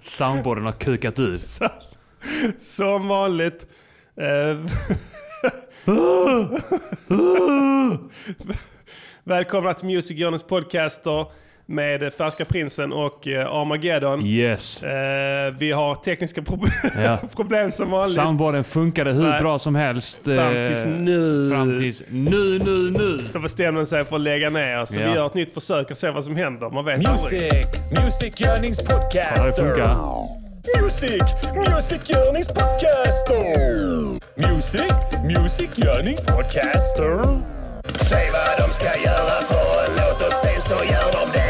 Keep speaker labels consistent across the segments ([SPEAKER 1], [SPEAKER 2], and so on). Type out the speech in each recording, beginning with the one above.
[SPEAKER 1] Soundboarden har kukat ut.
[SPEAKER 2] Som vanligt. Eh, Välkomna till Music Journeys podcaster med Färska Prinsen och eh, Armageddon.
[SPEAKER 1] Yes.
[SPEAKER 2] Eh, vi har tekniska prob-
[SPEAKER 1] Ja.
[SPEAKER 2] problem som vanligt.
[SPEAKER 1] Soundboarden funkade hur
[SPEAKER 2] Nej.
[SPEAKER 1] bra som helst. eh,
[SPEAKER 2] Fram tills nu.
[SPEAKER 1] Fram tills nu, nu, nu.
[SPEAKER 2] Då bestämde man sig för att lägga ner. Så
[SPEAKER 1] Ja.
[SPEAKER 2] vi gör ett nytt försök och ser vad som händer. Man vet aldrig.
[SPEAKER 3] Music, Music Yearnings
[SPEAKER 1] Ja, det funkar.
[SPEAKER 3] Podcaster. Music, Music Yearnings Podcaster. Music, Music Yearnings Podcaster. Säg vad de ska göra för en låt och sen så gör de det.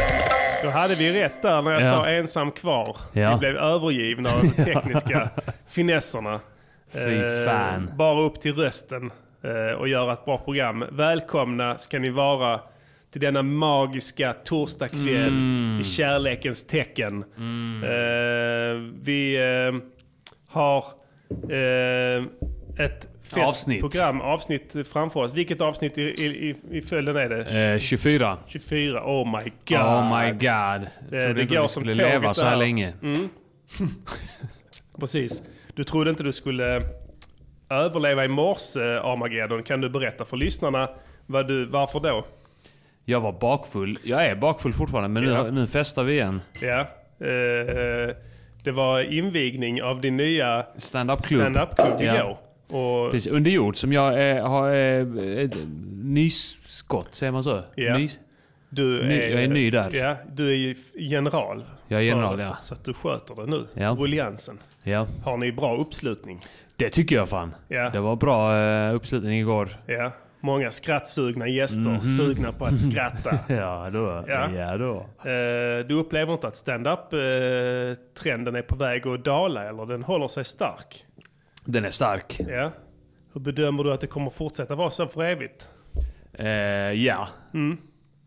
[SPEAKER 2] Då hade vi rätt där när jag
[SPEAKER 1] Ja.
[SPEAKER 2] sa ensam kvar.
[SPEAKER 1] Ja.
[SPEAKER 2] Vi blev övergivna av de tekniska finesserna.
[SPEAKER 1] Fy
[SPEAKER 2] Eh,
[SPEAKER 1] fan.
[SPEAKER 2] Bara upp till rösten eh, och göra ett bra program. Välkomna ska ni vara till denna magiska torsdagskväll
[SPEAKER 1] Mm.
[SPEAKER 2] i kärlekens tecken. Eh, vi eh, har eh, ett fett
[SPEAKER 1] Avsnitt.
[SPEAKER 2] program, avsnitt framför oss. Vilket avsnitt i, i, i, i följden är det?
[SPEAKER 1] Eh, 24.
[SPEAKER 2] 24? Oh my god.
[SPEAKER 1] Oh my god. Jag trodde
[SPEAKER 2] Eh, det
[SPEAKER 1] inte
[SPEAKER 2] går
[SPEAKER 1] vi
[SPEAKER 2] som
[SPEAKER 1] skulle
[SPEAKER 2] tåget
[SPEAKER 1] leva så här
[SPEAKER 2] där. Mm.
[SPEAKER 1] länge.
[SPEAKER 2] Precis. Du trodde inte du skulle överleva i morse, Armageddon. Kan du berätta för lyssnarna vad du, varför då?
[SPEAKER 1] Jag var bakfull. Jag är bakfull fortfarande, men
[SPEAKER 2] Ja.
[SPEAKER 1] nu, nu festar vi igen.
[SPEAKER 2] Ja. eh, det var invigning av din nya
[SPEAKER 1] Stand-up-klubb.
[SPEAKER 2] standup-klubb
[SPEAKER 1] Ja.
[SPEAKER 2] igår. Och
[SPEAKER 1] Precis, under jord som jag eh, har eh, ett nysskott, säger man så?
[SPEAKER 2] Ja.
[SPEAKER 1] Nys?
[SPEAKER 2] du
[SPEAKER 1] Ny- jag är ny där.
[SPEAKER 2] Ja, du är ju f- general.
[SPEAKER 1] Jag är
[SPEAKER 2] för
[SPEAKER 1] general,
[SPEAKER 2] det.
[SPEAKER 1] ja.
[SPEAKER 2] Så att du sköter det nu.
[SPEAKER 1] Ja.
[SPEAKER 2] Ruljangsen.
[SPEAKER 1] Ja,
[SPEAKER 2] Har ni bra uppslutning?
[SPEAKER 1] det tycker jag fan.
[SPEAKER 2] Ja.
[SPEAKER 1] Det var bra eh, uppslutning igår.
[SPEAKER 2] Ja. Många skrattsugna gäster,
[SPEAKER 1] Mhm.
[SPEAKER 2] sugna på att skratta.
[SPEAKER 1] Ja då.
[SPEAKER 2] Ja.
[SPEAKER 1] ja då.
[SPEAKER 2] Eh, Du upplever inte att stand-up-trenden är på väg att dala eller den håller sig stark?
[SPEAKER 1] Den är stark.
[SPEAKER 2] Ja. Hur bedömer du att det kommer fortsätta vara så för evigt?
[SPEAKER 1] Eh, ja.
[SPEAKER 2] Mm.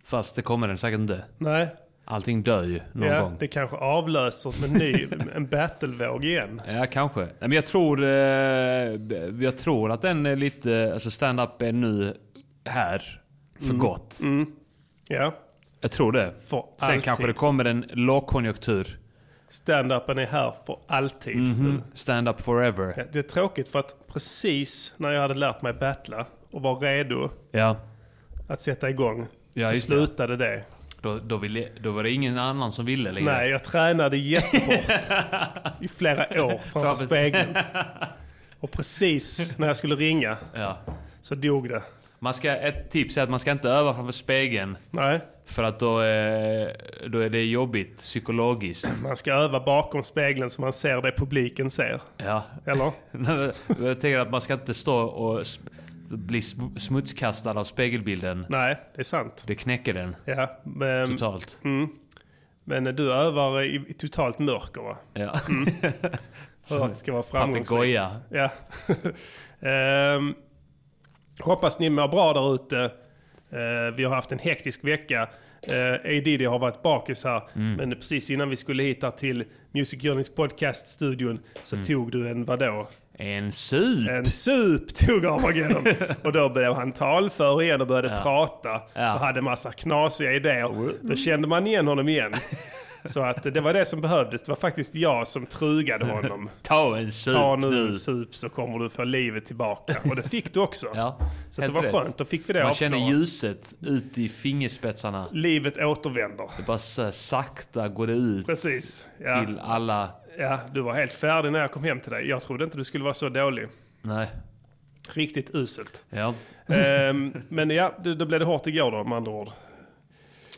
[SPEAKER 1] Fast det kommer den säkert inte.
[SPEAKER 2] Nej,
[SPEAKER 1] Allting dör ju någon
[SPEAKER 2] ja,
[SPEAKER 1] gång.
[SPEAKER 2] det kanske avlöser en ny en battlevåg igen.
[SPEAKER 1] Ja, kanske. Nej, men jag tror, eh, jag tror att den är lite... Alltså stand-up är nu här för
[SPEAKER 2] Mm.
[SPEAKER 1] gott.
[SPEAKER 2] Ja,
[SPEAKER 1] Jag tror det.
[SPEAKER 2] för
[SPEAKER 1] Sen
[SPEAKER 2] alltid.
[SPEAKER 1] kanske det kommer en lågkonjunktur.
[SPEAKER 2] Stand-upen är här för alltid.
[SPEAKER 1] Mhm. Stand up forever.
[SPEAKER 2] Ja, Det är tråkigt för att precis när jag hade lärt mig battla och var redo
[SPEAKER 1] Ja.
[SPEAKER 2] att sätta igång
[SPEAKER 1] Ja,
[SPEAKER 2] så
[SPEAKER 1] just det.
[SPEAKER 2] slutade det.
[SPEAKER 1] Då, då, ville, då var det ingen annan som ville längre.
[SPEAKER 2] Nej, jag tränade jättehårt i flera år framför
[SPEAKER 1] Framför-
[SPEAKER 2] spegeln. Och precis när jag skulle ringa
[SPEAKER 1] Ja.
[SPEAKER 2] så dog det.
[SPEAKER 1] Man ska, ett tips är att man ska inte öva framför spegeln.
[SPEAKER 2] Nej,
[SPEAKER 1] För att då, eh, då är det jobbigt psykologiskt.
[SPEAKER 2] man ska öva bakom spegeln så man ser det publiken ser.
[SPEAKER 1] Ja.
[SPEAKER 2] Eller?
[SPEAKER 1] Jag tänker att man ska inte stå och sp- bli sm- smutskastad av spegelbilden.
[SPEAKER 2] Nej, det är sant.
[SPEAKER 1] Det knäcker den
[SPEAKER 2] Ja, men,
[SPEAKER 1] totalt.
[SPEAKER 2] men du övar i, i totalt mörker va?
[SPEAKER 1] Ja.
[SPEAKER 2] För att det ska vara Mm. framgångsrikt.
[SPEAKER 1] Papegoja.
[SPEAKER 2] Ja. Ehm, hoppas ni mår bra där ute. Eh, vi har haft en hektisk vecka. Uh, Diddy har varit bakis här.
[SPEAKER 1] Mm.
[SPEAKER 2] Men precis innan vi skulle hit här till Music Journeys podcast-studion så
[SPEAKER 1] Mm.
[SPEAKER 2] tog du en vadå?
[SPEAKER 1] En sup.
[SPEAKER 2] En sup tog Armageddon. och då blev han talför igen och började prata.
[SPEAKER 1] Ja.
[SPEAKER 2] Och hade massa knasiga idéer. Då kände man igen honom igen. så att det var det som behövdes. Det var faktiskt jag som trugade honom.
[SPEAKER 1] Ta en Mm. sup
[SPEAKER 2] Ta nu
[SPEAKER 1] nu.
[SPEAKER 2] en sup så kommer du få livet tillbaka. Och det fick du också.
[SPEAKER 1] Ja,
[SPEAKER 2] så att det
[SPEAKER 1] helt
[SPEAKER 2] var
[SPEAKER 1] rätt.
[SPEAKER 2] skönt. Då fick vi det
[SPEAKER 1] Man
[SPEAKER 2] avklarat.
[SPEAKER 1] känner ljuset ut i fingerspetsarna.
[SPEAKER 2] Livet återvänder.
[SPEAKER 1] Det bara så här sakta går det ut
[SPEAKER 2] Precis. Ja.
[SPEAKER 1] till alla...
[SPEAKER 2] ja, du var helt färdig när jag kom hem till dig. Jag trodde inte du skulle vara så dålig.
[SPEAKER 1] Nej.
[SPEAKER 2] Riktigt uselt.
[SPEAKER 1] Ja.
[SPEAKER 2] Ehm, men ja, då, då blev det hårt igår då med andra ord.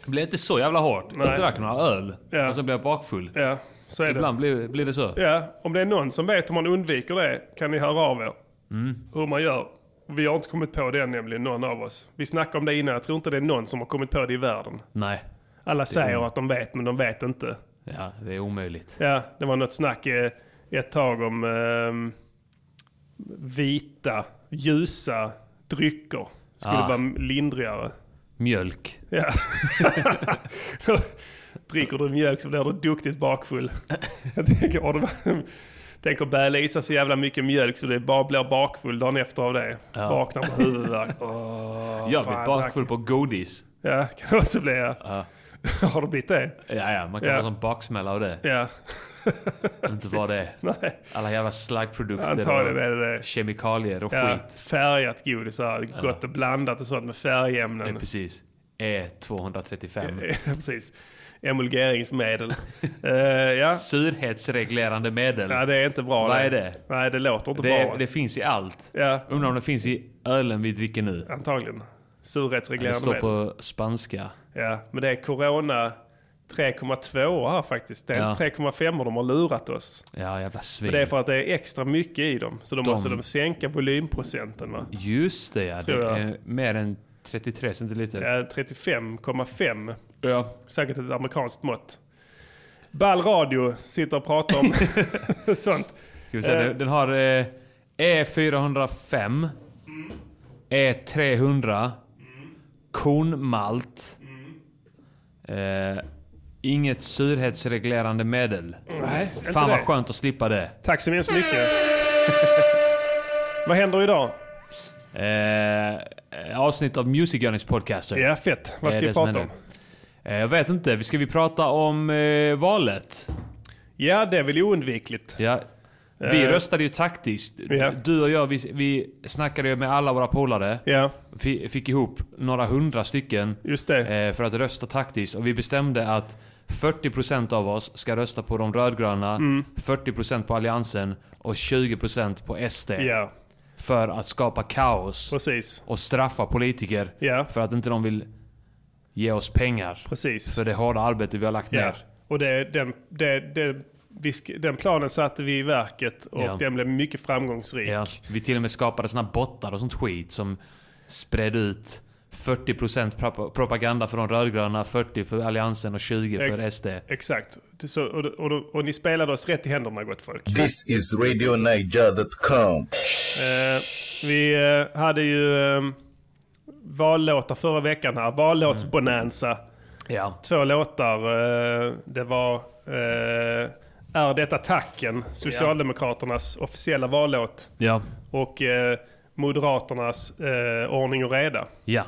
[SPEAKER 1] Det blev inte så jävla hårt.
[SPEAKER 2] Nej.
[SPEAKER 1] Jag drack några öl
[SPEAKER 2] Ja.
[SPEAKER 1] och så blev jag bakfull.
[SPEAKER 2] Ja, så är det.
[SPEAKER 1] Ibland blir, blir det så.
[SPEAKER 2] Ja, om det är någon som vet hur man undviker det kan ni höra av er.
[SPEAKER 1] Mm.
[SPEAKER 2] Hur man gör. Vi har inte kommit på det än, nämligen, någon av oss. Vi snackade om det innan. Jag tror inte det är någon som har kommit på det i världen.
[SPEAKER 1] Nej.
[SPEAKER 2] Alla säger att de vet, men de vet inte.
[SPEAKER 1] Ja, det är omöjligt.
[SPEAKER 2] Ja, det var något snack eh, ett tag om ehm, vita, ljusa drycker. Skulle
[SPEAKER 1] Ah.
[SPEAKER 2] vara lindrigare.
[SPEAKER 1] Mjölk.
[SPEAKER 2] Ja. Dricker du mjölk så blir du duktigt bakfull. Jag tänker, har du, tänker bäla i sig så jävla mycket mjölk så du bara blir bakfull dagen efter av det. Vaknar med huvudvärk. Åh,
[SPEAKER 1] jag
[SPEAKER 2] fan,
[SPEAKER 1] blir bakfull på godis.
[SPEAKER 2] tack. Ja, kan det också bli. Ja. Har du blivit det?
[SPEAKER 1] Ja, ja, man kan
[SPEAKER 2] Ja.
[SPEAKER 1] ha en baksmälla av det.
[SPEAKER 2] Ja.
[SPEAKER 1] Inte vad det är.
[SPEAKER 2] Nej.
[SPEAKER 1] Alla jävla slaggprodukter
[SPEAKER 2] Antagligen
[SPEAKER 1] och
[SPEAKER 2] är det det.
[SPEAKER 1] kemikalier och
[SPEAKER 2] Ja,
[SPEAKER 1] skit.
[SPEAKER 2] färgat godis, så här, gott och blandat och sånt med
[SPEAKER 1] Ja,
[SPEAKER 2] färgämnen.
[SPEAKER 1] precis. E E235.
[SPEAKER 2] Precis. Emulgeringsmedel. Eh, ja.
[SPEAKER 1] Surhetsreglerande medel.
[SPEAKER 2] ja, det är inte bra.
[SPEAKER 1] Vad är det?
[SPEAKER 2] Nej, det låter inte bra.
[SPEAKER 1] det, det finns i allt.
[SPEAKER 2] Ja,
[SPEAKER 1] Undrar om det finns i ölen vi dricker nu.
[SPEAKER 2] antagligen.
[SPEAKER 1] det
[SPEAKER 2] Surhetsreglerande
[SPEAKER 1] står
[SPEAKER 2] medel.
[SPEAKER 1] på spanska.
[SPEAKER 2] Ja, men det är corona 3,2 här faktiskt. Det är
[SPEAKER 1] Ja.
[SPEAKER 2] inte 3,5 de har lurat oss.
[SPEAKER 1] Ja, jävla svin.
[SPEAKER 2] Men det är för att det är extra mycket i dem. Så då
[SPEAKER 1] De-
[SPEAKER 2] måste de sänka volymprocenten va?
[SPEAKER 1] Just det ja. Det
[SPEAKER 2] Tror jag.
[SPEAKER 1] är mer än 33 centiliter.
[SPEAKER 2] Ja, 35,5.
[SPEAKER 1] Ja.
[SPEAKER 2] Säkert ett amerikanskt mått. Ball radio sitter och pratar om sånt.
[SPEAKER 1] Ska vi säga,
[SPEAKER 2] Eh.
[SPEAKER 1] den- Den har eh, E405, E E300, kornmalt, eh, inget surhetsreglerande medel.
[SPEAKER 2] Nej, inte
[SPEAKER 1] Fan vad
[SPEAKER 2] det.
[SPEAKER 1] skönt att slippa det.
[SPEAKER 2] Tack så hemskt mycket. Vad händer idag?
[SPEAKER 1] Eh, avsnitt av Music Journeys podcaster.
[SPEAKER 2] Ja, fett. Vad ska
[SPEAKER 1] Det är
[SPEAKER 2] vi
[SPEAKER 1] det som
[SPEAKER 2] prata om?
[SPEAKER 1] händer. Eh, jag vet inte, Vi ska vi prata om eh, valet?
[SPEAKER 2] Ja, det är väl oundvikligt.
[SPEAKER 1] Ja. Vi
[SPEAKER 2] Eh.
[SPEAKER 1] röstade ju taktiskt. Du-
[SPEAKER 2] Ja.
[SPEAKER 1] Du och jag, vi, vi snackade ju med alla våra polare.
[SPEAKER 2] Ja,
[SPEAKER 1] Fi- fick ihop några hundra stycken
[SPEAKER 2] just det.
[SPEAKER 1] eh, för att rösta taktiskt. Och vi bestämde att 40% av oss ska rösta på de rödgröna,
[SPEAKER 2] Mm.
[SPEAKER 1] 40% på Alliansen och 20% på SD.
[SPEAKER 2] Ja,
[SPEAKER 1] För att skapa kaos
[SPEAKER 2] precis.
[SPEAKER 1] och straffa politiker
[SPEAKER 2] Ja,
[SPEAKER 1] för att inte de vill ge oss pengar.
[SPEAKER 2] precis.
[SPEAKER 1] För det hårda arbete vi har lagt
[SPEAKER 2] Ja.
[SPEAKER 1] ner.
[SPEAKER 2] Och det, den, det, det, vi sk- den planen satte vi i verket och
[SPEAKER 1] Ja.
[SPEAKER 2] den blev mycket framgångsrik.
[SPEAKER 1] Ja, vi till och med skapade såna bottar och sånt skit som spred ut 40% prop- propaganda för de rödgröna, 40% för Alliansen och 20% för SD.
[SPEAKER 2] Exakt. Det- Så, och, och, och, ni spelade oss rätt i händerna gott folk.
[SPEAKER 4] This is RadioNiger.com.
[SPEAKER 2] Eh, vi eh, hade ju eh, vallåtar förra veckan här. Vallåtsbonanza.
[SPEAKER 1] Ja.
[SPEAKER 2] Två låtar. Eh, det var eh, Är detta tacken? Socialdemokraternas officiella vallåt.
[SPEAKER 1] Ja.
[SPEAKER 2] Och eh, Moderaternas eh, Ordning och reda.
[SPEAKER 1] Ja.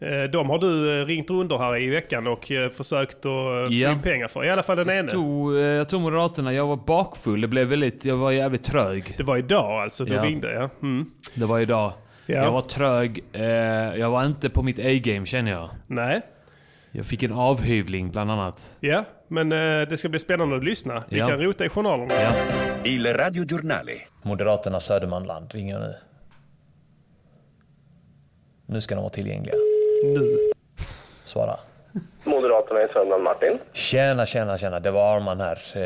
[SPEAKER 2] Eh, De har du eh, ringt runt här i veckan och eh, försökt att
[SPEAKER 1] Ja.
[SPEAKER 2] yeah. få in pengar för. I alla fall den ene.
[SPEAKER 1] Jag tog, eh, jag tog Moderaterna, jag var bakfull. Det blev väldigt, jag var jävligt trög.
[SPEAKER 2] Det var idag alltså du
[SPEAKER 1] Ja.
[SPEAKER 2] ringde ja. Mm.
[SPEAKER 1] Det var idag.
[SPEAKER 2] Ja.
[SPEAKER 1] Jag var trög. Eh, jag var inte på mitt A-game känner jag.
[SPEAKER 2] Nej.
[SPEAKER 1] Jag fick en avhyvling bland annat.
[SPEAKER 2] Ja, men eh, det ska bli spännande att lyssna. Vi
[SPEAKER 1] Ja.
[SPEAKER 2] kan rota i journalerna.
[SPEAKER 1] Ja.
[SPEAKER 5] Il radiogiornale.
[SPEAKER 1] Moderaterna Södermanland ringer nu. Nu ska de vara tillgängliga.
[SPEAKER 2] Nu.
[SPEAKER 1] Svara.
[SPEAKER 6] Moderaterna i Sörmland, Martin.
[SPEAKER 1] Tjena, tjena, tjena. Det var Arman här. Eh,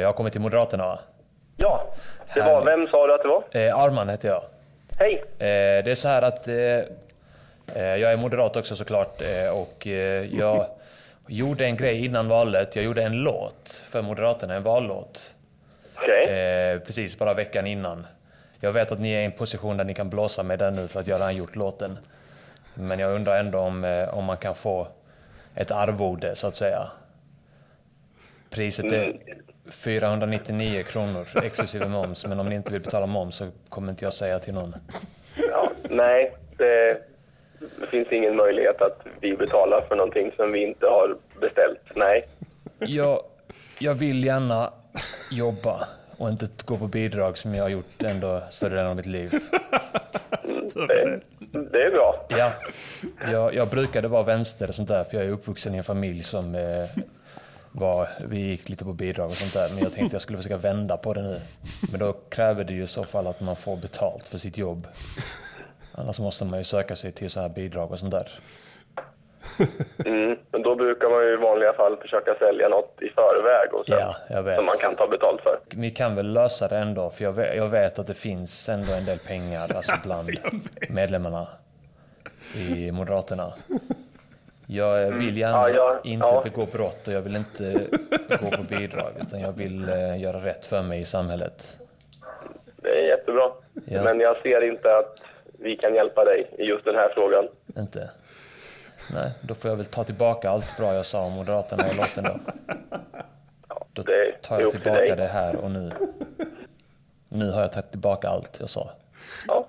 [SPEAKER 1] jag har kommit till Moderaterna va?
[SPEAKER 6] Ja, det var, vem sa du att det var?
[SPEAKER 1] Eh, Arman heter jag.
[SPEAKER 6] Hej!
[SPEAKER 1] Eh, det är så här att eh, eh, jag är moderat också såklart eh, och eh, jag gjorde en grej innan valet. Jag gjorde en låt för Moderaterna, en vallåt.
[SPEAKER 6] Okej.
[SPEAKER 1] Eh, precis, bara veckan innan. Jag vet att ni är i en position där ni kan blåsa med den nu för att jag har redan gjort låten. Men jag undrar ändå om, eh, om man kan få ett arvode så att säga. Priset är 499 kronor exklusive moms, men om ni inte vill betala moms så kommer inte jag säga till någon.
[SPEAKER 6] Ja, nej, det finns ingen möjlighet att vi betalar för någonting som vi inte har beställt. Nej.
[SPEAKER 1] Jag, jag vill gärna jobba och inte gå på bidrag som jag har gjort ändå större delen av mitt liv.
[SPEAKER 6] Det, det är bra.
[SPEAKER 1] Ja, jag, jag brukade vara vänster och sånt där för jag är uppvuxen i en familj som eh, var, vi gick lite på bidrag och sånt där. Men jag tänkte jag skulle försöka vända på det nu. Men då kräver det ju i så fall att man får betalt för sitt jobb. Annars måste man ju söka sig till så här bidrag och sånt där.
[SPEAKER 6] Mm. Men då brukar man ju i vanliga fall försöka sälja något i förväg och sen,
[SPEAKER 1] Ja, jag vet.
[SPEAKER 6] som man kan ta betalt för.
[SPEAKER 1] Vi kan väl lösa det ändå, för jag vet, jag vet att det finns ändå en del pengar alltså bland medlemmarna i Moderaterna. Jag vill gärna
[SPEAKER 6] Mm. Ja, ja,
[SPEAKER 1] inte
[SPEAKER 6] ja.
[SPEAKER 1] begå brott och jag vill inte gå på bidrag, utan jag vill eh, göra rätt för mig i samhället.
[SPEAKER 6] Det är jättebra.
[SPEAKER 1] Ja.
[SPEAKER 6] Men jag ser inte att vi kan hjälpa dig i just den här frågan.
[SPEAKER 1] Inte? Nej, då får jag väl ta tillbaka allt bra jag sa om Moderaterna i låten då. Då
[SPEAKER 6] det-
[SPEAKER 1] tar
[SPEAKER 6] det är
[SPEAKER 1] jag
[SPEAKER 6] upp till
[SPEAKER 1] tillbaka
[SPEAKER 6] dig.
[SPEAKER 1] det här och nu. Nu har jag tagit tillbaka allt jag sa.
[SPEAKER 6] Ja,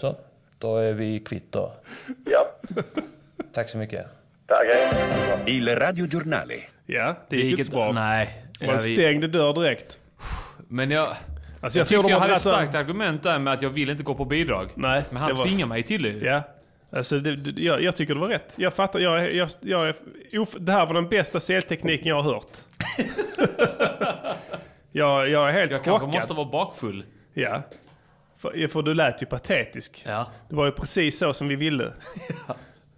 [SPEAKER 1] Så, då är vi kvitt då.
[SPEAKER 6] ja.
[SPEAKER 1] Tack så mycket.
[SPEAKER 6] tack. Hej.
[SPEAKER 5] Il radiogiornale.
[SPEAKER 2] Ja, det gick inte så bra.
[SPEAKER 1] Nej.
[SPEAKER 2] Man
[SPEAKER 1] Ja, vi-
[SPEAKER 2] stängde dörr direkt.
[SPEAKER 1] Men jag...
[SPEAKER 2] Alltså
[SPEAKER 1] Jag,
[SPEAKER 2] jag,
[SPEAKER 1] tyckte
[SPEAKER 2] tror de
[SPEAKER 1] jag
[SPEAKER 2] hade
[SPEAKER 1] hade ett
[SPEAKER 2] så...
[SPEAKER 1] starkt argument där med att jag vill inte gå på bidrag.
[SPEAKER 2] Nej,
[SPEAKER 1] men han
[SPEAKER 2] det var-
[SPEAKER 1] tvingar mig till det ju.
[SPEAKER 2] Ja. Alltså, det, det, jag, jag tycker det var rätt. Jag fattar. Jag, är- jag, jag, är- of, det här var den bästa säljtekniken jag har hört. jag, jag är helt
[SPEAKER 1] Jag kanske
[SPEAKER 2] chockad.
[SPEAKER 1] måste vara bakfull.
[SPEAKER 2] Ja. För, för du lät ju patetisk.
[SPEAKER 1] Ja.
[SPEAKER 2] Det var ju precis så som vi ville. Eh,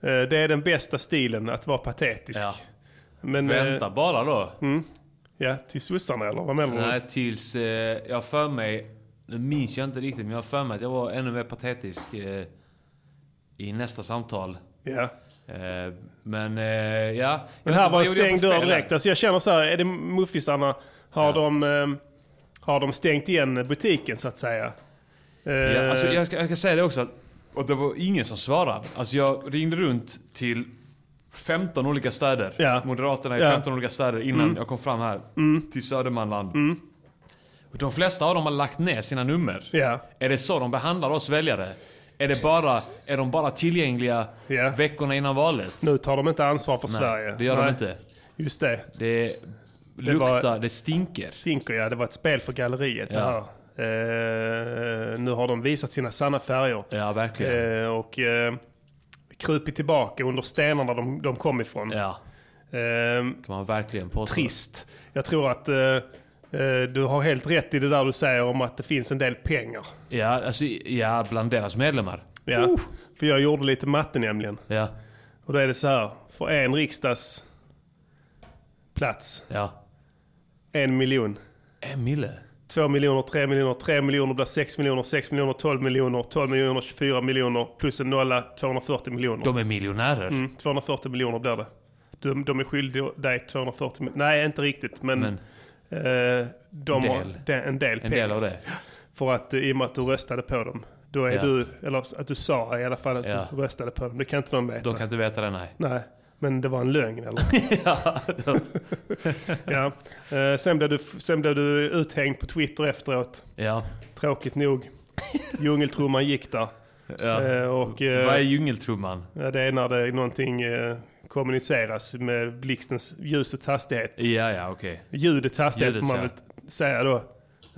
[SPEAKER 2] Det är den bästa stilen, att vara patetisk.
[SPEAKER 1] Ja.
[SPEAKER 2] Men, eh,
[SPEAKER 1] Vänta bara då.
[SPEAKER 2] Ja, till sossarna eller vad menar du?
[SPEAKER 1] Nej, tills eh, jag för mig... Nu minns jag inte riktigt, men jag för mig att jag var ännu mer patetisk eh, i nästa samtal.
[SPEAKER 2] Ja.
[SPEAKER 1] Eh, men eh, ja...
[SPEAKER 2] Men här var en stängd dörr direkt. Alltså jag känner så här, är det muffistarna, har, de, eh, har de stängt igen butiken så att säga? Eh,
[SPEAKER 1] Ja, alltså, jag, ska, jag ska säga det också. att- Och det var ingen som svarade. Alltså jag ringde runt till 15 olika städer.
[SPEAKER 2] Ja.
[SPEAKER 1] Moderaterna i
[SPEAKER 2] Ja.
[SPEAKER 1] 15 olika städer innan jag kom fram här. Till Södermanland. Och de flesta av dem har lagt ner sina nummer.
[SPEAKER 2] Ja.
[SPEAKER 1] Är det så de behandlar oss väljare? Är, det bara, är de bara tillgängliga
[SPEAKER 2] Ja.
[SPEAKER 1] veckorna innan valet?
[SPEAKER 2] Nu tar de inte ansvar för Sverige.
[SPEAKER 1] det gör
[SPEAKER 2] Nej,
[SPEAKER 1] de inte.
[SPEAKER 2] Just det.
[SPEAKER 1] Det
[SPEAKER 2] var-
[SPEAKER 1] luktar, det stinker.
[SPEAKER 2] Stinker ja, det var ett spel för galleriet det här.
[SPEAKER 1] Ja.
[SPEAKER 2] Eh, nu har de visat sina sanna färger.
[SPEAKER 1] Ja, verkligen.
[SPEAKER 2] Eh, och eh, krupit tillbaka under stenarna de, de kom ifrån.
[SPEAKER 1] Ja,
[SPEAKER 2] Eh,
[SPEAKER 1] kan man verkligen påstå.
[SPEAKER 2] trist. Jag tror att eh, eh, du har helt rätt i det där du säger om att det finns en del pengar.
[SPEAKER 1] Ja, alltså, ja, bland deras medlemmar.
[SPEAKER 2] Ja.
[SPEAKER 1] Uh.
[SPEAKER 2] För jag gjorde lite matte nämligen.
[SPEAKER 1] Ja,
[SPEAKER 2] Och då är det så här. För en riksdags plats,
[SPEAKER 1] ja.
[SPEAKER 2] en miljon.
[SPEAKER 1] En mille.
[SPEAKER 2] Två miljoner, tre miljoner, tre miljoner blir sex miljoner, sex miljoner, 12 miljoner, 12 miljoner, 24 miljoner, plus en nolla, 240 miljoner.
[SPEAKER 1] De är miljonärer.
[SPEAKER 2] Mm, 240 miljoner blir det. De, de är skyldiga dig 240 miljoner. Nej, inte riktigt, men,
[SPEAKER 1] Men
[SPEAKER 2] eh, de
[SPEAKER 1] En
[SPEAKER 2] har
[SPEAKER 1] del.
[SPEAKER 2] de, en del
[SPEAKER 1] en
[SPEAKER 2] pengar.
[SPEAKER 1] del av det.
[SPEAKER 2] För att eh, i och med att du röstade på dem, då är
[SPEAKER 1] Ja.
[SPEAKER 2] du, eller att du sa i alla fall att
[SPEAKER 1] Ja.
[SPEAKER 2] du röstade på dem. Det kan inte de veta.
[SPEAKER 1] De kan inte veta det, nej.
[SPEAKER 2] Nej, men det var en lögn eller? ja. Eh, sen, blev du, sen blev du uthängd på Twitter efteråt.
[SPEAKER 1] Ja.
[SPEAKER 2] Tråkigt nog. Djungeltrumman gick där.
[SPEAKER 1] ja.
[SPEAKER 2] Eh, och, eh,
[SPEAKER 1] Vad är djungeltrumman?
[SPEAKER 2] Ja, det är när det är någonting eh, kommuniceras med blixtens, ljusets hastighet.
[SPEAKER 1] Ja, ja, okej.
[SPEAKER 2] Mm. Ljudets hastighet
[SPEAKER 1] Ljudet,
[SPEAKER 2] får man
[SPEAKER 1] ja.
[SPEAKER 2] väl säga då.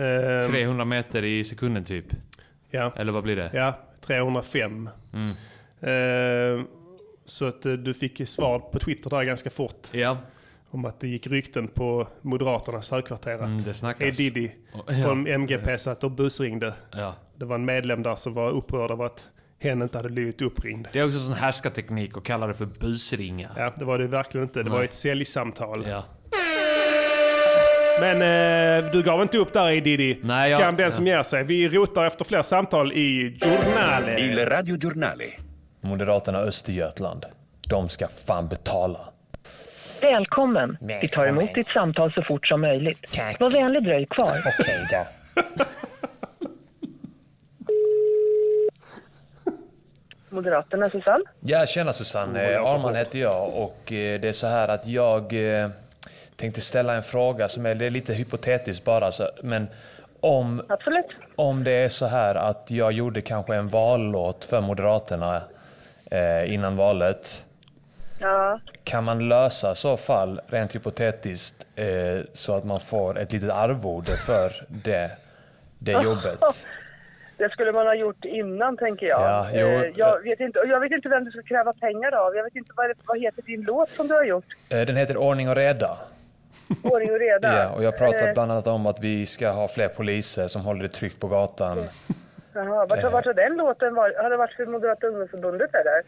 [SPEAKER 2] Eh,
[SPEAKER 1] 300 meter i sekunden typ.
[SPEAKER 2] ja,
[SPEAKER 1] Eller Mm. vad blir det?
[SPEAKER 2] ja, 305. Eh, så att eh, du fick svar på Twitter där ganska fort.
[SPEAKER 1] Ja.
[SPEAKER 2] Om att det gick rykten på Moderaternas högkvarter att
[SPEAKER 1] Mm, det snackas.
[SPEAKER 2] E. Diddy
[SPEAKER 1] Och- ja.
[SPEAKER 2] från MGP satt och busringde.
[SPEAKER 1] ja.
[SPEAKER 2] Det var en medlem där som var upprörd över att hen inte hade blivit uppringd.
[SPEAKER 1] Det är också sån härskarteknik att kalla det för busringa.
[SPEAKER 2] Ja, det var det verkligen inte. Det var ett säljsamtal.
[SPEAKER 1] Ja.
[SPEAKER 2] Men eh, du gav inte upp där E. Diddy.
[SPEAKER 1] Nej, jag-
[SPEAKER 2] Skam den som ger sig. Vi rotar efter fler samtal i Journale.
[SPEAKER 3] Il radiogiornale.
[SPEAKER 7] Moderaterna Östergötland, de ska fan betala.
[SPEAKER 6] Välkommen. Vi tar emot ditt samtal så fort som möjligt.
[SPEAKER 7] Tack.
[SPEAKER 6] Var vänlig dröj kvar.
[SPEAKER 7] Okej då.
[SPEAKER 6] Moderaterna, Susanne?
[SPEAKER 7] Ja, tjena Susanne. Eh, Arman heter jag och eh, det är så här att jag eh, tänkte ställa en fråga som är, det är lite hypotetisk bara. Så, men om,
[SPEAKER 6] Absolut.
[SPEAKER 7] om det är så här att jag gjorde kanske en vallåt för Moderaterna eh, innan valet.
[SPEAKER 6] Ja.
[SPEAKER 7] Kan man lösa i så fall, rent hypotetiskt, eh, så att man får ett litet arvode för det, det jobbet?
[SPEAKER 6] Det skulle man ha gjort innan, tänker jag.
[SPEAKER 7] Ja, jo,
[SPEAKER 6] Eh,
[SPEAKER 7] ja.
[SPEAKER 6] jag, vet inte, och jag vet inte vem du ska kräva pengar av. Jag vet inte vad, det- vad heter din låt som du har gjort?
[SPEAKER 7] Eh, Den heter Ordning och reda.
[SPEAKER 6] Ordning och reda.
[SPEAKER 7] Ja, och jag pratar
[SPEAKER 6] Eh,
[SPEAKER 7] bland annat om att vi ska ha fler poliser som håller det tryggt på gatan.
[SPEAKER 6] jaha, vart, vart har den låten varit? Har det varit för Moderata ungdomsförbundet eller?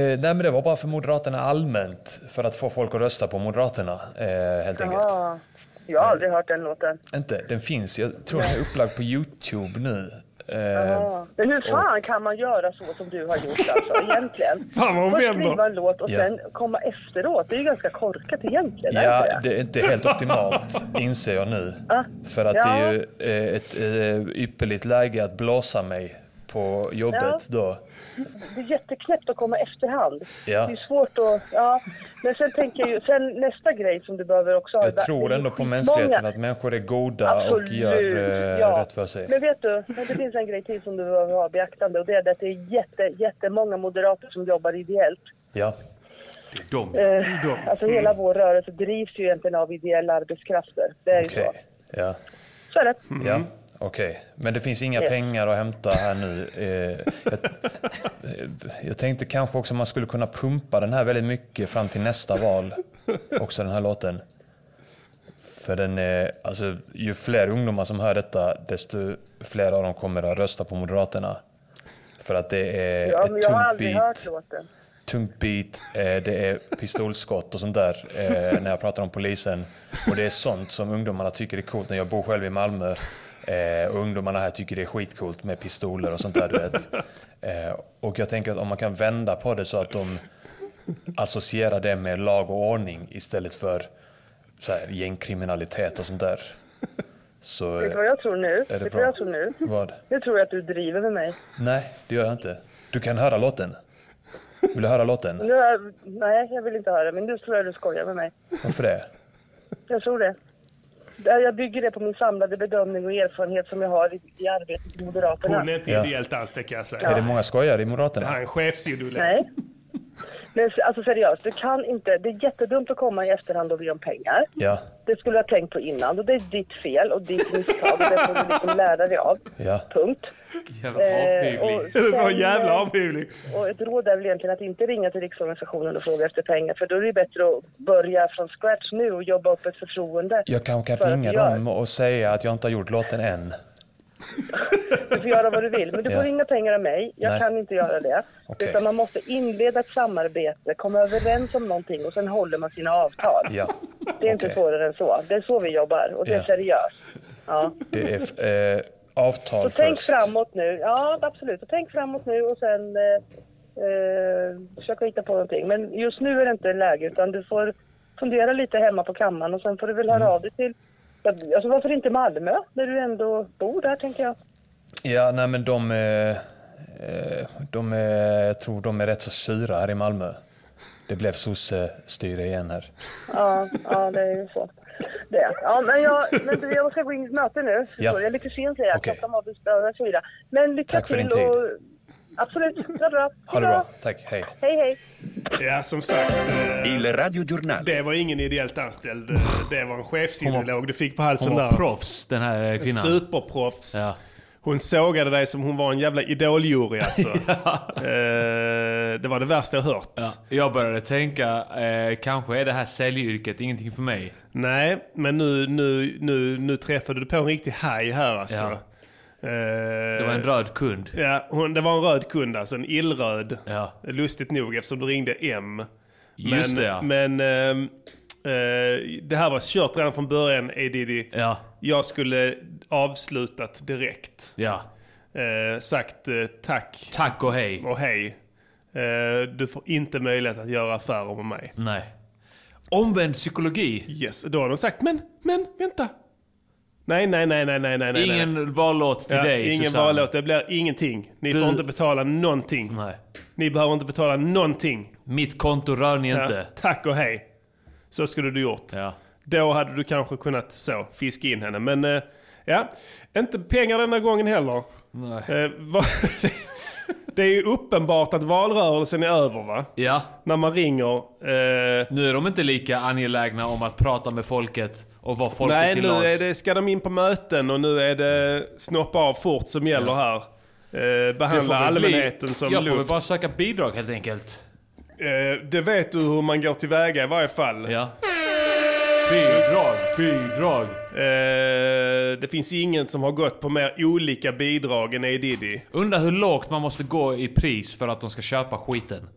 [SPEAKER 7] Eh, nej, men det var bara för Moderaterna allmänt, för att få folk att rösta på Moderaterna, eh, helt enkelt.
[SPEAKER 6] Ja. Ah, Jag har aldrig hört den låten.
[SPEAKER 7] Inte, den finns, jag tror den är upplagd på YouTube nu. Eh,
[SPEAKER 6] Ja. Men hur fan kan man göra så som du har gjort alltså, egentligen?
[SPEAKER 2] Fan vad hon
[SPEAKER 6] Först skriva
[SPEAKER 2] vänder.
[SPEAKER 6] en låt och
[SPEAKER 7] Ja.
[SPEAKER 6] sen komma efteråt. Det är ju ganska korkat egentligen. är det
[SPEAKER 7] ja,
[SPEAKER 6] inte det?
[SPEAKER 7] det är inte helt optimalt, inser jag nu.
[SPEAKER 6] Ah.
[SPEAKER 7] För att det är ju eh, ett eh, ypperligt läge att blåsa mig på jobbet
[SPEAKER 6] Ja.
[SPEAKER 7] då.
[SPEAKER 6] det är jätteknäppt att komma efterhand.
[SPEAKER 7] Ja.
[SPEAKER 6] Det är svårt att... Ja. Men sen tänker jag ju... Sen nästa grej som du behöver också ha...
[SPEAKER 7] Jag tror
[SPEAKER 6] det är
[SPEAKER 7] ändå på
[SPEAKER 6] skitmånga-
[SPEAKER 7] mänskligheten, att människor är goda och gör eh,
[SPEAKER 6] ja.
[SPEAKER 7] rätt för sig.
[SPEAKER 6] Men vet du, men det finns en grej till som du behöver ha i beaktande och det är att det är jätte, jättemånga moderater som jobbar ideellt.
[SPEAKER 7] Ja.
[SPEAKER 1] De.
[SPEAKER 6] Eh, alltså hela
[SPEAKER 7] Mm.
[SPEAKER 6] vår rörelse drivs ju egentligen av ideella arbetskrafter. Det är ju
[SPEAKER 7] Okej. Mm.
[SPEAKER 6] så.
[SPEAKER 7] Ja.
[SPEAKER 6] Så är det.
[SPEAKER 7] Ja. Okej, men det finns inga
[SPEAKER 6] Mm. Ja.
[SPEAKER 7] pengar att hämta här nu. Eh, jag, eh, jag tänkte kanske också man skulle kunna pumpa den här väldigt mycket fram till nästa val. Också den här låten. För den är, alltså, ju fler ungdomar som hör detta, desto fler av dem kommer att rösta på Moderaterna. För att det är
[SPEAKER 6] Ja, men
[SPEAKER 7] ett
[SPEAKER 6] jag har
[SPEAKER 7] tungt
[SPEAKER 6] aldrig hört
[SPEAKER 7] beat,
[SPEAKER 6] låten.
[SPEAKER 7] tungt beat eh, det är pistolskott och sånt där eh, när jag pratar om polisen. Och det är sånt som ungdomarna tycker är coolt. När jag bor själv i Malmö eh, och ungdomarna här tycker det är skitcoolt med pistoler och sånt där. Du vet. Eh, och jag tänker att om man kan vända på det så att de associerar det med lag och ordning istället för så här, gängkriminalitet och sånt där. Så,
[SPEAKER 6] Vet du
[SPEAKER 7] eh,
[SPEAKER 6] vad jag tror nu?
[SPEAKER 7] det
[SPEAKER 6] Vet du
[SPEAKER 7] bra?
[SPEAKER 6] vad jag tror nu?
[SPEAKER 7] vad?
[SPEAKER 6] Nu tror jag att du driver med mig.
[SPEAKER 7] Nej, det gör jag inte. Du kan höra låten. Vill du höra låten?
[SPEAKER 6] Nu har jag, nej, jag vill inte höra men nu tror jag du skojar med mig.
[SPEAKER 7] Varför det?
[SPEAKER 6] Jag tror det. Där Jag bygger det på min samlade bedömning och erfarenhet som jag har i, i arbetet med Moderaterna.
[SPEAKER 2] Hon är inte
[SPEAKER 7] Ja.
[SPEAKER 2] ideellt anställd kan jag säga.
[SPEAKER 7] Är det många skojare i Moderaterna?
[SPEAKER 2] Han är chefsideolog.
[SPEAKER 6] Nej. Men s- alltså seriöst, du kan inte. Det är jättedumt att komma i efterhand och be om pengar.
[SPEAKER 7] Ja,
[SPEAKER 6] Det skulle jag ha tänkt på innan och det är ditt fel och ditt misstag. och Det får du liksom lära dig av.
[SPEAKER 7] ja.
[SPEAKER 6] Punkt.
[SPEAKER 1] Jävla
[SPEAKER 6] Eh,
[SPEAKER 1] avhyvling.
[SPEAKER 2] Det var en
[SPEAKER 6] sen,
[SPEAKER 2] jävla
[SPEAKER 6] eh,
[SPEAKER 2] avhyvling.
[SPEAKER 6] Och ett råd är väl egentligen att inte ringa till Riksorganisationen och fråga efter pengar för då är det ju bättre att börja från scratch nu och jobba upp ett förtroende.
[SPEAKER 7] Jag kanske
[SPEAKER 6] För
[SPEAKER 7] kan
[SPEAKER 6] att
[SPEAKER 7] ringa
[SPEAKER 6] jag-
[SPEAKER 7] dem och säga att jag inte har gjort låten än.
[SPEAKER 6] Du får göra vad du vill, men du får
[SPEAKER 7] Ja.
[SPEAKER 6] inga pengar av mig. Jag
[SPEAKER 7] Nej.
[SPEAKER 6] kan inte göra det.
[SPEAKER 7] Okej.
[SPEAKER 6] Utan man måste inleda ett samarbete, komma överens om någonting och sen håller man sina avtal.
[SPEAKER 7] Ja,
[SPEAKER 6] Det är inte
[SPEAKER 7] okej.
[SPEAKER 6] svårare än så. Det är så vi jobbar och det är
[SPEAKER 7] Ja.
[SPEAKER 6] seriöst. Ja.
[SPEAKER 7] det är eh, avtal
[SPEAKER 6] Så tänk
[SPEAKER 7] först.
[SPEAKER 6] framåt nu. Ja, absolut. Så tänk framåt nu och sen eh, eh, försöka hitta på någonting. Men just nu är det inte läge utan du får fundera lite hemma på kammaren och sen får du väl höra
[SPEAKER 7] Mm.
[SPEAKER 6] av dig till... Alltså varför inte Malmö när du ändå bor där tänker jag?
[SPEAKER 7] Ja, nej men de... eh, eh, de är, jag tror de är rätt så syra här i Malmö. Det blev sossestyre igen här.
[SPEAKER 6] Ja, ja det är ju så. Det. Ja, men jag, men du, jag ska gå in i ett möte nu. förstår
[SPEAKER 7] Ja.
[SPEAKER 6] du. Jag är lite sen säger jag.
[SPEAKER 7] Okej.
[SPEAKER 6] Klockan var bestörd och så vidare. Men lycka
[SPEAKER 7] Tack för
[SPEAKER 6] till
[SPEAKER 7] din tid.
[SPEAKER 6] och... Absolut, det är bra.
[SPEAKER 7] Ha det bra, tack, hej.
[SPEAKER 6] Hej, hej.
[SPEAKER 2] Ja, som sagt. eh,
[SPEAKER 3] Il radiogiornale.
[SPEAKER 2] Det var ingen ideellt anställd. eh, Det var en chefsideolog du fick på halsen
[SPEAKER 1] Hon var
[SPEAKER 2] där.
[SPEAKER 1] proffs den här eh, kvinnan.
[SPEAKER 2] Superproffs.
[SPEAKER 1] Ja.
[SPEAKER 2] Hon sågade dig som hon var en jävla idoljury alltså. eh, det var det värsta jag hört.
[SPEAKER 1] Ja, jag började tänka, eh, kanske är det här säljyrket ingenting för mig.
[SPEAKER 2] Nej, men nu, nu, nu, nu träffade du på en riktig haj här alltså.
[SPEAKER 1] Ja.
[SPEAKER 2] Eh,
[SPEAKER 1] Det var en röd kund.
[SPEAKER 2] Ja, hon, det var en röd kund alltså, en illröd.
[SPEAKER 1] Ja.
[SPEAKER 2] Lustigt nog eftersom du ringde M.
[SPEAKER 1] Just
[SPEAKER 2] men,
[SPEAKER 1] det ja.
[SPEAKER 2] Men ehm, eh, det här var kört redan från början, Edidi.
[SPEAKER 1] Ja,
[SPEAKER 2] Jag skulle avslutat direkt.
[SPEAKER 1] ja.
[SPEAKER 2] Eh, sagt eh, tack
[SPEAKER 1] Tack och hej.
[SPEAKER 2] och hej. Eh, du får inte möjlighet att göra affärer med mig.
[SPEAKER 1] Nej. Omvänd psykologi.
[SPEAKER 2] Yes, då har de sagt men, men, vänta. Nej, nej, nej, nej, nej, nej. nej, nej.
[SPEAKER 1] Ingen vallåt till
[SPEAKER 2] Ja,
[SPEAKER 1] dig
[SPEAKER 2] ingen
[SPEAKER 1] Susanne.
[SPEAKER 2] vallåt, det blir ingenting. Ni
[SPEAKER 1] Du-
[SPEAKER 2] får inte betala någonting.
[SPEAKER 1] Nej.
[SPEAKER 2] Ni behöver inte betala någonting.
[SPEAKER 1] Mitt konto rör ni
[SPEAKER 2] Ja,
[SPEAKER 1] inte.
[SPEAKER 2] Tack och hej. Så skulle du gjort.
[SPEAKER 1] Ja.
[SPEAKER 2] Då hade du kanske kunnat så, fiska in henne. Men eh, ja, inte pengar denna gången heller.
[SPEAKER 1] Nej.
[SPEAKER 2] Eh, va- det är ju uppenbart att valrörelsen är över va?
[SPEAKER 1] Ja.
[SPEAKER 2] När man ringer. Eh,
[SPEAKER 1] Nu är de inte lika angelägna om att prata med folket och vara folket
[SPEAKER 2] nej,
[SPEAKER 1] till
[SPEAKER 2] nu
[SPEAKER 1] lags.
[SPEAKER 2] är det, ska de in på möten och nu är det snoppa av fort som gäller här. Eh,
[SPEAKER 1] Jag får
[SPEAKER 2] behandla
[SPEAKER 1] väl bli-
[SPEAKER 2] allmänheten som
[SPEAKER 1] Jag får väl
[SPEAKER 2] luft.
[SPEAKER 1] bara söka bidrag helt enkelt.
[SPEAKER 2] Eh, det vet du hur man går tillväga i varje fall.
[SPEAKER 1] Ja. Bidrag, bidrag.
[SPEAKER 2] Eh, det finns ingen som har gått på mer olika bidrag än A. Diddy.
[SPEAKER 1] Undrar hur lågt man måste gå i pris för att de ska köpa skiten.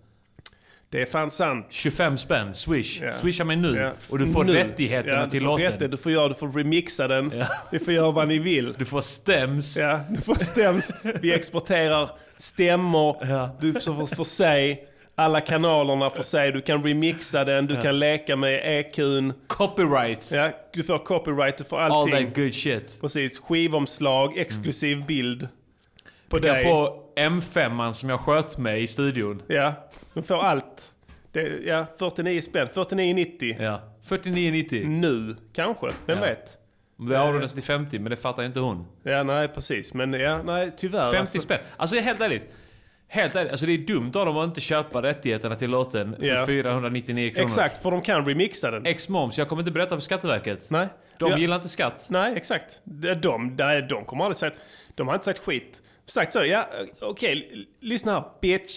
[SPEAKER 2] Det är fan sant.
[SPEAKER 1] 25 spänn, swish.
[SPEAKER 2] Ja.
[SPEAKER 1] Swisha mig nu
[SPEAKER 2] Ja,
[SPEAKER 1] och du får
[SPEAKER 2] nu.
[SPEAKER 1] rättigheterna
[SPEAKER 2] Ja, du
[SPEAKER 1] till
[SPEAKER 2] får
[SPEAKER 1] låten.
[SPEAKER 2] rätte- Du får göra, du får remixa den.
[SPEAKER 1] Ja.
[SPEAKER 2] Ni får göra vad ni vill.
[SPEAKER 1] Du får stems.
[SPEAKER 2] Ja, du får stäms. Vi exporterar stämmor.
[SPEAKER 1] Ja.
[SPEAKER 2] Du får för sig. Alla kanalerna för sig. Du kan remixa den. Du kan leka med EQn.
[SPEAKER 1] Copyright.
[SPEAKER 2] Ja, du får copyright. Du får
[SPEAKER 1] All
[SPEAKER 2] allting.
[SPEAKER 1] that good shit.
[SPEAKER 2] Precis. Skivomslag, exklusiv bild. På
[SPEAKER 1] Du kan få M5 som jag sköt med i studion.
[SPEAKER 2] Ja, de får allt. Det, ja, 49 spänn. 49,90.
[SPEAKER 1] Ja. 49,90.
[SPEAKER 2] Nu, kanske. Vem
[SPEAKER 1] Ja.
[SPEAKER 2] vet?
[SPEAKER 1] Det
[SPEAKER 2] Eh.
[SPEAKER 1] avrundades till 50 men det fattar ju inte hon.
[SPEAKER 2] Ja, nej, precis. Men ja, nej, tyvärr.
[SPEAKER 1] 50
[SPEAKER 2] alltså.
[SPEAKER 1] spänn. Alltså helt ärligt. Helt ärligt, alltså det är dumt av dem att inte köpa rättigheterna till låten för
[SPEAKER 2] Ja.
[SPEAKER 1] 499 kronor.
[SPEAKER 2] Exakt, för de kan remixa den.
[SPEAKER 1] Ex-moms, jag kommer inte berätta för Skatteverket.
[SPEAKER 2] Nej.
[SPEAKER 1] De
[SPEAKER 2] Ja.
[SPEAKER 1] gillar inte skatt.
[SPEAKER 2] Nej, exakt. De, de, de, de kommer aldrig säga... De har inte sagt skit. Sagt så, ja okej, l- lyssna här bitch.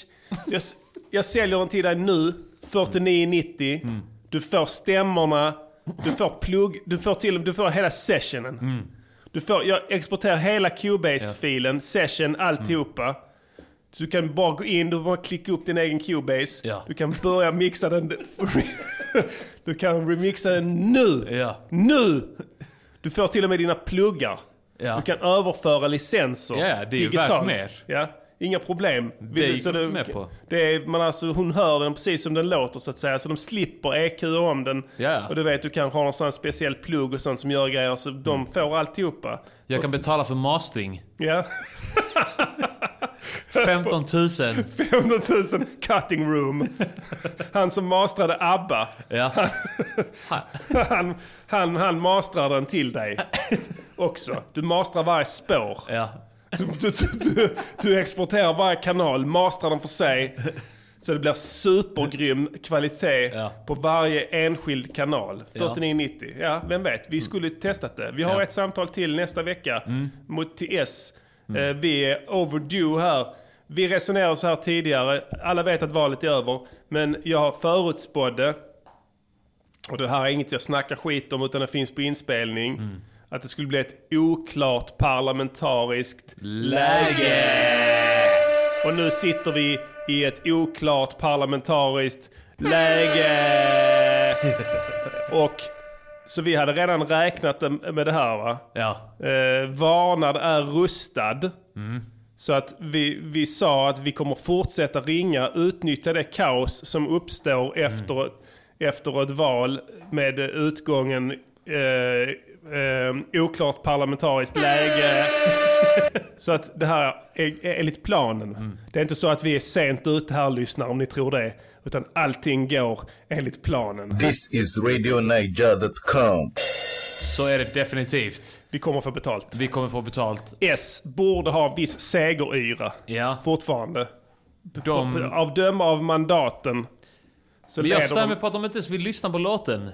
[SPEAKER 2] Jag, s- jag säljer den till dig nu, 49,90.
[SPEAKER 1] Mm.
[SPEAKER 2] Du får stämmorna, du får plugg, du får till du får hela sessionen.
[SPEAKER 1] Mm.
[SPEAKER 2] Du får, jag exporterar hela Cubase-filen, session, alltihopa.
[SPEAKER 1] Mm.
[SPEAKER 2] Så du kan bara gå in, du bara klicka upp din egen Cubase.
[SPEAKER 1] Ja.
[SPEAKER 2] Du kan börja mixa den. Du kan remixa den nu!
[SPEAKER 1] Ja.
[SPEAKER 2] Nu! Du får till och med dina pluggar.
[SPEAKER 1] Ja.
[SPEAKER 2] Du kan överföra licenser
[SPEAKER 1] Ja, det är ju värt mer.
[SPEAKER 2] Ja, inga problem. Vill du-
[SPEAKER 1] gick
[SPEAKER 2] så
[SPEAKER 1] jag
[SPEAKER 2] det-
[SPEAKER 1] inte med på.
[SPEAKER 2] Det är, man alltså, hon hör den precis som den låter så att säga. Så de slipper EQ om den.
[SPEAKER 1] Ja.
[SPEAKER 2] Och du vet, du kanske har någon sån här speciell plugg och sånt som gör grejer. Så
[SPEAKER 1] Mm.
[SPEAKER 2] de får alltihopa.
[SPEAKER 1] Jag kan betala för mastering.
[SPEAKER 2] Ja.
[SPEAKER 1] 15 000.
[SPEAKER 2] 500 000 cutting room. Han som mastrade ABBA.
[SPEAKER 1] Ja.
[SPEAKER 2] Han, han, han mastrar den till dig också. Du mastrar varje spår.
[SPEAKER 1] ja.
[SPEAKER 2] Du, du, du, du exporterar varje kanal, mastrar den för sig. Så det blir supergrym kvalitet
[SPEAKER 1] Ja.
[SPEAKER 2] på varje enskild kanal.
[SPEAKER 1] Ja. Mm.
[SPEAKER 2] 4990. Ja, vem vet. Vi skulle testat det. Vi har
[SPEAKER 1] Ja. Mm.
[SPEAKER 2] ett samtal till nästa vecka mot till S. Eh, Vi är overdue här. Vi resonerade så här tidigare. Alla vet att valet är över. Men jag förutspådde och det här är inget jag snackar skit om utan det finns på inspelning. Att det skulle bli ett oklart parlamentariskt läge. Och nu sitter vi i ett oklart parlamentariskt läge. Och så vi hade redan räknat med det här va?
[SPEAKER 1] Ja.
[SPEAKER 2] Eh, varnad är rustad. Så att vi, vi sa att vi kommer fortsätta ringa, utnyttja det kaos som uppstår efter, efter ett val med eh, utgången eh, eh, oklart parlamentariskt läge. så att det här är, är enligt planen. Det är inte så att vi är sent ute här lyssnare om ni tror det. Utan allting går enligt planen.
[SPEAKER 4] This is RadioNiger.com.
[SPEAKER 1] Så är det definitivt.
[SPEAKER 2] Vi kommer få betalt.
[SPEAKER 1] Vi kommer få betalt.
[SPEAKER 2] S borde ha viss segeryra.
[SPEAKER 1] Ja.
[SPEAKER 2] fortfarande.
[SPEAKER 1] De...
[SPEAKER 2] Av döma av mandaten. Så
[SPEAKER 1] Men jag
[SPEAKER 2] leder
[SPEAKER 1] stör mig
[SPEAKER 2] de...
[SPEAKER 1] på att de inte ens vill lyssna på låten.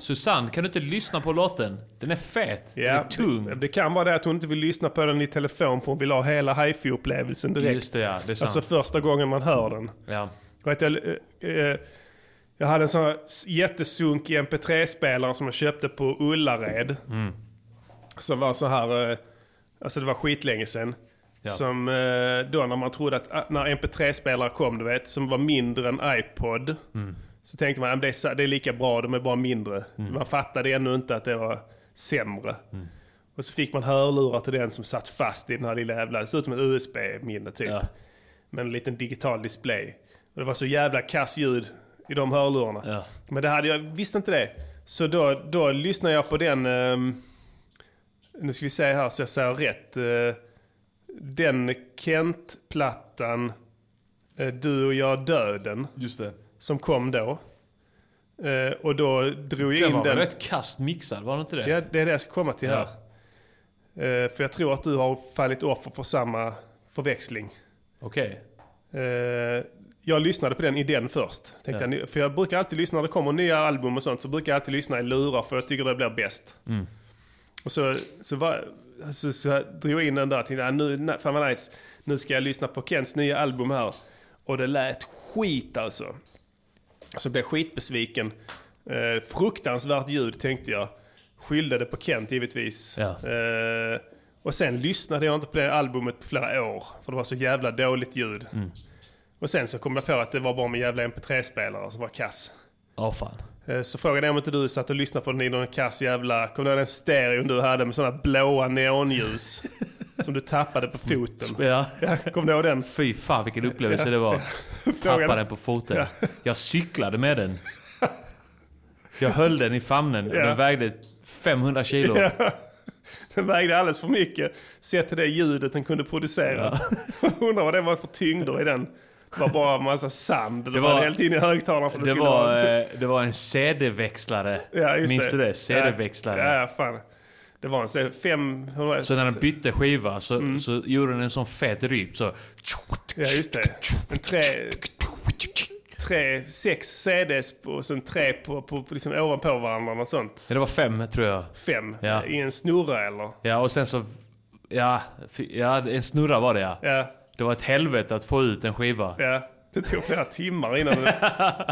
[SPEAKER 1] Susanne, kan du inte lyssna på låten? Den är fet.
[SPEAKER 2] Ja,
[SPEAKER 1] Den är tung.
[SPEAKER 2] Det, det kan vara det att hon inte vill lyssna på den i telefon för hon vill ha hela hifi-upplevelsen direkt.
[SPEAKER 1] Just det, ja. Det är sant.
[SPEAKER 2] Alltså första gången man hör den.
[SPEAKER 1] ja.
[SPEAKER 2] Och att jag, eh, eh, jag hade en sån här s- jättesunkig mp3-spelare som jag köpte på Ullared. Som var så här, eh, alltså det var skitlänge sedan. Som eh, då när man trodde att ah, när mp3-spelare kom, du vet, som var mindre än iPod. Så tänkte man att det, är sa- det är lika bra, de är bara mindre. Man fattade ännu inte att det var sämre. Och så fick man hörlurar till den som satt fast i den här lilla jävla, det såg ut som ett USB-minne typ
[SPEAKER 1] Ja.
[SPEAKER 2] med en liten digital display. Och det var så jävla kass ljud i de hörlurarna.
[SPEAKER 1] Ja.
[SPEAKER 2] Men det hade jag visste inte det. Så då, då lyssnade jag på den, ehm, nu ska vi se här så jag säger rätt, eh, den Kent-plattan eh, Du och jag döden
[SPEAKER 1] Just det.
[SPEAKER 2] som kom då. Eh, och då drog jag
[SPEAKER 1] Den
[SPEAKER 2] in
[SPEAKER 1] var väl
[SPEAKER 2] den.
[SPEAKER 1] rätt kast mixad, var den inte det?
[SPEAKER 2] Ja, det är det jag ska komma till här. Eh, för jag tror att du har fallit offer för samma förväxling.
[SPEAKER 1] Okej.
[SPEAKER 2] Eh, jag lyssnade på den idén först. Tänkte jag, nu- för jag brukar alltid lyssna när det kommer nya album och sånt. Så brukar jag alltid lyssna i lurar för jag tycker det blir bäst. Och så, så, var, så, så jag drog jag in den där och tänkte "Ah, nu, na- fan vad nice. Nu ska jag lyssna på Kents nya album här. Och det lät skit alltså. Så Alltså, blev jag skitbesviken. Eh, fruktansvärt ljud tänkte jag. Skyllde det på Kent givetvis.
[SPEAKER 1] Ja.
[SPEAKER 2] Eh, och sen lyssnade jag inte på det albumet på flera år. För det var så jävla dåligt ljud.
[SPEAKER 1] Mm.
[SPEAKER 2] Och sen så kom jag på att det var bara min jävla mp3-spelare som var kass.
[SPEAKER 1] Ja, fan.
[SPEAKER 2] Eh, Så frågan är om inte du satt och lyssnade på den i någon kass jävla... Kommer du ihåg den stereon du hade med sådana blåa neonljus? som du tappade på foten.
[SPEAKER 1] Ja.
[SPEAKER 2] Ja, Kommer du ihåg den?
[SPEAKER 1] Fy fan vilken upplevelse det var. Tappa den på foten. Jag cyklade med den. Jag höll den i famnen och
[SPEAKER 2] Ja.
[SPEAKER 1] den vägde 500 kilo.
[SPEAKER 2] Den vägde alldeles för mycket. Sett till det ljudet den kunde producera. Undrar vad det var för tyngder i den. Det var bara en massa sand. Det,
[SPEAKER 1] var-
[SPEAKER 2] var helt in i högtalaren för det,
[SPEAKER 1] Det
[SPEAKER 2] skulle
[SPEAKER 1] var,
[SPEAKER 2] vara...
[SPEAKER 1] eh, det var en CD-växlare.
[SPEAKER 2] Ja, just
[SPEAKER 1] Minns du det?
[SPEAKER 2] Ja.
[SPEAKER 1] CD-växlare.
[SPEAKER 2] Ja, fan. Det var en så här fem... hur var det?
[SPEAKER 1] Så när den bytte skiva så, så gjorde den en sån fet ryp så...
[SPEAKER 2] Mm. Ja, just det. En tre, tre, sex CDs på- och sen tre på, på, på liksom ovanpå varandra och sånt.
[SPEAKER 1] Ja, det var fem tror jag.
[SPEAKER 2] Fem
[SPEAKER 1] Ja.
[SPEAKER 2] i en snurra eller?
[SPEAKER 1] Ja, och sen så... Ja, fy- ja en snurra var det ja.
[SPEAKER 2] Ja,
[SPEAKER 1] Det var ett helvete att få ut en skiva.
[SPEAKER 2] ja. Det tog flera timmar innan det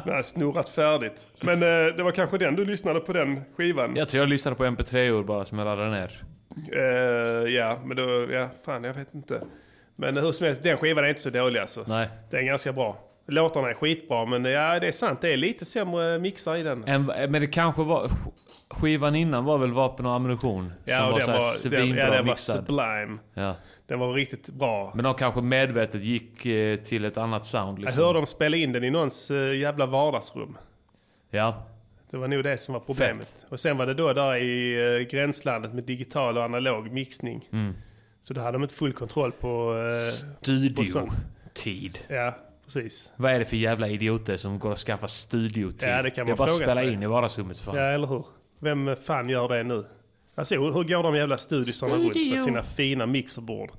[SPEAKER 2] det hade snurrat färdigt. Men eh, det var kanske den du lyssnade på den skivan?
[SPEAKER 1] Jag tror jag lyssnade på mp3-or bara som jag laddade ner.
[SPEAKER 2] Eh, ja, men då, ja, fan jag vet inte. Men hur som helst, den skivan är inte så dålig alltså.
[SPEAKER 1] Nej.
[SPEAKER 2] Den är ganska bra. Låtarna är skitbra, men ja, det är sant. Det är lite sämre mixar i den.
[SPEAKER 1] En, men det kanske var... Skivan innan var väl vapen och ammunition? som
[SPEAKER 2] ja,
[SPEAKER 1] var
[SPEAKER 2] och den
[SPEAKER 1] såhär
[SPEAKER 2] var, den,
[SPEAKER 1] svinbra
[SPEAKER 2] ja, den var
[SPEAKER 1] mixad.
[SPEAKER 2] sublime.
[SPEAKER 1] ja.
[SPEAKER 2] Den var riktigt bra.
[SPEAKER 1] Men de kanske medvetet gick eh, till ett annat sound
[SPEAKER 2] Jag
[SPEAKER 1] liksom.
[SPEAKER 2] hörde dem spela in den i någons eh, jävla vardagsrum. Alltså,
[SPEAKER 1] Ja.
[SPEAKER 2] Det var nog det som var problemet. Och sen var det då där i eh, gränslandet med digital och analog mixning.
[SPEAKER 1] Mm.
[SPEAKER 2] Så då hade de inte full kontroll på... eh, på sånt.
[SPEAKER 1] Studiotid.
[SPEAKER 2] Ja, precis.
[SPEAKER 1] Vad är det för jävla idioter som går och skaffar studiotid?
[SPEAKER 2] Ja, det kan
[SPEAKER 1] är
[SPEAKER 2] man
[SPEAKER 1] bara
[SPEAKER 2] fråga
[SPEAKER 1] spela
[SPEAKER 2] sig.
[SPEAKER 1] in i vardagsrummet för fan.
[SPEAKER 2] Ja, eller hur? Vem fan gör det nu? Alltså hur hur går de jävla studiosarna runt med sina fina mixerbord?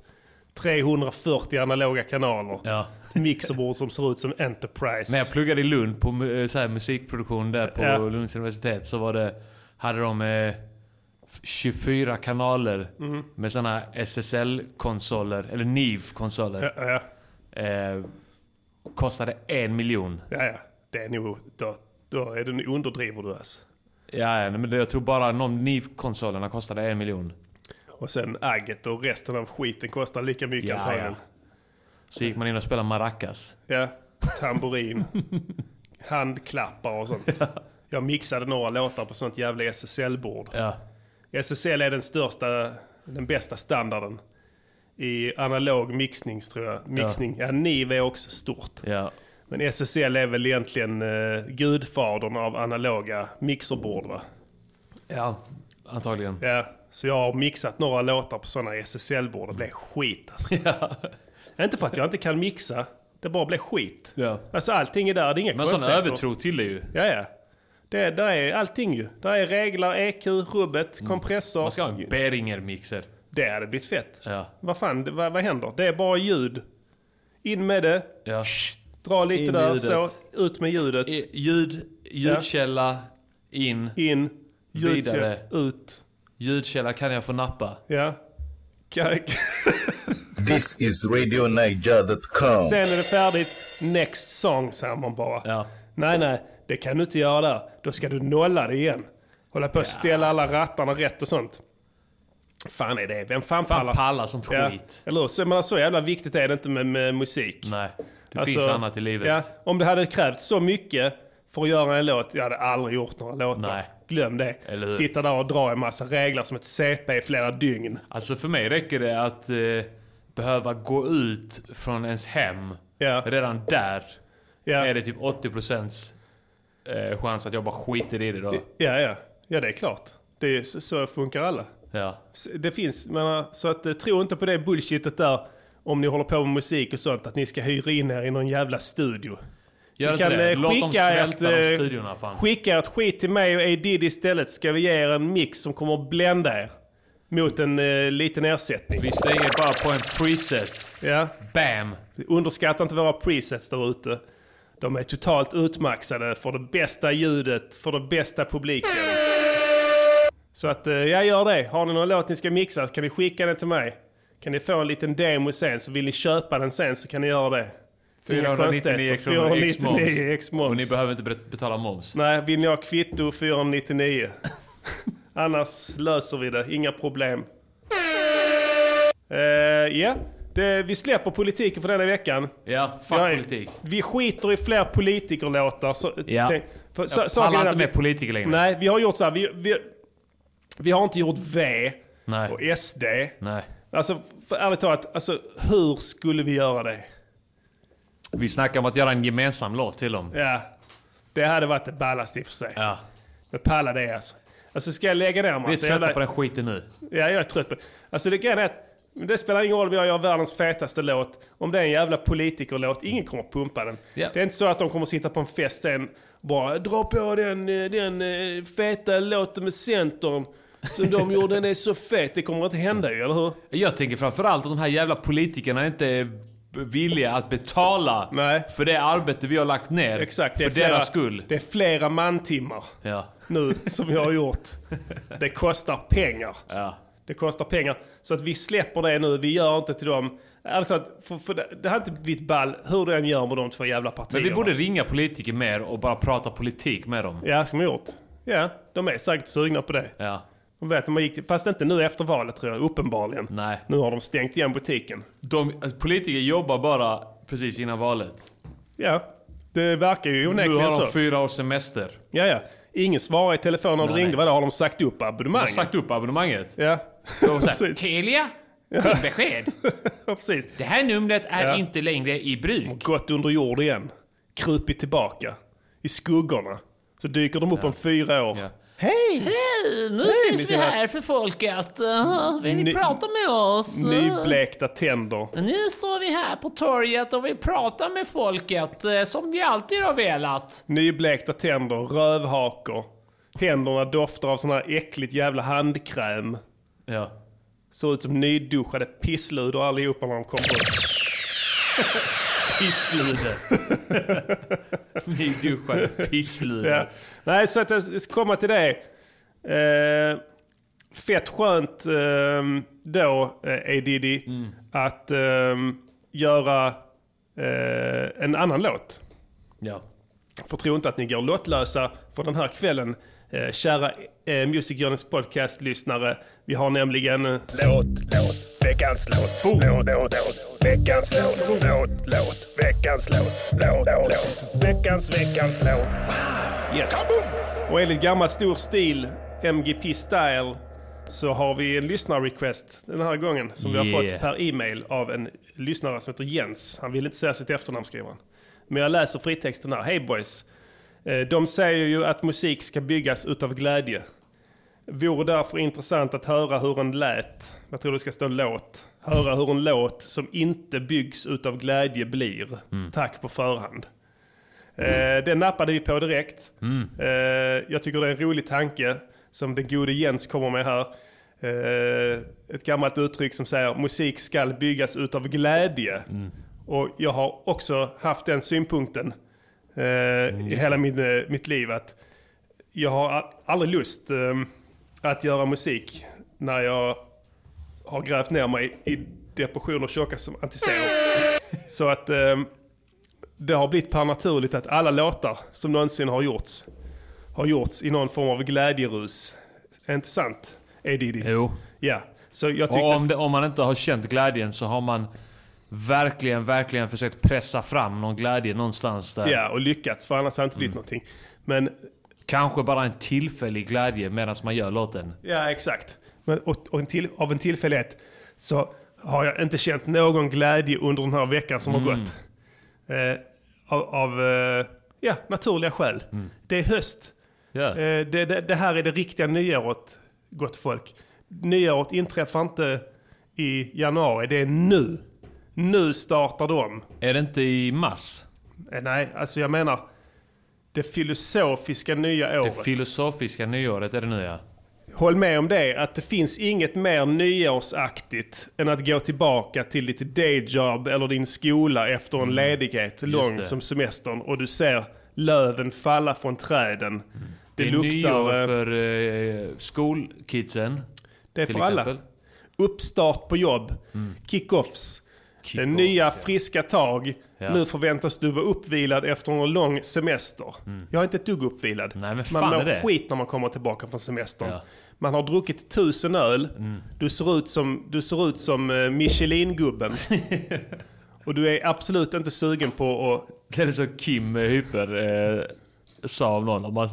[SPEAKER 2] 340 analoga kanaler.
[SPEAKER 1] Ja.
[SPEAKER 2] Mixerbord som ser ut som Enterprise.
[SPEAKER 1] När jag pluggade i Lund på mu- eh, så här, musikproduktion där på
[SPEAKER 2] Ja.
[SPEAKER 1] Lunds universitet så var det, hade de eh, 24 kanaler
[SPEAKER 2] Mm.
[SPEAKER 1] med sådana SSL-konsoler, eller NIV-konsoler.
[SPEAKER 2] Ja, ja,
[SPEAKER 1] Eh, kostade en miljon.
[SPEAKER 2] ja, ja. Det är nog... Då, då är det, nu underdriver du alltså.
[SPEAKER 1] Ja, ja, men det- jag tror bara någon NIV-konsolerna kostade en miljon.
[SPEAKER 2] Och sen agget och resten av skiten kostar lika mycket
[SPEAKER 1] Ja,
[SPEAKER 2] antagligen.
[SPEAKER 1] Så gick man in och spelade maracas.
[SPEAKER 2] Ja, tamburin, handklappar och sånt. Jag mixade några låtar på sånt jävla SSL-bord.
[SPEAKER 1] Ja.
[SPEAKER 2] SSL är den största, den bästa standarden i analog mixning tror jag. Mixning. Ja, NIV är också stort.
[SPEAKER 1] Ja.
[SPEAKER 2] Men SSL är väl egentligen eh, gudfadern av analoga mixerbord va?
[SPEAKER 1] ja, antagligen.
[SPEAKER 2] Ja, så jag har mixat några låtar på sådana SSL-bord. Det blev skit alltså. Inte för att jag inte kan mixa, det bara blev skit.
[SPEAKER 1] Ja.
[SPEAKER 2] Alltså allting är där, det är inga
[SPEAKER 1] Men sån
[SPEAKER 2] konstigheter.
[SPEAKER 1] övertro till det ju.
[SPEAKER 2] Ja, ja. Det, där är allting ju. Där är regler, EQ, rubbet, kompressor.
[SPEAKER 1] Man Mm. ska ha en Beringer-mixer.
[SPEAKER 2] Det hade blivit fett.
[SPEAKER 1] Ja.
[SPEAKER 2] Vad fan, det- vad, vad händer? Det är bara ljud. In med det,
[SPEAKER 1] Ja.
[SPEAKER 2] dra lite
[SPEAKER 1] In med
[SPEAKER 2] där,
[SPEAKER 1] ljudet.
[SPEAKER 2] så, ut med ljudet,
[SPEAKER 1] I- Eh, Ljud, ljudkälla, in.
[SPEAKER 2] in, ljud,
[SPEAKER 1] Vidare.
[SPEAKER 2] ut.
[SPEAKER 1] Ljudkälla kan jag få nappa.
[SPEAKER 2] Ja. Ka-
[SPEAKER 4] This is RadioNiger.com.
[SPEAKER 2] Sen är det färdigt. Next song säger man bara.
[SPEAKER 1] Ja.
[SPEAKER 2] Nej, nej, det kan du inte göra där. Då ska du nolla det igen. Hålla på att ställa alla rattarna rätt och sånt. Fan är det? Vem fan,
[SPEAKER 1] Fan
[SPEAKER 2] pallar?
[SPEAKER 1] pallar som
[SPEAKER 2] ja.
[SPEAKER 1] skit.
[SPEAKER 2] Eller hur? Så, men alltså, så jävla viktigt är det inte med, med musik.
[SPEAKER 1] Nej, det
[SPEAKER 2] Alltså,
[SPEAKER 1] finns annat i livet.
[SPEAKER 2] Ja, om det hade krävts så mycket för att göra en låt, jag hade aldrig gjort några låtar.
[SPEAKER 1] Nej.
[SPEAKER 2] Glöm det.
[SPEAKER 1] Eller hur?
[SPEAKER 2] Sitta där och dra en massa regler som ett CP i flera dygn.
[SPEAKER 1] Alltså för mig räcker det att eh, behöva gå ut från ens hem.
[SPEAKER 2] Ja.
[SPEAKER 1] Redan där
[SPEAKER 2] Ja,
[SPEAKER 1] är det typ 80% eh, chans att jag bara skiter i det då.
[SPEAKER 2] ja, ja. ja det är klart. Det är, så, så funkar alla.
[SPEAKER 1] Ja.
[SPEAKER 2] S- Det finns, jag menar, så att eh, tro inte på det bullshitet där om ni håller på med musik och sånt, att ni ska hyra in er i någon jävla studio.
[SPEAKER 1] Gör
[SPEAKER 2] Ni
[SPEAKER 1] inte
[SPEAKER 2] kan
[SPEAKER 1] det.
[SPEAKER 2] eh,
[SPEAKER 1] Låt dem
[SPEAKER 2] skicka
[SPEAKER 1] svälta
[SPEAKER 2] ett,
[SPEAKER 1] de
[SPEAKER 2] eh,
[SPEAKER 1] studiorna fan.
[SPEAKER 2] Skicka ett skit till mig och Edid istället ska vi ge er en mix som kommer att blända er. Mot en eh, liten ersättning.
[SPEAKER 1] Vi stänger bara på en preset.
[SPEAKER 2] Ja.
[SPEAKER 1] Bam!
[SPEAKER 2] Underskatta inte våra presets där ute. De är totalt utmaxade för det bästa ljudet, för den bästa publiken. Så att eh, jag gör det. Har ni någon låt ni ska mixa så kan ni skicka den till mig. Kan ni få en liten demo sen så vill ni köpa den sen så kan ni göra det. Inga
[SPEAKER 1] 499
[SPEAKER 2] konstigheter.
[SPEAKER 1] kronor ex
[SPEAKER 2] 499
[SPEAKER 1] moms.
[SPEAKER 2] ex
[SPEAKER 1] Och
[SPEAKER 2] moms.
[SPEAKER 1] ni behöver inte bet- betala moms.
[SPEAKER 2] Nej, vill ni ha kvitto 499? Annars löser vi det, inga problem. Eh, Ja, Det- vi släpper politiken för denna veckan.
[SPEAKER 1] Ja, fuck
[SPEAKER 2] Jag är-
[SPEAKER 1] politik.
[SPEAKER 2] Vi skiter i fler politikerlåtar. Så,
[SPEAKER 1] Ja.
[SPEAKER 2] tänk- för, så,
[SPEAKER 1] Jag
[SPEAKER 2] saken är
[SPEAKER 1] pallar inte
[SPEAKER 2] att
[SPEAKER 1] med politiker längre.
[SPEAKER 2] Nej, vi har gjort så här. Vi, vi, vi har inte gjort V
[SPEAKER 1] Nej.
[SPEAKER 2] och SD.
[SPEAKER 1] Nej.
[SPEAKER 2] Alltså, för, ärligt talat, alltså, hur skulle vi göra det?
[SPEAKER 1] Vi snackar om att göra en gemensam låt till dem.
[SPEAKER 2] Ja, det hade varit det ballaste i och för sig.
[SPEAKER 1] Ja.
[SPEAKER 2] Men palla det alltså. Alltså ska jag lägga ner mig?
[SPEAKER 1] Vi är
[SPEAKER 2] Alltså,
[SPEAKER 1] trötta
[SPEAKER 2] jävla-
[SPEAKER 1] på den skiten nu.
[SPEAKER 2] Ja, jag är trött på det. Alltså det grejen är att det spelar ingen roll om jag gör världens fetaste låt. Om det är en jävla politikerlåt, ingen kommer att pumpa den.
[SPEAKER 1] Ja.
[SPEAKER 2] Det är inte så att de kommer att sitta på en fest sen och bara dra på den, eh, den eh, feta låten med Centern. som de gjorde. Den är så fet, det kommer inte hända ju, eller hur?
[SPEAKER 1] Jag tänker framförallt att de här jävla politikerna inte är villiga att betala
[SPEAKER 2] Nej.
[SPEAKER 1] för det arbete vi har lagt ner.
[SPEAKER 2] Exakt,
[SPEAKER 1] för deras skull.
[SPEAKER 2] Det är flera mantimmar
[SPEAKER 1] Ja.
[SPEAKER 2] nu som jag har gjort. Det kostar pengar.
[SPEAKER 1] Ja.
[SPEAKER 2] Det kostar pengar. Så att vi släpper det nu, vi gör inte till dem. Ärligt talat, för, för det, det har inte blivit ball hur du än gör med de två jävla partierna.
[SPEAKER 1] Men vi borde ringa politiker mer och bara prata politik med dem.
[SPEAKER 2] Ja, som jag gjort. Ja, de är säkert sugna på det.
[SPEAKER 1] Ja.
[SPEAKER 2] De vet, att man gick, till- fast inte nu efter valet tror jag, uppenbarligen.
[SPEAKER 1] Nej.
[SPEAKER 2] Nu har de stängt igen butiken.
[SPEAKER 1] De, alltså, politiker jobbar bara precis innan valet.
[SPEAKER 2] Ja, det verkar ju
[SPEAKER 1] Nu
[SPEAKER 2] onekligen
[SPEAKER 1] har
[SPEAKER 2] så.
[SPEAKER 1] de fyra års semester. De
[SPEAKER 2] Ja, ja. Ingen svarar i telefon när du
[SPEAKER 1] Nej,
[SPEAKER 2] ringde.
[SPEAKER 1] nej.
[SPEAKER 2] Vadå, har de sagt upp abonnemang?
[SPEAKER 1] har sagt upp abonnemanget.
[SPEAKER 2] Ja.
[SPEAKER 1] Och så här,
[SPEAKER 2] Precis.
[SPEAKER 1] Telia? Till besked.
[SPEAKER 2] ja, precis.
[SPEAKER 1] Det här numret är
[SPEAKER 2] Ja.
[SPEAKER 1] inte längre i bruk.
[SPEAKER 2] Gått under jord igen. Krupit tillbaka. I skuggorna. Så dyker de upp om fyra år.
[SPEAKER 1] Ja.
[SPEAKER 2] Hej!
[SPEAKER 1] Hej! Nu
[SPEAKER 2] finns ni vi här. här
[SPEAKER 1] för eh, folket. vill
[SPEAKER 2] ni Ny- prata
[SPEAKER 1] med oss?
[SPEAKER 2] Nyblekta tänder.
[SPEAKER 1] Nu står vi här på torget och vill prata med folket eh, som vi alltid har velat.
[SPEAKER 2] Nyblekta tänder. Rövhakor. Händerna doftar av sån här äckligt jävla handkräm.
[SPEAKER 1] Ja.
[SPEAKER 2] Ser ut som nyduschade pissludor allihopa när de kommer ut.
[SPEAKER 1] Pissluder. Nyduschade pissluder.
[SPEAKER 2] Ja. Nej, så att jag ska komma till det. Eh, fett skönt eh, då, eh, A. Diddy,
[SPEAKER 1] Mm.
[SPEAKER 2] att eh, göra eh, en annan låt.
[SPEAKER 1] Ja.
[SPEAKER 2] För tro inte att ni går lottlösa för den här kvällen. Eh, kära eh, Music Journeys podcast-lyssnare. Vi har nämligen... Oh. eh,
[SPEAKER 3] Låt, låt, veckans låt. Låt, låt, låt, veckans låt. Låt, låt, veckans låt. Låt, låt, veckans, veckans låt.
[SPEAKER 2] Yes. Och enligt gammal stor stil, MGP Style, så har vi en lyssnarrequest den här gången som vi har
[SPEAKER 1] Yeah.
[SPEAKER 2] fått per e-mail av en lyssnare som heter Jens. Han vill inte säga sitt efternamn skriver han. Men jag läser fritexten här. Hej boys! Eh, De säger ju att musik ska byggas utav glädje. Vore därför intressant att höra hur en lät, jag tror det ska stå låt, höra hur en låt som inte byggs utav glädje blir. Tack på förhand. Eh, den nappade vi på direkt. Eh, jag tycker det är en rolig tanke som den gode Jens kommer med här. Eh, ett gammalt uttryck som säger musik skall byggas utav glädje. Och jag har också haft den synpunkten eh, i hela min, eh, mitt liv att jag har a- aldrig lust eh, att göra musik när jag har grävt ner mig i depression och tjocka som antiserum. Så att eh, det har blivit per naturligt att alla låtar som någonsin har gjorts har gjorts i någon form av glädjerus. Är inte sant? A. Diddy?
[SPEAKER 1] Jo.
[SPEAKER 2] Ja. Så jag tyckte...
[SPEAKER 1] Och om, det, om man inte har känt glädjen så har man verkligen, verkligen försökt pressa fram någon glädje någonstans där.
[SPEAKER 2] Ja, och lyckats för annars har det inte blivit någonting. Men
[SPEAKER 1] Kanske bara en tillfällig glädje medan man gör låten.
[SPEAKER 2] Ja, exakt. Men, och, och en till, av en tillfällighet så har jag inte känt någon glädje under den här veckan som har gått. Eh, av av eh, ja, naturliga skäl. Det är höst.
[SPEAKER 1] Ja.
[SPEAKER 2] Eh, det, det, det här är det riktiga nyåret, gott folk. Nyåret inträffar inte i januari, det är nu. Nu startar de.
[SPEAKER 1] Är det inte i mars?
[SPEAKER 2] Eh, nej, alltså jag menar det filosofiska nya
[SPEAKER 1] Det
[SPEAKER 2] året.
[SPEAKER 1] filosofiska nyåret är det nu ja.
[SPEAKER 2] Håll med om det, att det finns inget mer nyårsaktigt än att gå tillbaka till ditt dayjob eller din skola efter en ledighet lång
[SPEAKER 1] Mm. det.
[SPEAKER 2] som semestern och du ser löven falla från träden. Det,
[SPEAKER 1] Mm. Det, är
[SPEAKER 2] luktar...
[SPEAKER 1] nyår
[SPEAKER 2] eh,
[SPEAKER 1] för eh, skolkidsen.
[SPEAKER 2] det är
[SPEAKER 1] till
[SPEAKER 2] för alla.
[SPEAKER 1] exempel. Mm.
[SPEAKER 2] Uppstart på jobb, kickoffs, det är nya friska tag.
[SPEAKER 1] Ja.
[SPEAKER 2] Nu förväntas du vara uppvilad efter en lång semester. Jag är inte ett dugg uppvilad.
[SPEAKER 1] Mm. Nej, men
[SPEAKER 2] man
[SPEAKER 1] fan
[SPEAKER 2] mår
[SPEAKER 1] är det?
[SPEAKER 2] skit när man kommer tillbaka från semestern.
[SPEAKER 1] Ja. Mm.
[SPEAKER 2] Man har druckit tusen öl. Du ser ut som, du ser ut som eh, Michelin-gubben. Och du är absolut inte sugen på att...
[SPEAKER 1] Det är som Kim eh, Hyper eh, sa om någon. Om man,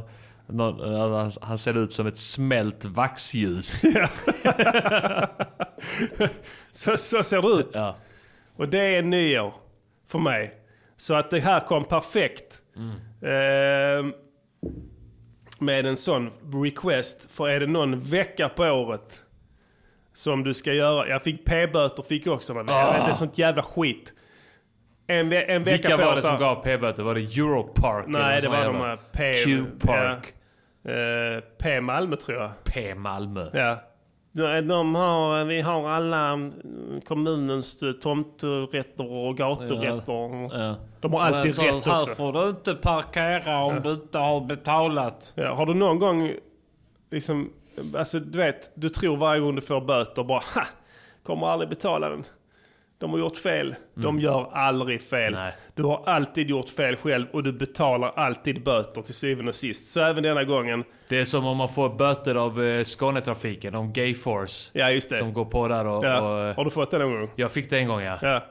[SPEAKER 1] någon eh, han, han ser ut som ett smält vaxljus.
[SPEAKER 2] Så, så ser du ut.
[SPEAKER 1] ja.
[SPEAKER 2] Och det är nyår för mig. Så att det här kom perfekt. Ehm, med en sån request. För är det någon vecka på året som du ska göra. Jag fick p-böter fick jag också. Men Det är sånt jävla skit. En, ve- en vecka
[SPEAKER 1] Ah.
[SPEAKER 2] på
[SPEAKER 1] Vilka var det
[SPEAKER 2] året.
[SPEAKER 1] som gav p-böter? Var det Europark?
[SPEAKER 2] Nej,
[SPEAKER 1] eller
[SPEAKER 2] det
[SPEAKER 1] någon
[SPEAKER 2] var
[SPEAKER 1] sån
[SPEAKER 2] de
[SPEAKER 1] jävla
[SPEAKER 2] här P-
[SPEAKER 1] Q-park.
[SPEAKER 2] Eh, P Malmö tror jag.
[SPEAKER 1] P Malmö.
[SPEAKER 2] Ja. De- De har, vi har alla mm, kommunens eh, tomträtter och gaturätter.
[SPEAKER 1] Ja.
[SPEAKER 2] De har alltid
[SPEAKER 1] Men så
[SPEAKER 2] rätt
[SPEAKER 1] här
[SPEAKER 2] också.
[SPEAKER 1] får du inte parkera om du inte har betalat.
[SPEAKER 2] Ja, har du någon gång liksom, alltså du vet, du tror varje gång du får böter bara ha, kommer aldrig betala den. De har gjort fel. De gör aldrig fel.
[SPEAKER 1] Mm. Nej.
[SPEAKER 2] Du har alltid gjort fel själv och du betalar alltid böter till syvende och sist. Så även denna gången.
[SPEAKER 1] Det är som om man får böter av eh, Skånetrafiken, om Gayforce.
[SPEAKER 2] Ja, just det.
[SPEAKER 1] Som går på där och...
[SPEAKER 2] Ja.
[SPEAKER 1] och eh,
[SPEAKER 2] Har du fått det någon gång?
[SPEAKER 1] jag fick det en gång ja.
[SPEAKER 2] Ja.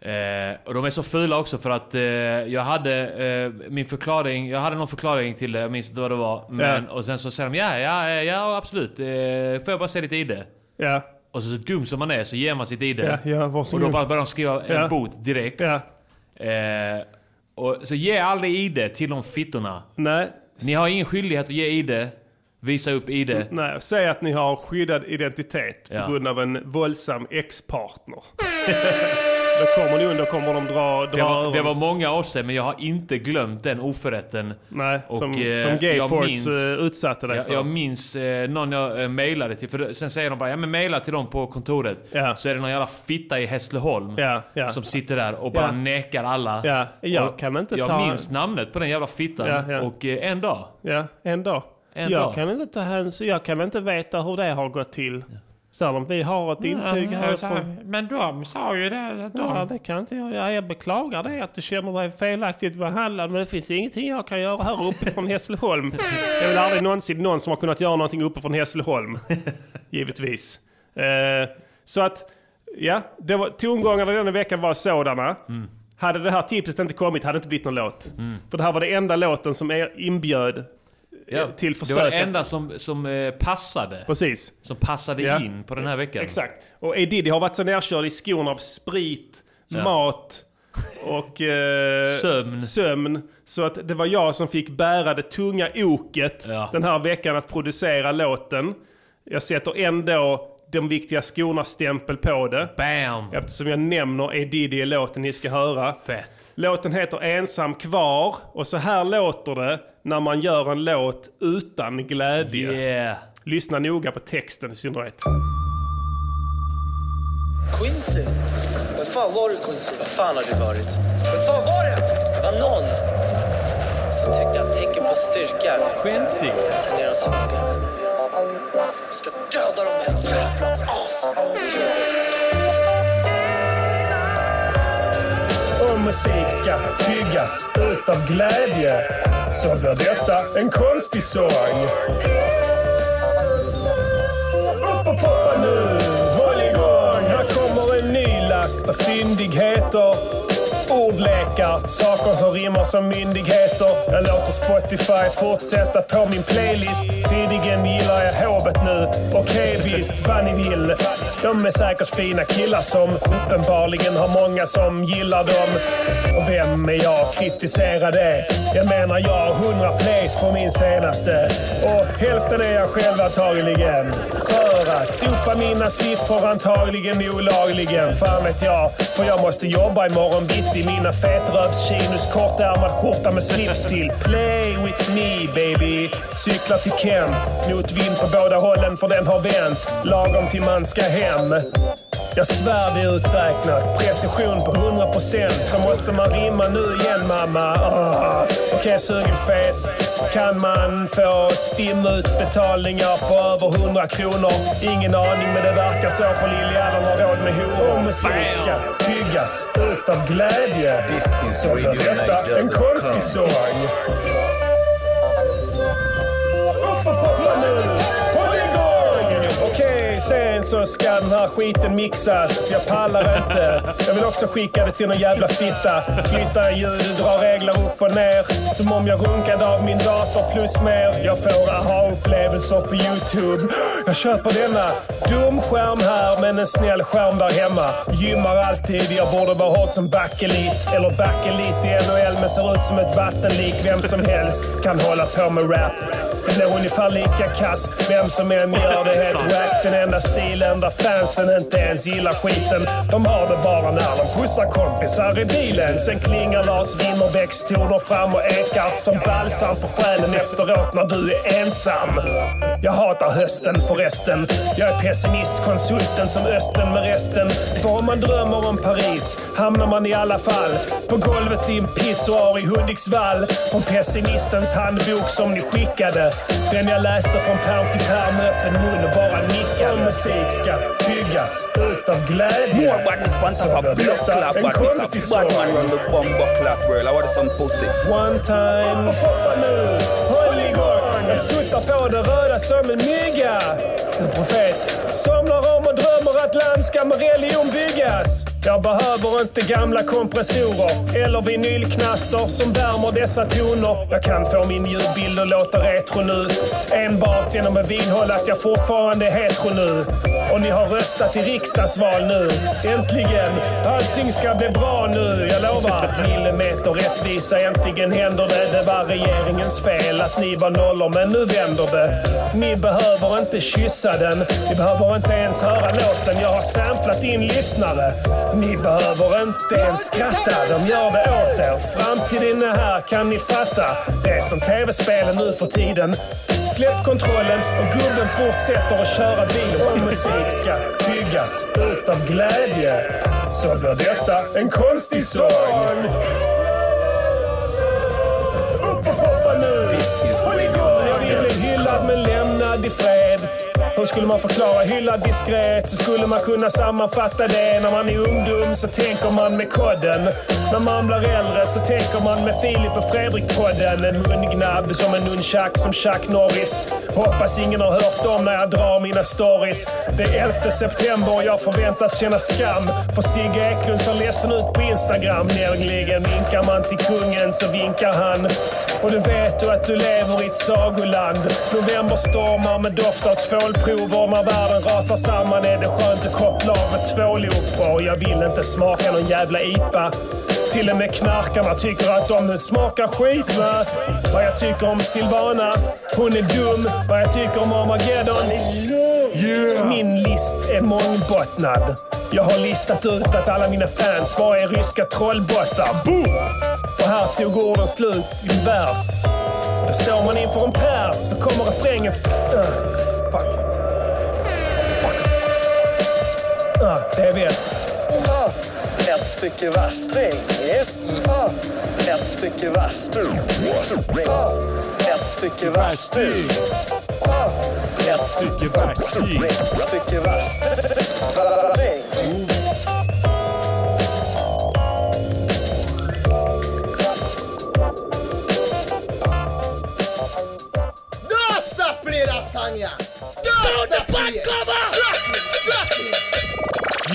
[SPEAKER 1] Eh, och de är så fula också för att eh, jag hade eh, min förklaring, jag hade någon förklaring till det, jag minns inte vad det var. Men, Och sen så säger de ja, ja, eh, ja absolut. Eh, får jag bara se ditt ID?
[SPEAKER 2] Ja.
[SPEAKER 1] Och så, så dum som man är så ger man sitt ID.
[SPEAKER 2] Ja, ja,
[SPEAKER 1] och
[SPEAKER 2] varsågod.
[SPEAKER 1] då bara börjar de skriva en
[SPEAKER 2] Ja.
[SPEAKER 1] bot direkt.
[SPEAKER 2] Ja.
[SPEAKER 1] Eh, och så ge aldrig ID till de fittorna.
[SPEAKER 2] Nej.
[SPEAKER 1] Ni har ingen skyldighet att ge ID. Visa upp ID.
[SPEAKER 2] Nej, säg att ni har skyddad identitet
[SPEAKER 1] Ja.
[SPEAKER 2] på grund av en våldsam ex-partner. då kommer ni under, kommer de dra, dra
[SPEAKER 1] Det var,
[SPEAKER 2] öronen.
[SPEAKER 1] det var många år sedan men jag har inte glömt den oförrätten.
[SPEAKER 2] Nej,
[SPEAKER 1] Och,
[SPEAKER 2] som,
[SPEAKER 1] eh,
[SPEAKER 2] som
[SPEAKER 1] jag
[SPEAKER 2] Gayforce
[SPEAKER 1] minns-
[SPEAKER 2] eh, utsatte dig
[SPEAKER 1] Jag,
[SPEAKER 2] för.
[SPEAKER 1] jag minns eh, någon jag eh, mejlade till. För då- sen säger de bara ja men mejla till dem på kontoret.
[SPEAKER 2] Ja.
[SPEAKER 1] Så är det någon jävla fitta i Hässleholm
[SPEAKER 2] Ja, ja.
[SPEAKER 1] som sitter där och bara
[SPEAKER 2] Ja.
[SPEAKER 1] nekar alla.
[SPEAKER 2] ja, jag
[SPEAKER 1] Och
[SPEAKER 2] kan inte
[SPEAKER 1] jag
[SPEAKER 2] ta...
[SPEAKER 1] minns namnet på den jävla fittan.
[SPEAKER 2] Ja, ja.
[SPEAKER 1] Och eh, en dag.
[SPEAKER 2] Ja, en dag.
[SPEAKER 1] En
[SPEAKER 2] jag
[SPEAKER 1] dag.
[SPEAKER 2] kan inte ta hänsyn, jag kan inte veta hur det har gått till. Så de, vi har ett intyg härifrån.
[SPEAKER 1] Men de sa ju det.
[SPEAKER 2] Ja, det kan inte jag. Ja, jag beklagar det att du känner dig felaktigt behandlad men det finns ingenting jag kan göra här uppe från Hässleholm. Det är väl aldrig någonsin någon som har kunnat göra någonting uppe från Hässleholm. Givetvis. Eh, så att, ja, det var, tongångarna denna veckan var sådana.
[SPEAKER 1] Mm.
[SPEAKER 2] Hade det här tipset inte kommit hade det inte blivit någon låt. För det här var det enda låten som er inbjöd eh, till
[SPEAKER 1] Det var
[SPEAKER 2] försöket.
[SPEAKER 1] det enda som, som eh, passade.
[SPEAKER 2] Precis.
[SPEAKER 1] Som passade
[SPEAKER 2] Ja.
[SPEAKER 1] in på den här veckan.
[SPEAKER 2] Exakt. Och A. Diddy har varit så nerkörd i skorna av sprit, mat och eh,
[SPEAKER 1] Sömn.
[SPEAKER 2] sömn. Så att det var jag som fick bära det tunga oket
[SPEAKER 1] Ja.
[SPEAKER 2] den här veckan att producera låten. Jag sätter ändå de viktiga skornas stämpel på det.
[SPEAKER 1] Bam!
[SPEAKER 2] Eftersom jag nämner A. Diddy i låten ni ska höra.
[SPEAKER 1] Fett.
[SPEAKER 2] Låten heter Ensam kvar och så här låter det när man gör en låt utan glädje.
[SPEAKER 1] Yeah.
[SPEAKER 2] Lyssna noga på texten i synnerhet.
[SPEAKER 8] Quincy? Vem fan var du Quincy? Vad fan har du varit? Vem fan var det? Det var någon som tyckte att tecken på styrka
[SPEAKER 1] Quincy.
[SPEAKER 8] tangerade hans förmåga. Jag ska döda de här jävla asen!
[SPEAKER 3] Om musik ska byggas utav glädje så blir detta en konstig sång. Upp och poppa nu, håll igång! Här kommer en ny last med fyndigheter. Ordlekar, saker som rimmar som myndigheter. Jag låter Spotify fortsätta på min playlist. Tydligen gillar jag hovet nu. Okej visst, vad ni vill. De är säkert fina killar som uppenbarligen har många som gillar dem. Och vem är jag att kritisera det? Jag menar, jag har 100 plays på min senaste. Och hälften är jag själv antagligen. För att dopa mina siffror antagligen olagligen. Fan vet jag. För jag måste jobba imorgon bitti. Mina fetrövs-chinos, kortärmad skjorta med slips till. Play with me baby. Cyklar till Kent. Mot vind på båda hållen för den har vänt. Lagom till man ska hem. Jag svär det är uträknat. Precision på 100%. Så måste man rimma nu igen mamma. Ah. Okej sugen fet. Kan man få stimutbetalningar på över 100 kronor? Ingen aning men det verkar så för Lilljäveln har råd med horor. Om musik ska byggas utav glädje
[SPEAKER 4] This is
[SPEAKER 3] så blir
[SPEAKER 4] Radio
[SPEAKER 3] detta en
[SPEAKER 4] Niger.com.
[SPEAKER 3] konstig sång. Upp och poppa nu! Håll igång! Okej, sen så ska den här skiten mixas. Jag pallar inte. Jag vill också skicka det till någon jävla fitta. Flytta ljud, dra regler upp och ner. Som om jag runkade av min dator plus mer. Jag får aha-upplevelser på YouTube. Jag köper denna. Dum skärm här, men en snäll skärm där hemma. Gymmar alltid. Jag borde vara hård som backelit. Eller backelit i NHL, men ser ut som ett vattenlik. Vem som helst kan hålla på med rap.
[SPEAKER 2] Det blir ungefär lika kass vem som än gör det helt wack. Den enda stilen där fansen inte ens gillar skiten. De har det bara när de skjutsar kompisar i bilen. Sen klingar Lars Winnerbäcks toner fram och ekar som balsam för själen efteråt när du är ensam. Jag hatar hösten förresten. Jag är pessimist, konsulten som östen med resten. För om man drömmer om Paris hamnar man i alla fall på golvet i en pissoar i Hudiksvall. Från pessimistens handbok som ni skickade. Den jag läste från pärm till pärm med öppen mun och bara nickade. All musik ska byggas utav glädje.
[SPEAKER 9] More badness pan up a blood clap
[SPEAKER 2] En konstig
[SPEAKER 9] badness a bad man
[SPEAKER 2] sång.
[SPEAKER 9] run the bum buckler world. I want some pussy.
[SPEAKER 2] One time. Hoppa nu, håll igång. Jag suttar på det röda som en mygga. En profet somnar om och drömmer att land ska med religion byggas. Jag behöver inte gamla kompressorer eller vinylknaster som värmer dessa toner. Jag kan få min ljudbild att låta retro nu. Enbart genom att vidhålla att jag fortfarande är hetero nu. Och ni har röstat i riksdagsval nu. Äntligen! Allting ska bli bra nu, jag lovar. Millimeter rättvisa, äntligen händer det. Det var regeringens fel att ni var nollor, men nu vänder det. Ni behöver inte kyssa den. Ni behöver inte ens höra låten. Jag har samplat in lyssnare. Ni behöver inte ens skratta. De gör det åt er. Framtiden är här, kan ni fatta? Det är som tv-spelen nu för tiden. Släpp kontrollen och gubben fortsätter att köra bil. Och musik ska byggas utav glädje. Så blir detta en konstig sång. Upp och hoppa nu! Håll igång! Jag ville hyllad men lämnad i fred. Hur skulle man förklara hyllad diskret? Så skulle man kunna sammanfatta det. När man är ungdom så tänker man med kodden. När man blir äldre så tänker man med Filip och Fredrik-podden. En mungnabb som en nunchuck som Chuck Norris. Hoppas ingen har hört om när jag drar mina stories. Det är 11 september och jag förväntas känna skam. För Sigge Eklund ser ledsen ut på Instagram. Nämligen vinkar man till kungen så vinkar han. Och du vet du att du lever i ett sagoland. Novemberstormar med doft av tvålprover. När världen rasar samman är det skönt att koppla av med tvåloperor. Jag vill inte smaka någon jävla IPA. Till och med knarkarna tycker att de smakar skit va? Vad jag tycker om Silvana, hon är dum. Vad jag tycker om Armageddon. Min list är mångbottnad. Jag har listat ut att alla mina fans bara är ryska trollbottar. Boom! Och här tog orden slut i en vers. Då står man inför en pers så kommer refrängen... s- Uh, fuck. Fuck. Uh, det är väst.
[SPEAKER 3] Ah, Ett stycke värsting. Ah, Ett stycke värsting. Ah, Ett stycke värsting. Ah, Ett stycke er. värsting. Ett stycke värsting.
[SPEAKER 10] Dosta pli lasagna! Dosta pli!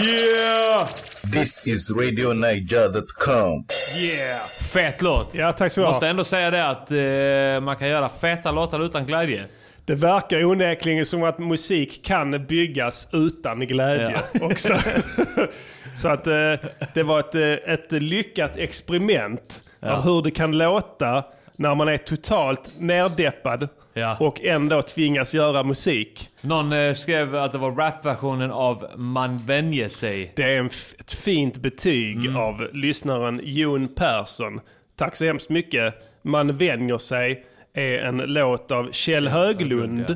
[SPEAKER 11] Yeah!
[SPEAKER 4] This is RadioNiger.com.
[SPEAKER 11] Yeah!
[SPEAKER 1] Fet låt!
[SPEAKER 11] Ja, tack så du
[SPEAKER 1] Måste
[SPEAKER 11] ha.
[SPEAKER 1] ändå säga det att eh, man kan göra feta låtar utan glädje.
[SPEAKER 11] Det verkar onekligen som att musik kan byggas utan glädje också. Så att eh, det var ett, eh, ett lyckat experiment av hur det kan låta när man är totalt nerdeppad
[SPEAKER 1] Ja.
[SPEAKER 11] och ändå tvingas göra musik.
[SPEAKER 1] Någon eh, skrev att det var rapversionen av Man vänjer sig.
[SPEAKER 11] Det är en f- ett fint betyg av lyssnaren Jon Persson. Tack så hemskt mycket. Man vänjer sig är en låt av Kjell Höglund.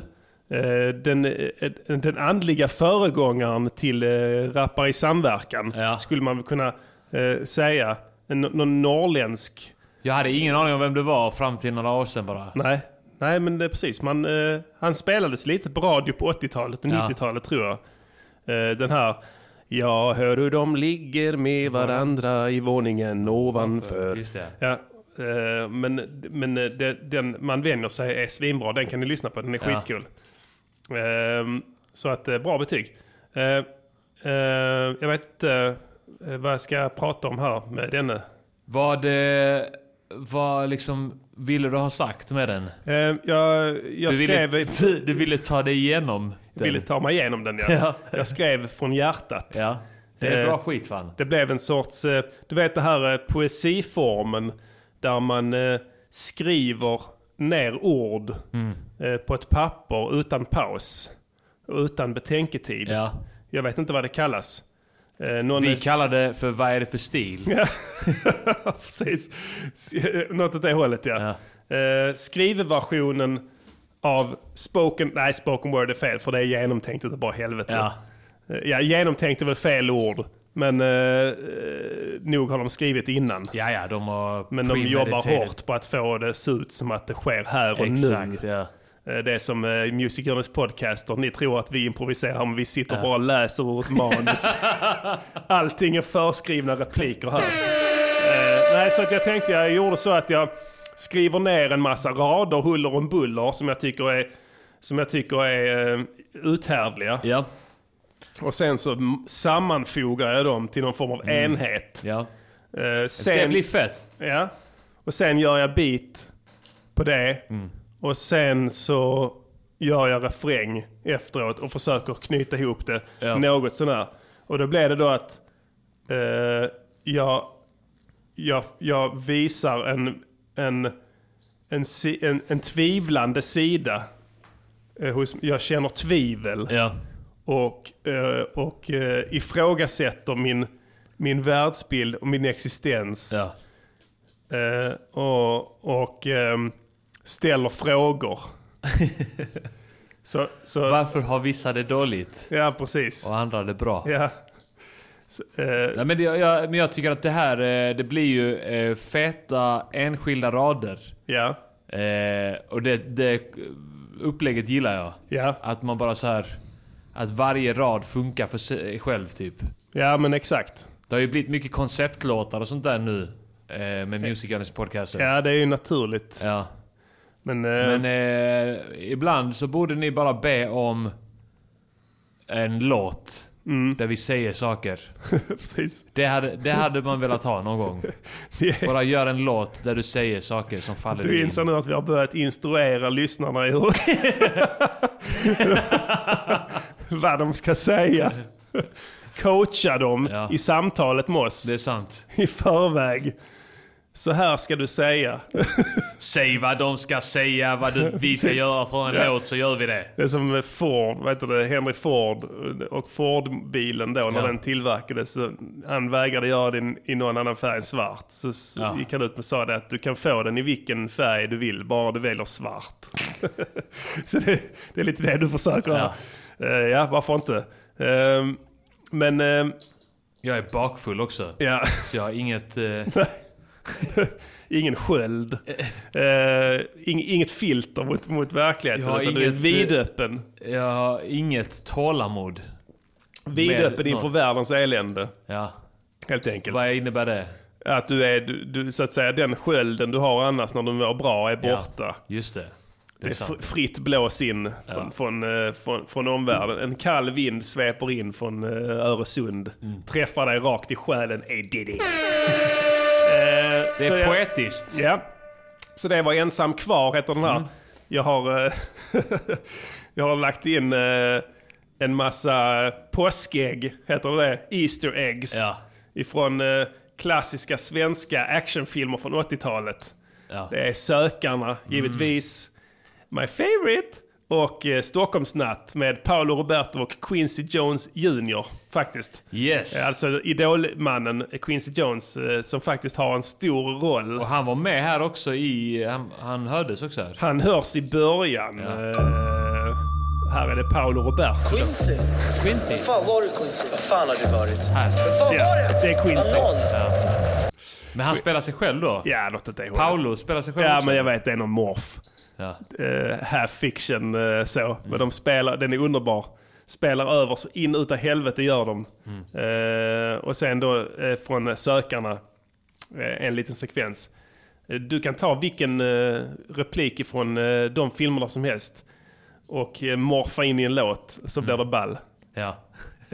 [SPEAKER 11] Eh, Den, eh, den andliga föregångaren till eh, Rappar i samverkan
[SPEAKER 1] Ja.
[SPEAKER 11] skulle man väl kunna eh, säga. En, någon norrländsk.
[SPEAKER 1] Jag hade ingen aning om vem det var fram till några år sedan bara.
[SPEAKER 11] Nej, nej men det är precis. Man, eh, han spelades lite på radio på 80-talet och
[SPEAKER 1] Ja.
[SPEAKER 11] 90-talet tror jag. Eh, den här. Jag hör hur de ligger med varandra i våningen ovanför.
[SPEAKER 1] Just det.
[SPEAKER 11] Ja, eh, men men eh, det, den man vänjer sig är svinbra. Den kan ni lyssna på. Den är
[SPEAKER 1] Ja.
[SPEAKER 11] skitkul. Ehm, så att eh, bra betyg. Eh, eh, jag vet inte eh, vad jag ska prata om här med denne.
[SPEAKER 1] Vad, eh, vad liksom ville du ha sagt med den?
[SPEAKER 11] Eh, jag jag
[SPEAKER 1] Du ville,
[SPEAKER 11] skrev...
[SPEAKER 1] du, du ville ta dig igenom den.
[SPEAKER 11] ville ta mig igenom den ja.
[SPEAKER 1] Ja.
[SPEAKER 11] Jag skrev från hjärtat.
[SPEAKER 1] Ja. Det är
[SPEAKER 11] Eh,
[SPEAKER 1] bra skit fan.
[SPEAKER 11] Det blev en sorts, eh, du vet det här eh, poesiformen där man eh, skriver
[SPEAKER 2] ner ord
[SPEAKER 1] Mm.
[SPEAKER 2] eh, på ett papper utan paus och utan betänketid. Jag vet inte vad det kallas. Eh, någon
[SPEAKER 1] Vi
[SPEAKER 2] är-
[SPEAKER 1] kallar det för vad är det för stil?
[SPEAKER 2] Ja, precis. S- eh, Något åt det hållet, ja. Eh, skrivversionen av spoken... Nej, spoken word är fel, för det är genomtänkt utav bara helvete.
[SPEAKER 1] Ja.
[SPEAKER 2] Eh, ja, genomtänkt är väl fel ord, men eh, eh, nog har de skrivit innan.
[SPEAKER 1] Ja, ja, de har
[SPEAKER 2] men de jobbar
[SPEAKER 1] premediterat.
[SPEAKER 2] hårt på att få det att se ut som att det sker här och nu.
[SPEAKER 1] Exakt, ja.
[SPEAKER 2] Eh, Det är som eh, Music Journeys podcaster. Ni tror att vi improviserar men vi sitter
[SPEAKER 1] Ja.
[SPEAKER 2] bara och läser ur ett manus. Allting är förskrivna repliker här. Eh, nej, så att jag tänkte jag gjorde så att jag skriver ner en massa rader, huller och buller som jag tycker är, som jag tycker är eh, uthärdliga. Och sen så m- sammanfogar jag dem till någon form av
[SPEAKER 1] Mm.
[SPEAKER 2] enhet.
[SPEAKER 1] Ja.
[SPEAKER 2] Eh, sen,
[SPEAKER 1] Det blir fett.
[SPEAKER 2] Ja. Och sen gör jag beat på det.
[SPEAKER 1] Mm.
[SPEAKER 2] Och sen så gör jag refräng efteråt och försöker knyta ihop det
[SPEAKER 1] Ja.
[SPEAKER 2] något sånär. Och då blir det då att eh, jag, jag, jag visar en, en, en, si- en, en tvivlande sida. Eh, hos, jag känner tvivel. Och, eh, och eh, ifrågasätter min, min världsbild och min existens. Eh, och och ehm, ställer frågor. så, så,
[SPEAKER 1] Varför har vissa det dåligt?
[SPEAKER 2] Ja, precis.
[SPEAKER 1] Och andra det bra?
[SPEAKER 2] Ja. Så, eh,
[SPEAKER 1] Nej, men, det, jag, men jag tycker att det här, eh, det blir ju eh, feta enskilda rader.
[SPEAKER 2] Ja.
[SPEAKER 1] Eh, och det, det upplägget gillar jag.
[SPEAKER 2] Ja.
[SPEAKER 1] Att man bara så här, att varje rad funkar för sig själv typ.
[SPEAKER 2] ja, men exakt.
[SPEAKER 1] Det har ju blivit mycket konceptlåtar och sånt där nu. Eh, med Music Gunners podcaster.
[SPEAKER 2] Ja, det är ju naturligt.
[SPEAKER 1] Ja.
[SPEAKER 2] Men, eh,
[SPEAKER 1] Men eh, ibland så borde ni bara be om en låt
[SPEAKER 2] Mm.
[SPEAKER 1] där vi säger saker.
[SPEAKER 2] Precis.
[SPEAKER 1] Det, hade, det hade man velat ha någon gång. Bara gör en låt där du säger saker som faller
[SPEAKER 2] du
[SPEAKER 1] dig in.
[SPEAKER 2] inser nu att vi har börjat instruera lyssnarna i hur... vad de ska säga. Coacha dem i samtalet med oss. Det är
[SPEAKER 1] sant.
[SPEAKER 2] I förväg. Så här ska du säga.
[SPEAKER 1] Säg vad de ska säga, vad du, vi ska göra för en
[SPEAKER 2] Ja.
[SPEAKER 1] låt så gör vi det.
[SPEAKER 2] Det är som med Ford, vad heter det, Henry Ford och Ford-bilen då när
[SPEAKER 1] Ja.
[SPEAKER 2] den tillverkades. så Han vägrade göra den i någon annan färg än svart. Så s-
[SPEAKER 1] Ja.
[SPEAKER 2] gick han ut och sa det att du kan få den i vilken färg du vill, bara du väljer svart. så det, det är lite det du försöker ja. ja, varför inte? Ehm, men... ehm,
[SPEAKER 1] Jag är bakfull också.
[SPEAKER 2] Ja.
[SPEAKER 1] Så jag har inget... Eh,
[SPEAKER 2] Ingen sköld. Eh, ing, inget filter mot, mot verkligheten.
[SPEAKER 1] Jag har
[SPEAKER 2] utan du är
[SPEAKER 1] inget, eh,
[SPEAKER 2] vidöppen.
[SPEAKER 1] jag har inget tålamod.
[SPEAKER 2] Vidöppen
[SPEAKER 1] Med-
[SPEAKER 2] inför
[SPEAKER 1] Ja.
[SPEAKER 2] världens elände.
[SPEAKER 1] Ja.
[SPEAKER 2] Helt enkelt.
[SPEAKER 1] Vad innebär det?
[SPEAKER 2] Att du är, du, du, så att säga, den skölden du har annars när du mår bra är
[SPEAKER 1] Ja,
[SPEAKER 2] borta.
[SPEAKER 1] Just det.
[SPEAKER 2] Det är fr-
[SPEAKER 1] sant.
[SPEAKER 2] fritt blås in från, från, eh, från, från omvärlden. En kall vind sveper in från eh, Öresund.
[SPEAKER 1] Mm.
[SPEAKER 2] Träffar dig rakt i själen. Hey, Diddy. Eh,
[SPEAKER 1] Det är poetiskt.
[SPEAKER 2] Ja. Så det var Ensam kvar heter den här.
[SPEAKER 1] Mm.
[SPEAKER 2] Jag, har, eh, jag har lagt in eh, en massa påskägg, heter det Easter eggs.
[SPEAKER 1] Ja.
[SPEAKER 2] Ifrån eh, klassiska svenska actionfilmer från 80-talet.
[SPEAKER 1] Ja. Mm.
[SPEAKER 2] Det är Sökarna, givetvis. My favorite. Och eh, Stockholmsnatt med Paolo Roberto och Quincy Jones Jr. Faktiskt.
[SPEAKER 1] Yes.
[SPEAKER 2] Eh, Alltså idolmannen Quincy Jones eh, som faktiskt har en stor roll.
[SPEAKER 1] Och han var med här också i... Han, han hördes också här.
[SPEAKER 2] Han hörs i början. Eh, här är det Paolo Roberto.
[SPEAKER 8] Quincy.
[SPEAKER 1] Quincy.
[SPEAKER 8] Vad fan var du Quincy? Vad fan har du varit? Vad fan
[SPEAKER 2] Ja,
[SPEAKER 8] var det?
[SPEAKER 2] det är Quincy.
[SPEAKER 8] Vad någon?
[SPEAKER 1] Men han spelar sig själv då?
[SPEAKER 2] Ja, något åt det hållet.
[SPEAKER 1] Paolo spelar sig själv
[SPEAKER 2] Ja,
[SPEAKER 1] också?
[SPEAKER 2] men jag vet, det är någon morf.
[SPEAKER 1] Ja.
[SPEAKER 2] Eh, half fiction eh, så. Men de spelar, den är underbar. Spelar över så in utav helvete gör de.
[SPEAKER 1] Mm.
[SPEAKER 2] Eh, och sen då eh, från sökarna, eh, en liten sekvens. Eh, Du kan ta vilken eh, replik ifrån eh, de filmerna som helst och eh, morfa in i en låt så blir
[SPEAKER 1] Mm.
[SPEAKER 2] det ball.
[SPEAKER 1] Ja.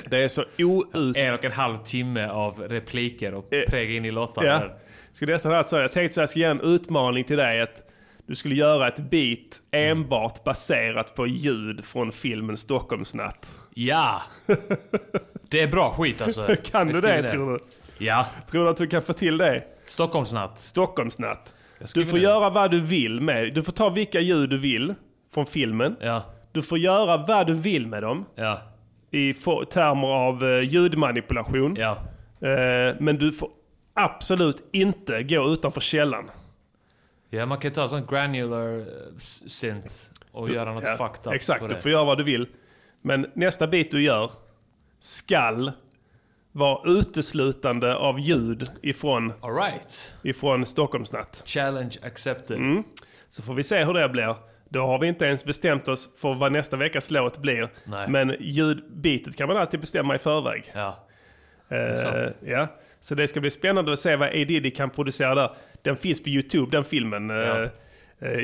[SPEAKER 2] Det är så out...
[SPEAKER 1] En och en halv timme av repliker och präga in i låtar.
[SPEAKER 2] Eh, Ja.
[SPEAKER 1] där.
[SPEAKER 2] Skulle nästan ha så. här. Jag tänkte så här, jag ska ge en utmaning till dig att du skulle göra ett beat enbart baserat på ljud från filmen Stockholmsnatt.
[SPEAKER 1] ja. Det är bra skit alltså.
[SPEAKER 2] Kan du
[SPEAKER 1] Jag skriver
[SPEAKER 2] det, tror
[SPEAKER 1] Ja.
[SPEAKER 2] Tror du att du kan få till det?
[SPEAKER 1] Stockholmsnatt.
[SPEAKER 2] Stockholmsnatt. Du
[SPEAKER 1] skriver
[SPEAKER 2] får
[SPEAKER 1] det.
[SPEAKER 2] göra vad du vill med Du får ta vilka ljud du vill från filmen.
[SPEAKER 1] Ja.
[SPEAKER 2] Du får göra vad du vill med dem.
[SPEAKER 1] Ja.
[SPEAKER 2] I for- termer av eh, ljudmanipulation. Eh, men du får absolut inte gå utanför källan.
[SPEAKER 1] Ja, man kan ta sånt granular eh, s- synth och göra något
[SPEAKER 2] Ja,
[SPEAKER 1] fucked up på
[SPEAKER 2] Exakt,
[SPEAKER 1] det.
[SPEAKER 2] du får göra vad du vill. Men nästa bit du gör skall vara uteslutande av ljud ifrån,
[SPEAKER 1] All right.
[SPEAKER 2] ifrån Stockholmsnatt.
[SPEAKER 1] Challenge accepted.
[SPEAKER 2] Mm. Så får vi se hur det blir. Då har vi inte ens bestämt oss för vad nästa veckas låt blir.
[SPEAKER 1] Nej.
[SPEAKER 2] Men ljudbitet kan man alltid bestämma i förväg.
[SPEAKER 1] Ja. är sant.
[SPEAKER 2] Eh, ja. Så det ska bli spännande att se vad A. Diddy kan producera där. Den finns på YouTube, den filmen. Eh, eh,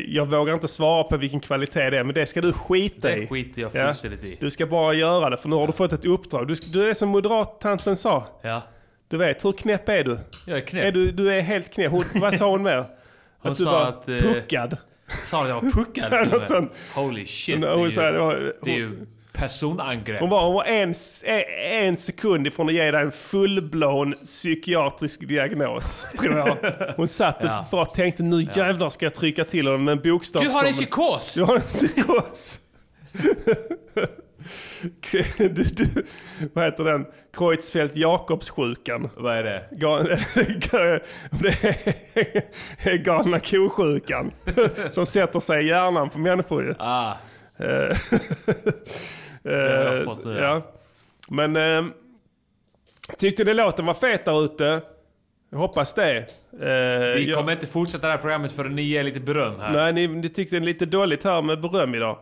[SPEAKER 2] Jag vågar inte svara på vilken kvalitet det är, men det ska du skita
[SPEAKER 1] Det
[SPEAKER 2] i.
[SPEAKER 1] skiter jag
[SPEAKER 2] Ja.
[SPEAKER 1] fullständigt i.
[SPEAKER 2] Du ska bara göra det, för nu har du fått ett uppdrag. Du, ska, du är som moderattanten sa.
[SPEAKER 1] Ja.
[SPEAKER 2] Du vet, hur knäpp är du?
[SPEAKER 1] Jag är knäpp.
[SPEAKER 2] Är du, du är helt knäpp. Hon, vad sa hon mer?
[SPEAKER 1] Hon
[SPEAKER 2] att du
[SPEAKER 1] sa
[SPEAKER 2] var
[SPEAKER 1] att, eh,
[SPEAKER 2] puckad.
[SPEAKER 1] Sa att jag var puckad till och
[SPEAKER 2] Något
[SPEAKER 1] med?
[SPEAKER 2] sånt.
[SPEAKER 1] Holy shit.
[SPEAKER 2] Hon-
[SPEAKER 1] det, är
[SPEAKER 2] hon
[SPEAKER 1] ju,
[SPEAKER 2] sa det var-
[SPEAKER 1] det är ju personangrepp.
[SPEAKER 2] Hon var, hon var en, s- e- en sekund ifrån att ge dig en fullblån psykiatrisk diagnos, tror jag. Hon satt
[SPEAKER 1] Ja.
[SPEAKER 2] och bara tänkte nu jävlar ska jag trycka till honom med en bokstav.
[SPEAKER 1] Du har en psykos!
[SPEAKER 2] Du har en psykos! du, du, vad heter den? Kreutzfeldt-Jakobs-sjukan.
[SPEAKER 1] Vad är det?
[SPEAKER 2] det är galna ko-sjukan. som sätter sig i hjärnan på människor ju. Eh,
[SPEAKER 1] Ah. har jag fått nu, ja.
[SPEAKER 2] ja. Men eh, tyckte ni låten var fet där ute? Jag hoppas det. Eh,
[SPEAKER 1] Vi
[SPEAKER 2] jag-
[SPEAKER 1] kommer inte fortsätta det här programmet förrän ni ger lite beröm här.
[SPEAKER 2] Nej, ni, ni tyckte det lite dåligt här med beröm idag.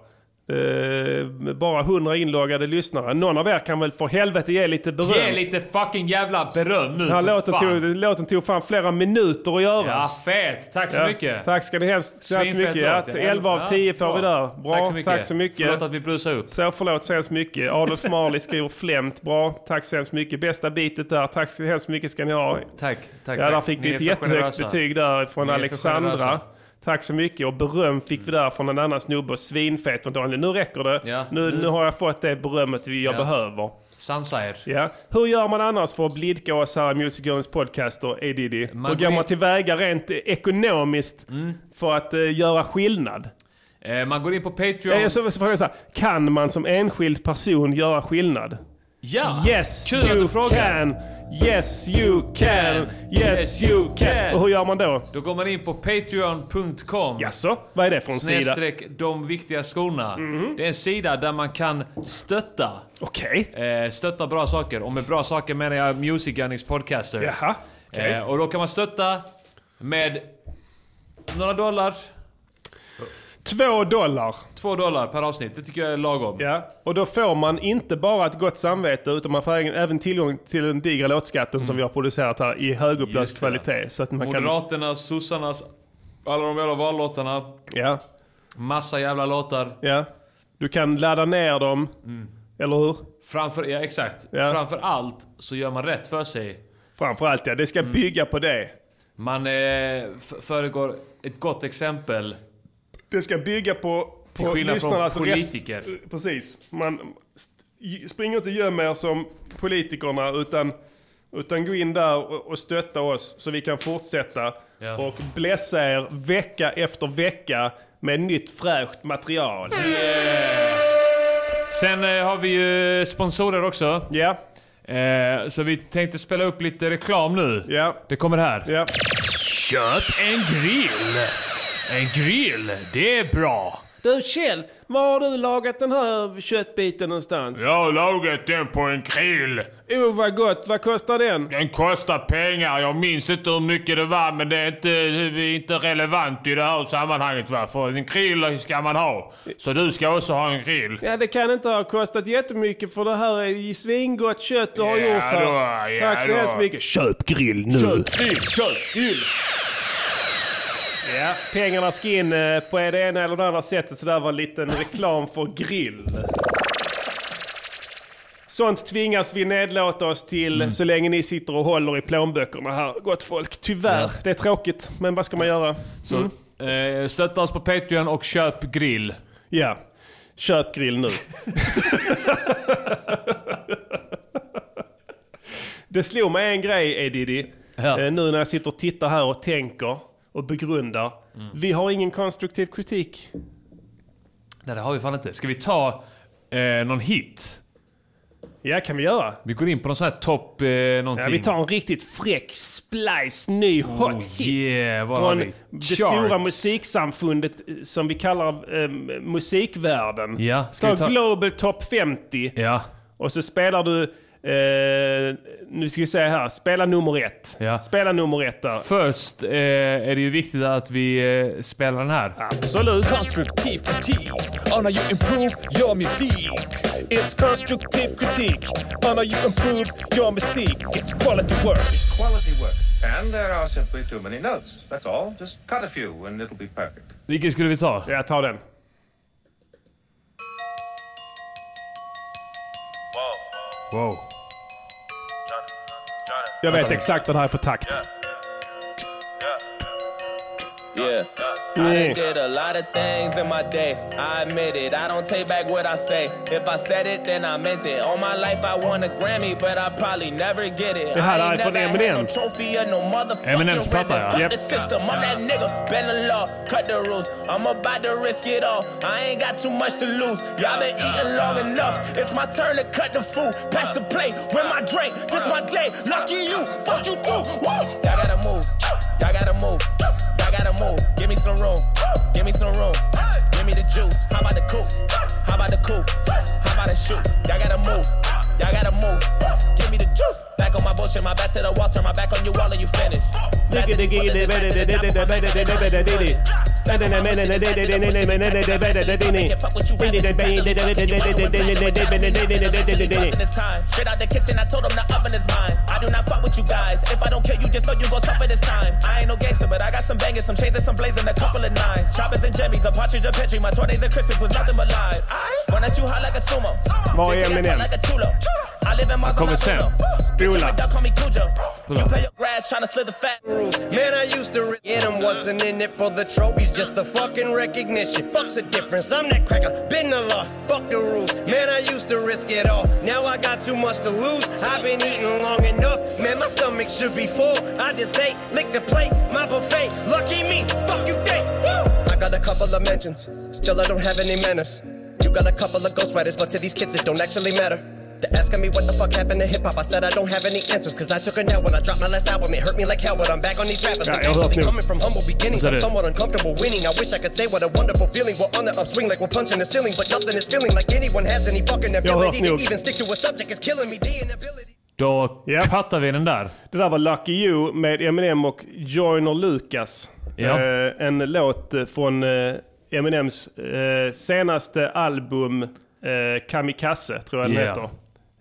[SPEAKER 2] Eh, med bara 100 inloggade lyssnare. Någon av er kan väl för helvete ge lite beröm?
[SPEAKER 1] Ge lite fucking jävla beröm nu
[SPEAKER 2] den här
[SPEAKER 1] för
[SPEAKER 2] låten
[SPEAKER 1] fan.
[SPEAKER 2] tog, låten tog fan flera minuter att göra.
[SPEAKER 1] Ja, fet! Tack så
[SPEAKER 2] Ja,
[SPEAKER 1] mycket!
[SPEAKER 2] Tack ska ni hemskt så hemskt mycket. Ja, 11 av 10 får vi där. Bra,
[SPEAKER 1] tack så mycket.
[SPEAKER 2] Tack så mycket.
[SPEAKER 1] Förlåt att vi brusar upp.
[SPEAKER 2] Så förlåt så hemskt mycket. Adolf Marley skriver flämt. Bra, tack så hemskt mycket. Bästa bitet där. Tack så hemskt mycket ska ni ha.
[SPEAKER 1] Tack, tack.
[SPEAKER 2] Ja, där
[SPEAKER 1] tack.
[SPEAKER 2] fick
[SPEAKER 1] Ni
[SPEAKER 2] vi
[SPEAKER 1] är
[SPEAKER 2] ett
[SPEAKER 1] för
[SPEAKER 2] jättehögt
[SPEAKER 1] generösa.
[SPEAKER 2] betyg där från
[SPEAKER 1] Ni är för generösa.
[SPEAKER 2] Alexandra. Tack så mycket och beröm fick vi där från en annan snubbe. och Svinfet och Daniel. Nu räcker det.
[SPEAKER 1] Ja,
[SPEAKER 2] nu, nu.
[SPEAKER 1] nu.
[SPEAKER 2] har jag fått det berömmet vi- jag
[SPEAKER 1] Ja.
[SPEAKER 2] behöver.
[SPEAKER 1] Sansa er.
[SPEAKER 2] Ja. Hur gör man annars för att blidka oss här i Music Journeys podcast och Edidi?
[SPEAKER 1] Man Mm.
[SPEAKER 2] Hur
[SPEAKER 1] går
[SPEAKER 2] går man
[SPEAKER 1] in-
[SPEAKER 2] tillväga rent eh, ekonomiskt för att eh, göra skillnad?
[SPEAKER 1] Eh, man går in på Patreon.
[SPEAKER 2] Ja. Så, så frågar jag så här, kan man som enskild person göra skillnad?
[SPEAKER 1] Ja!
[SPEAKER 2] Yes
[SPEAKER 1] Kul att
[SPEAKER 2] you
[SPEAKER 1] du frågar.
[SPEAKER 2] can! Yes you can! Yes you can! Och hur gör man då?
[SPEAKER 1] Då går man in på patreon.com.
[SPEAKER 2] Jaså, vad är det för en sida? Mhm.
[SPEAKER 1] Snedstreck de viktiga skorna. Det är en sida där man kan stötta.
[SPEAKER 2] Okej.
[SPEAKER 1] Eh, stötta bra saker. Och med bra saker menar jag Music Gunnings Podcaster.
[SPEAKER 2] Jaha, okej.
[SPEAKER 1] Eh, och då kan man stötta med några dollar.
[SPEAKER 2] Två dollar.
[SPEAKER 1] Två dollar per avsnitt. Det tycker jag är lagom.
[SPEAKER 2] Ja. Och då får man inte bara ett gott samvete utan man får även- även tillgång till den digra låtskatten som vi har producerat här i högupplöst
[SPEAKER 1] Mm. Just det, ja.
[SPEAKER 2] kvalitet. Så att man kan...
[SPEAKER 1] Moderaternas, sossarnas, alla de jävla vallåtarna.
[SPEAKER 2] Ja,
[SPEAKER 1] Massa jävla låtar.
[SPEAKER 2] ja. Du kan ladda ner dem,
[SPEAKER 1] Mm.
[SPEAKER 2] eller hur?
[SPEAKER 1] Framför, ja, exakt.
[SPEAKER 2] Ja.
[SPEAKER 1] Framför allt så gör man rätt för sig.
[SPEAKER 2] Framförallt ja, det
[SPEAKER 1] Mm.
[SPEAKER 2] ska bygga på det.
[SPEAKER 1] Man eh, f- föregår ett gott exempel.
[SPEAKER 2] Det ska bygga på,
[SPEAKER 1] Till
[SPEAKER 2] på
[SPEAKER 1] skillnad från
[SPEAKER 2] lyssnarnas
[SPEAKER 1] politiker.
[SPEAKER 2] rätts- Precis. Man st- springer inte och gömmer er som politikerna utan, utan gå in där och, och stötta oss så vi kan fortsätta
[SPEAKER 1] Ja.
[SPEAKER 2] och blessa er vecka efter vecka med nytt fräscht material.
[SPEAKER 1] Sen eh, har vi ju sponsorer också.
[SPEAKER 2] Ja,
[SPEAKER 1] Eh, så vi tänkte spela upp lite reklam nu.
[SPEAKER 2] ja,
[SPEAKER 1] Det kommer här.
[SPEAKER 2] ja.
[SPEAKER 1] Köp en grill! En grill, det är bra!
[SPEAKER 2] Du Kjell, var har du lagat den här köttbiten någonstans?
[SPEAKER 1] Jag har lagat den på en grill.
[SPEAKER 2] Oh vad gott, vad kostar den?
[SPEAKER 1] Den kostar pengar. Jag minns inte hur mycket det var, men det är inte, det är inte relevant i det här sammanhanget. Va? För en grill ska man ha. Så du ska också ha en grill.
[SPEAKER 2] Ja, det kan inte ha kostat jättemycket för det här är ju svingott kött du har
[SPEAKER 1] Ja
[SPEAKER 2] gjort här.
[SPEAKER 1] då, ja
[SPEAKER 2] Tack så
[SPEAKER 1] då.
[SPEAKER 2] hemskt mycket. Köp grill nu.
[SPEAKER 1] grill, kött, grill!
[SPEAKER 2] Ja, pengarna ska in eh, på det ena eller det andra sättet. Så där var en liten reklam för grill. Sånt tvingas vi nedlåta oss till
[SPEAKER 1] Mm.
[SPEAKER 2] så länge ni sitter och håller i plånböckerna här, gott folk. Tyvärr, det är tråkigt. Men vad ska man göra?
[SPEAKER 1] Så, eh, stötta oss på Patreon och köp grill.
[SPEAKER 2] Ja, köp grill nu. det slog mig en grej, Edidi.
[SPEAKER 1] Ja.
[SPEAKER 2] Eh, Nu när jag sitter och tittar här och tänker och begrundar.
[SPEAKER 1] Mm.
[SPEAKER 2] Vi har ingen konstruktiv kritik.
[SPEAKER 1] Nej, det har vi fan inte. Ska vi ta eh, någon hit?
[SPEAKER 2] Ja, kan vi göra.
[SPEAKER 1] Vi går in på någon sån här topp eh, någonting.
[SPEAKER 2] Ja, vi tar en riktigt fräck splice, ny hot
[SPEAKER 1] Oh,
[SPEAKER 2] hit.
[SPEAKER 1] yeah, vad har
[SPEAKER 2] från
[SPEAKER 1] vi?
[SPEAKER 2] det
[SPEAKER 1] Charts.
[SPEAKER 2] stora musiksamfundet eh, som vi kallar eh, musikvärlden.
[SPEAKER 1] Ja, ska
[SPEAKER 2] ta,
[SPEAKER 1] vi ta-
[SPEAKER 2] Global Top 50
[SPEAKER 1] Ja,
[SPEAKER 2] och så spelar du, eh, nu ska vi säga här, spela nummer ett.
[SPEAKER 1] ja.
[SPEAKER 2] Spela nummer ett där.
[SPEAKER 1] Först eh, är det ju viktigt att vi eh, spelar den här.
[SPEAKER 2] Absolut.
[SPEAKER 3] Konstruktiv kritik on how you improve your music. It's constructive critique on how you improve your music. It's quality work.
[SPEAKER 12] Quality work. And there are simply too many notes. That's all. Just cut a few and it'll be perfect.
[SPEAKER 1] Vilken skulle vi ta?
[SPEAKER 2] Jag tar den.
[SPEAKER 1] Wow.
[SPEAKER 2] Jag vet exakt vad det här är för takt.
[SPEAKER 13] Yeah. I done did a lot of things in my day. I admit it. I don't take back what I say. If I said it, then I meant it. All my life I won a Grammy, but I probably never get it.
[SPEAKER 2] Det här
[SPEAKER 13] I
[SPEAKER 2] är från Eminem.
[SPEAKER 13] trophy or no
[SPEAKER 2] Eminems
[SPEAKER 13] motherfucking
[SPEAKER 2] platta, ja.
[SPEAKER 13] ribbon. Fuck
[SPEAKER 2] Yep.
[SPEAKER 13] the system. I'm that nigga. Bend the law, cut the rules. I'm about to risk it all. I ain't got too much to lose. Y'all been eating long enough. It's my turn to cut the food. Pass the plate with my drink. This my day. Lucky you. Fuck you too. Woo! Y'all gotta move. Y'all gotta move. Y'all gotta move. Give me some room. Give me some room. Give me the juice. How about the coupe? How about the coupe? How about the shoot? Y'all gotta move. Y'all gotta move. Give me the juice. Back on my bullshit. My back to the wall. Turn my back on you all and you finished. Back to these bullets, back to the top of my back, back to the top of my back. It's time. Straight out the kitchen, I told him the oven is mine. I do not fuck with you guys. If I don't kill you, just know you gon' suffer this time. I ain't no gangster, but I got some bangers, some shades and some blazing, a couple of nines. Choppers and jimmies, a partridge, a petri. My 20s and Christmas was nothing but lies. I run at you hot like a sumo.
[SPEAKER 2] Vad är
[SPEAKER 13] They say I talk
[SPEAKER 2] Eminem?
[SPEAKER 13] like a chulo. I live in my
[SPEAKER 2] kommer sen. Spola.
[SPEAKER 13] Y'all call me Cujo.
[SPEAKER 2] Hold
[SPEAKER 13] You
[SPEAKER 2] on.
[SPEAKER 13] play your grass tryna slither fat.
[SPEAKER 14] Man, I used to get him, wasn't in it for the trophies, just the fucking recognition. Fuck's the difference, I'm that cracker, been the law, fuck the rules. Man, I used to risk it all, now I got too much to lose. I've been eating long enough, man, my stomach should be full. I just ate, lick the plate, my buffet, lucky me, fuck you think. Woo! I got a couple of mentions, still I don't have any manners. You got a couple of ghostwriters, but to these kids it don't actually matter. They're asking me what the fuck happened to hip hop. I said I don't have any answers, cause I took a nap when I dropped my last album. It hurt me like hell, but I'm back on these rappers.
[SPEAKER 2] Ja,
[SPEAKER 14] I'm
[SPEAKER 2] jag har hört
[SPEAKER 14] actually
[SPEAKER 2] nu.
[SPEAKER 14] coming from humble beginnings.
[SPEAKER 2] Vad sa
[SPEAKER 14] I'm
[SPEAKER 2] du?
[SPEAKER 14] somewhat uncomfortable winning. I wish I could say what a wonderful feeling. We're on the upswing like we're punching the ceiling, but nothing is feeling like anyone has any fucking
[SPEAKER 2] Jag har hört
[SPEAKER 14] ability to
[SPEAKER 2] nog.
[SPEAKER 14] even stick to a subject. It's killing me. The inability.
[SPEAKER 1] Då kattar vi den där.
[SPEAKER 2] Det där var Lucky You med Eminem och Joyner Lucas.
[SPEAKER 1] Ja.
[SPEAKER 2] Eh, en låt eh, från eh, Eminems eh, senaste album eh, Kamikaze, tror jag den
[SPEAKER 1] Ja.
[SPEAKER 2] heter.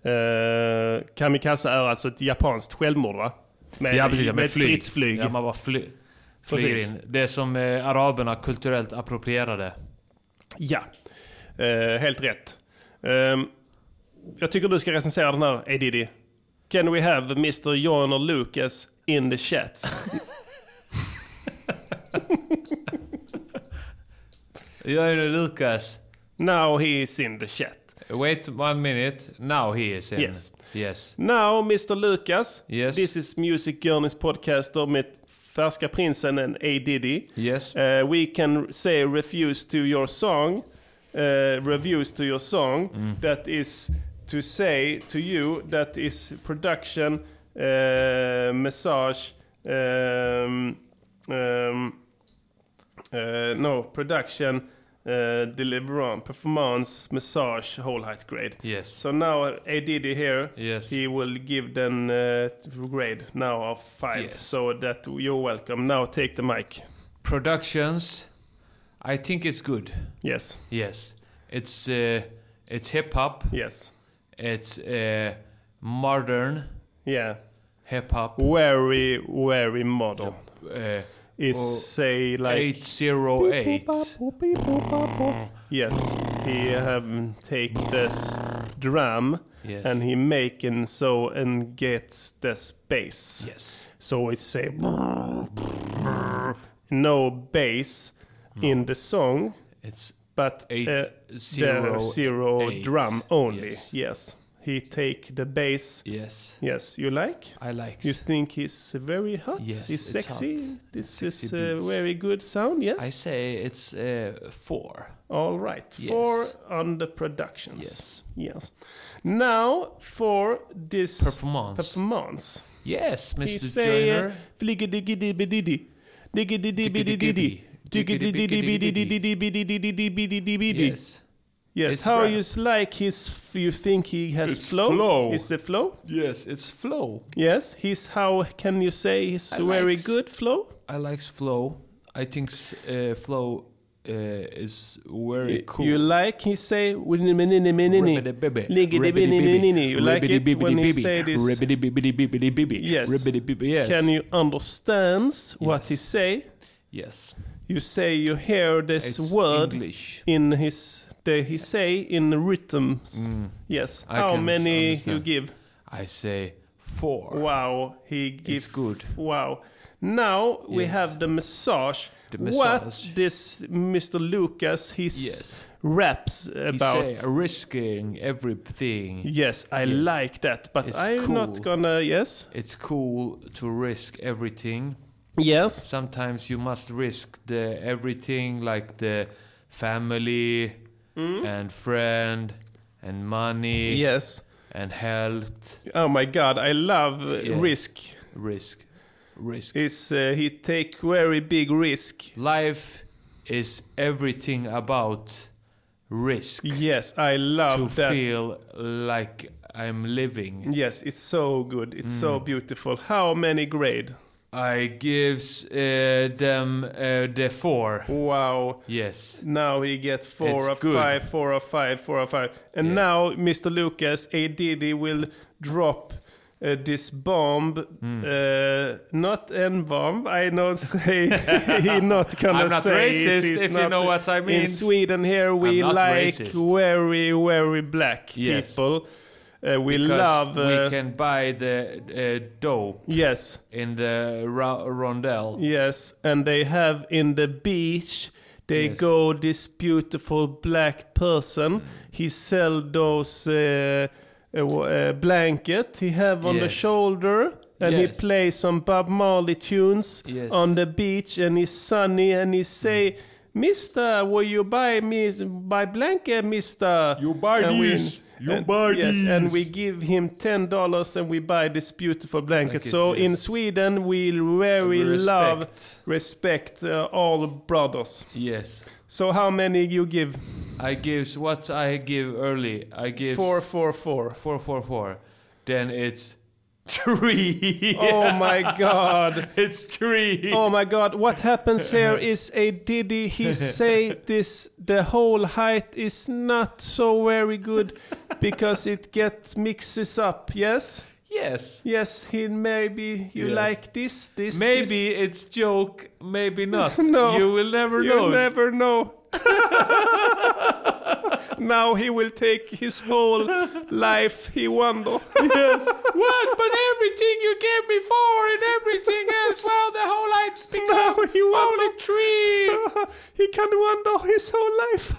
[SPEAKER 2] Eh, Kamikaze är alltså ett japanskt självmord va? Med,
[SPEAKER 1] ja, precis, ja,
[SPEAKER 2] med ett stridsflyg.
[SPEAKER 1] Ja, man bara fly, flyger
[SPEAKER 2] Precis.
[SPEAKER 1] in. Det som eh, araberna kulturellt approprierade.
[SPEAKER 2] Ja, Eh, helt rätt. Ehm, jag tycker du ska recensera den här, Edidi. Can we have Mr. John och Lucas in the chats?
[SPEAKER 1] Jag är Lucas.
[SPEAKER 2] Now he is in the chat.
[SPEAKER 1] Wait one minute. Now he is in.
[SPEAKER 2] Yes.
[SPEAKER 1] Yes.
[SPEAKER 2] Now Mr. Lucas,
[SPEAKER 1] Yes.
[SPEAKER 2] this is Music Journeys podcaster med Färska Prinsen and A. Diddy.
[SPEAKER 1] Yes.
[SPEAKER 2] Eh, we can say refuse to your song, eh, reviews to your song.
[SPEAKER 1] Mm.
[SPEAKER 2] That is to say to you that is production, eh, massage, ehm, ehm, eh, no, production, uh, deliverance, performance, massage, whole height grade.
[SPEAKER 1] Yes.
[SPEAKER 2] So now uh, A. Diddy here,
[SPEAKER 1] Yes.
[SPEAKER 2] he will give them uh, grade now of five.
[SPEAKER 1] Yes.
[SPEAKER 2] So that you're welcome. Now take the mic.
[SPEAKER 1] Productions. I think it's good.
[SPEAKER 2] Yes.
[SPEAKER 1] Yes. It's uh, it's hip hop.
[SPEAKER 2] Yes.
[SPEAKER 1] It's uh, modern
[SPEAKER 2] Yeah.
[SPEAKER 1] hip hop.
[SPEAKER 2] Very, very modern.
[SPEAKER 1] Uh,
[SPEAKER 2] Is
[SPEAKER 1] oh,
[SPEAKER 2] say like
[SPEAKER 1] 808.
[SPEAKER 2] Yes, he have take this drum
[SPEAKER 1] Yes.
[SPEAKER 2] and he making so and gets the space.
[SPEAKER 1] Yes.
[SPEAKER 2] So it's a no bass in the song.
[SPEAKER 1] It's
[SPEAKER 2] but
[SPEAKER 1] eight
[SPEAKER 2] uh,
[SPEAKER 1] zero
[SPEAKER 2] the zero
[SPEAKER 1] eight.
[SPEAKER 2] drum only. Yes.
[SPEAKER 1] Yes.
[SPEAKER 2] He take the bass.
[SPEAKER 1] Yes.
[SPEAKER 2] Yes, you like?
[SPEAKER 1] I like.
[SPEAKER 2] You think he's very hot?
[SPEAKER 1] Yes,
[SPEAKER 2] he's
[SPEAKER 1] it's
[SPEAKER 2] sexy.
[SPEAKER 1] hot.
[SPEAKER 2] This
[SPEAKER 1] Sexy
[SPEAKER 2] is a
[SPEAKER 1] beats.
[SPEAKER 2] very good sound. Yes.
[SPEAKER 1] I say it's uh, four.
[SPEAKER 2] All right,
[SPEAKER 1] Yes.
[SPEAKER 2] four on the productions. Yes. Yes. Now for this performance. Performance.
[SPEAKER 1] Yes,
[SPEAKER 2] He
[SPEAKER 1] Mr.
[SPEAKER 2] säger
[SPEAKER 1] Joyner.
[SPEAKER 2] fliggediggedibbediddi, diggedibbediddi, diggedibbedibbedibbedibbedibbedibbedibbedibbedibbedibbedi.
[SPEAKER 1] Yes.
[SPEAKER 2] Yes,
[SPEAKER 1] It's
[SPEAKER 2] how
[SPEAKER 1] right.
[SPEAKER 2] you like his? You think he has
[SPEAKER 1] It's
[SPEAKER 2] flow?
[SPEAKER 1] flow.
[SPEAKER 2] Is the flow?
[SPEAKER 1] Yes, it's flow.
[SPEAKER 2] Yes, he's how can you say he's
[SPEAKER 1] I
[SPEAKER 2] very
[SPEAKER 1] likes-
[SPEAKER 2] good flow?
[SPEAKER 1] I likes flow. I think uh, flow uh, is very Eh, cool.
[SPEAKER 2] You like he say "Winni-minni-minni-minni."
[SPEAKER 1] Ribbidi-bibbi.
[SPEAKER 2] Liggidi-binni-minni-ninni. You like it when he
[SPEAKER 1] Ribbidi-bibbi-bibbi.
[SPEAKER 2] say this.
[SPEAKER 1] Ribbidi-bibbi-bibbi.
[SPEAKER 2] Yes.
[SPEAKER 1] Ribbidi-bibbi, yes.
[SPEAKER 2] Can you understand what he say?
[SPEAKER 1] Yes.
[SPEAKER 2] You say you hear this
[SPEAKER 1] It's
[SPEAKER 2] word
[SPEAKER 1] English.
[SPEAKER 2] in his the he say in rhythms.
[SPEAKER 1] Mm.
[SPEAKER 2] Yes.
[SPEAKER 1] I
[SPEAKER 2] How
[SPEAKER 1] can
[SPEAKER 2] many you
[SPEAKER 1] understand.
[SPEAKER 2] give?
[SPEAKER 1] I say four.
[SPEAKER 2] Wow, he gives
[SPEAKER 1] good.
[SPEAKER 2] Wow. Now we
[SPEAKER 1] Yes.
[SPEAKER 2] have the massage.
[SPEAKER 1] The
[SPEAKER 2] What
[SPEAKER 1] massage.
[SPEAKER 2] this Mr. Lucas he
[SPEAKER 1] Yes.
[SPEAKER 2] raps
[SPEAKER 1] He
[SPEAKER 2] about?
[SPEAKER 1] say uh, risking everything.
[SPEAKER 2] Yes, I like that, but
[SPEAKER 1] It's
[SPEAKER 2] I'm not
[SPEAKER 1] cool.
[SPEAKER 2] gonna. Yes,
[SPEAKER 1] It's cool to risk everything.
[SPEAKER 2] Yes.
[SPEAKER 1] Sometimes you must risk the everything like the family
[SPEAKER 2] Hmm?
[SPEAKER 1] and friend and money.
[SPEAKER 2] Yes.
[SPEAKER 1] And health.
[SPEAKER 2] Oh my God, I love uh,
[SPEAKER 1] Yeah.
[SPEAKER 2] risk.
[SPEAKER 1] Risk. Risk.
[SPEAKER 2] It's uh, he take very big risk.
[SPEAKER 1] Life is everything about risk.
[SPEAKER 2] Yes, I love
[SPEAKER 1] to
[SPEAKER 2] that.
[SPEAKER 1] feel like I'm living.
[SPEAKER 2] Yes, it's so good. It's so
[SPEAKER 1] Mm.
[SPEAKER 2] beautiful. How many grade?
[SPEAKER 1] I gives uh, them uh, the four.
[SPEAKER 2] Wow.
[SPEAKER 1] Yes.
[SPEAKER 2] Now he get
[SPEAKER 1] It's
[SPEAKER 2] four of
[SPEAKER 1] good.
[SPEAKER 2] five, four of five, four of five, and now Mr. Lucas A Diddy will drop. Uh, this bomb,
[SPEAKER 1] Hmm.
[SPEAKER 2] uh, not en bomb. I not say he not gonna
[SPEAKER 1] I'm not
[SPEAKER 2] say
[SPEAKER 1] racist,
[SPEAKER 2] she's
[SPEAKER 1] if you
[SPEAKER 2] not-
[SPEAKER 1] know what I mean.
[SPEAKER 2] In Sweden here we
[SPEAKER 1] I'm not
[SPEAKER 2] like
[SPEAKER 1] racist.
[SPEAKER 2] very very black
[SPEAKER 1] Yes.
[SPEAKER 2] people. Uh, we
[SPEAKER 1] Because
[SPEAKER 2] love. uh,
[SPEAKER 1] we can buy the uh, dough.
[SPEAKER 2] Yes.
[SPEAKER 1] In the ro- rondelle.
[SPEAKER 2] Yes, and they have in the beach. They
[SPEAKER 1] Yes. Mm.
[SPEAKER 2] go this beautiful black person. He sell those uh, uh, w- uh, blanket he have on the
[SPEAKER 1] Yes.
[SPEAKER 2] shoulder, and he
[SPEAKER 1] Yes.
[SPEAKER 2] play some Bob Marley tunes
[SPEAKER 1] Yes.
[SPEAKER 2] on the beach, and it's sunny, and he say.
[SPEAKER 1] Mm.
[SPEAKER 2] Mister, will you buy me buy blanket, Mister? You
[SPEAKER 1] buy this. You buy
[SPEAKER 2] yes, and
[SPEAKER 1] this.
[SPEAKER 2] we give him ten dollars, and we buy this beautiful blanket.
[SPEAKER 1] Blanket,
[SPEAKER 2] so
[SPEAKER 1] yes.
[SPEAKER 2] in Sweden, we very
[SPEAKER 1] Respect.
[SPEAKER 2] love respect uh, all brothers.
[SPEAKER 1] Yes.
[SPEAKER 2] So how many you give?
[SPEAKER 1] I gives what I give early. I give
[SPEAKER 2] Four, four, four.
[SPEAKER 1] Four, four, four. Then it's three.
[SPEAKER 2] Oh my god.
[SPEAKER 1] it's three.
[SPEAKER 2] Oh my god, what happens here is a Diddy he say this the whole height is not so very good because it gets mixes up, yes?
[SPEAKER 1] Yes.
[SPEAKER 2] Yes, he maybe you
[SPEAKER 1] Yes.
[SPEAKER 2] like this, this
[SPEAKER 1] Maybe it's joke. Maybe not.
[SPEAKER 2] this. no.
[SPEAKER 1] You will never
[SPEAKER 2] You
[SPEAKER 1] know.
[SPEAKER 2] never know. now he will take his whole life he wonder.
[SPEAKER 1] yes. What? But everything you gave me four and everything else. Well, the whole light's become
[SPEAKER 2] No, he won't.
[SPEAKER 1] only three.
[SPEAKER 2] he can wonder his whole life.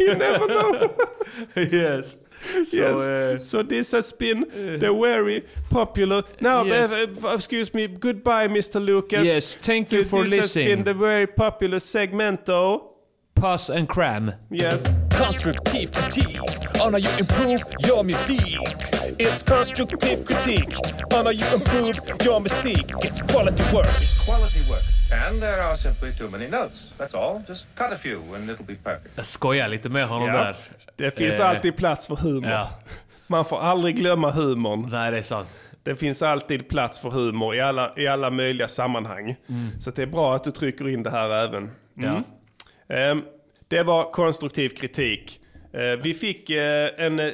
[SPEAKER 2] you never know.
[SPEAKER 1] yes. So,
[SPEAKER 2] yes.
[SPEAKER 1] uh,
[SPEAKER 2] so this has been the very popular. Now,
[SPEAKER 1] Yes.
[SPEAKER 2] uh, uh, excuse me. Goodbye, Mr. Lucas.
[SPEAKER 1] Yes, thank you
[SPEAKER 2] Th-
[SPEAKER 1] for
[SPEAKER 2] this has been
[SPEAKER 1] listening.
[SPEAKER 2] the very popular segmento.
[SPEAKER 1] Pass and cram.
[SPEAKER 2] Yes.
[SPEAKER 3] Constructive critique on how you improve your music. It's constructive critique on how you improve your music. It's quality work.
[SPEAKER 12] Quality work. And there are simply too many notes. That's all. Just cut a few and it'll be perfect.
[SPEAKER 1] Jag skojar lite med honom
[SPEAKER 12] Ja.
[SPEAKER 1] där.
[SPEAKER 2] Det finns
[SPEAKER 1] Eh,
[SPEAKER 2] alltid plats för humor.
[SPEAKER 1] ja.
[SPEAKER 2] Man får aldrig glömma humorn.
[SPEAKER 1] Nej, det är sant.
[SPEAKER 2] Det finns alltid plats för humor i alla, i alla möjliga sammanhang.
[SPEAKER 1] Mm.
[SPEAKER 2] Så att det är bra att du trycker in det här även. Mm. Ehm, det var konstruktiv kritik. Eh, vi fick eh, en eh,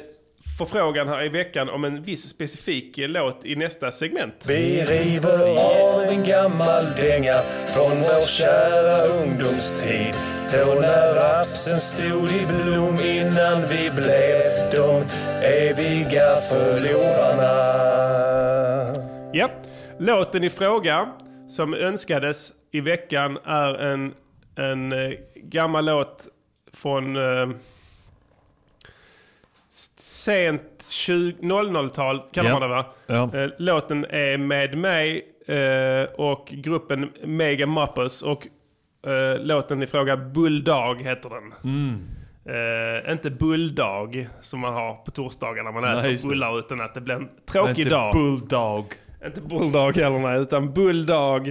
[SPEAKER 2] förfrågan här i veckan om en viss specifik eh, låt i nästa segment.
[SPEAKER 3] Vi river av en gammal dänga från vår kära ungdomstid. Då när rapsen stod i blom innan vi blev de eviga förlorarna.
[SPEAKER 2] Ja, låten i fråga som önskades i veckan är en, en eh, gammal låt från eh, sent 20 00-tal, kallar
[SPEAKER 1] Ja.
[SPEAKER 2] man det va?
[SPEAKER 1] Ja.
[SPEAKER 2] Eh, Låten är med mig eh, och gruppen Mega Muppets och eh, låten i fråga Bulldog heter den.
[SPEAKER 1] Mm.
[SPEAKER 2] Eh, inte bulldog som man har på torsdagar när man
[SPEAKER 1] Nej, just
[SPEAKER 2] äter
[SPEAKER 1] det.
[SPEAKER 2] bullar utan att det blir en tråkig
[SPEAKER 1] Inte
[SPEAKER 2] dag.
[SPEAKER 1] typ Bulldog.
[SPEAKER 2] Inte bulldog heller nej, utan bulldog.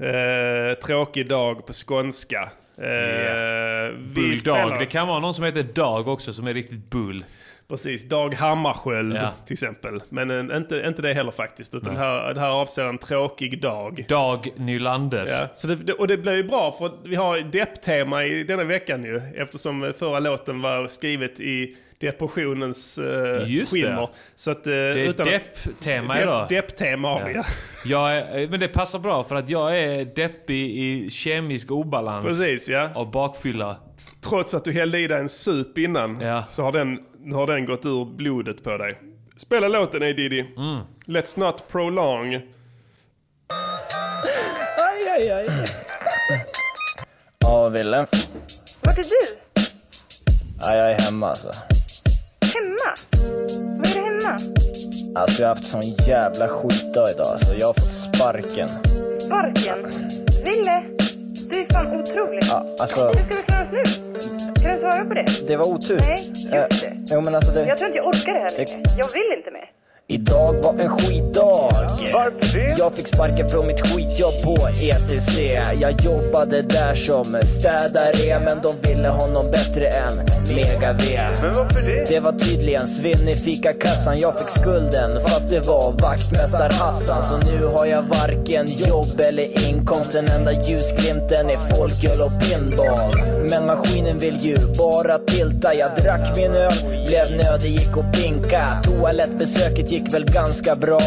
[SPEAKER 2] Eh, tråkig dag på skånska. Eh, vi
[SPEAKER 1] Bulldog.
[SPEAKER 2] spelar-
[SPEAKER 1] Det kan vara någon som heter Dag också som är riktigt bull.
[SPEAKER 2] Precis, Dag Hammarskjöld
[SPEAKER 1] Ja.
[SPEAKER 2] till exempel. Men eh, inte, inte det heller faktiskt. Utan
[SPEAKER 1] Nej.
[SPEAKER 2] det här, det här avser en tråkig dag.
[SPEAKER 1] Dag Nylander.
[SPEAKER 2] Ja, så det, det, och det blir ju bra för vi har depptema i denna veckan ju. Eftersom eh, förra låten var skrivet i depressionens eh,
[SPEAKER 1] Just det.
[SPEAKER 2] skimmer. Så att, eh,
[SPEAKER 1] Det är
[SPEAKER 2] utan att-
[SPEAKER 1] depptema
[SPEAKER 2] depp-
[SPEAKER 1] idag.
[SPEAKER 2] Depptema har vi, ja.
[SPEAKER 1] Jag är, eh, men det passar bra för att jag är deppig i kemisk obalans.
[SPEAKER 2] Precis, ja.
[SPEAKER 1] Av bakfylla.
[SPEAKER 2] Trots att du hällde i dig en sup innan så har den, har den gått ur blodet på dig. Spela låten A Diddy. Let's not prolong.
[SPEAKER 15] Aj, aj, aj.
[SPEAKER 16] Ja, Ville.
[SPEAKER 15] Vart är du?
[SPEAKER 16] Ja, jag är hemma alltså.
[SPEAKER 15] Hemma? Vad är det hemma?
[SPEAKER 16] Alltså jag har haft sån jävla skitdag idag. Alltså jag har fått sparken.
[SPEAKER 15] Sparken? Ville? Du är fan otrolig.
[SPEAKER 16] Ja, alltså
[SPEAKER 15] Hur ska vi klara oss nu? Kan du svara på det?
[SPEAKER 16] det var otur.
[SPEAKER 15] Nej, just
[SPEAKER 16] Eh,
[SPEAKER 15] det.
[SPEAKER 16] jo men alltså det...
[SPEAKER 15] Jag tror inte jag orkar det här längre.
[SPEAKER 16] Det-
[SPEAKER 15] Jag vill inte mer.
[SPEAKER 16] Idag var en skitdag. Varför det? Jag fick sparken från mitt skitjobb på ETC. Jag jobbade där som städare men de ville ha någon bättre än Mega-V. Men varför det? Det var tydligen svinn i fikakassan. Jag fick skulden fast det var vaktmästar Hassan. Så nu har jag varken jobb eller inkomst. Den enda ljusglimten är folköl och pinball. Men maskinen vill ju bara tilta. Jag drack min öl, blev nödig, gick och pinka. Toalettbesöket gick väl ganska bra.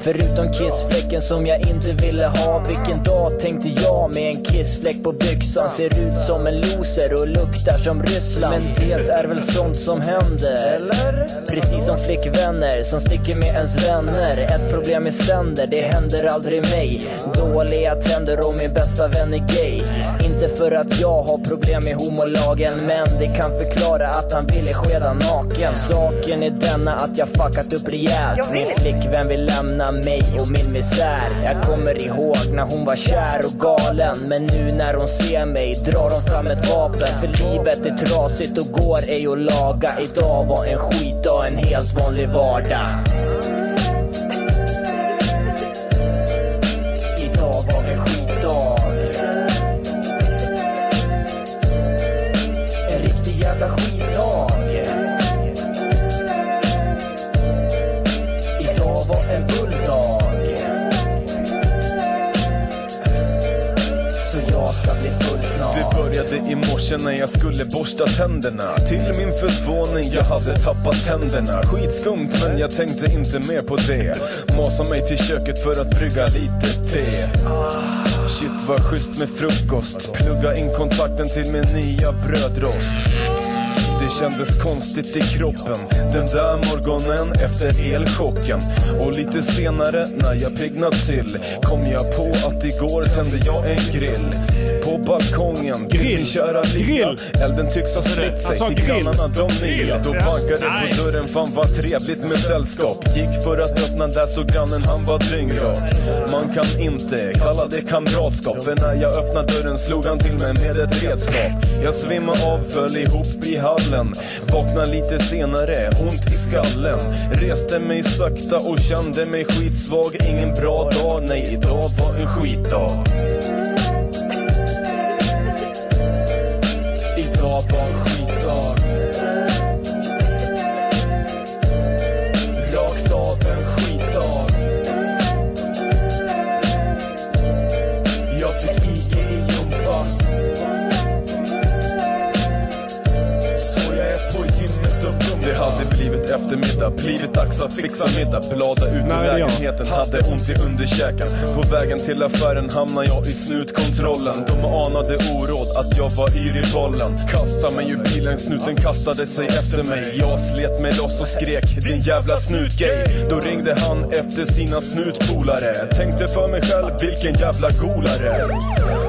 [SPEAKER 16] Förutom kissfläcken som jag inte ville ha. Vilken dag tänkte jag med en kissfläck på byxan. Ser ut som en loser och luktar som Ryssland. Men det är väl sånt som händer. Eller? Precis som flickvänner som sticker med ens vänner. Ett problem är sänder, det händer aldrig mig. Dåliga trender och min bästa vän är gay. Inte för att jag har problem med homolagen. Men det kan förklara att han ville skeda naken. Saken är denna att jag fuckat upp rejält.
[SPEAKER 15] Jag
[SPEAKER 16] Min
[SPEAKER 15] vill.
[SPEAKER 16] flickvän vill lämna mig och min misär. Jag kommer ihåg när hon var kär och galen. Men nu när hon ser mig drar hon fram ett vapen. För livet är trasigt och går ej att laga. Idag var en skitdag, en helt vanlig vardag. Idag var en skitdag. En riktig jävla skitdag. Idag var en bulldag. Så jag ska bli full snart.
[SPEAKER 11] Det började i morse när jag skulle borsta tänderna. Till min förvåning, jag hade tappat tänderna. Skitskumt, men jag tänkte inte mer på det. Masa mig till köket för att brygga lite te. Shit vad schysst med frukost. Plugga in kontakten till min nya brödrost. Det kändes konstigt i kroppen den där morgonen efter elchocken. Och lite senare när jag piggnat till kom jag på att igår tände jag en grill. På balkongen, grill, köra grill. Alltså, Elden tycks ha spritt
[SPEAKER 2] Alltså,
[SPEAKER 11] sig
[SPEAKER 3] sa
[SPEAKER 11] till
[SPEAKER 3] grill.
[SPEAKER 11] grannarna de
[SPEAKER 3] Grill,
[SPEAKER 11] ner. Då
[SPEAKER 3] ja.
[SPEAKER 11] bankade
[SPEAKER 3] Nice.
[SPEAKER 11] på dörren, fan vad trevligt med sällskap. Gick för att öppna, där stod grannen, han var dyngrak. Man kan inte kalla det kamratskap. För när jag öppnade dörren slog han till mig med ett redskap. Jag svimmade av, föll ihop i hallen. Vaknade lite senare, ont i skallen. Reste mig sakta och kände mig skitsvag. Ingen bra dag, nej idag var en skitdag.
[SPEAKER 16] Idag var en skitdag. Rakt av en skitdag. Jag fick IG i jumpa.
[SPEAKER 11] Så jag är på gymmet och gungar. Det hade blivit eftermiddag Blivit dags att fixa middag Blada ut ur
[SPEAKER 2] Nej, det är jag.
[SPEAKER 11] lägenheten, hade ont i underkäken På vägen till affären hamnar jag i snutkontrollen De anade oråd att jag var yr i bollen Kasta mig ur bilen, snuten kastade sig efter mig Jag slet mig loss och skrek din jävla snutgay Då ringde han efter sina snutpolare Tänkte för mig själv, vilken jävla golare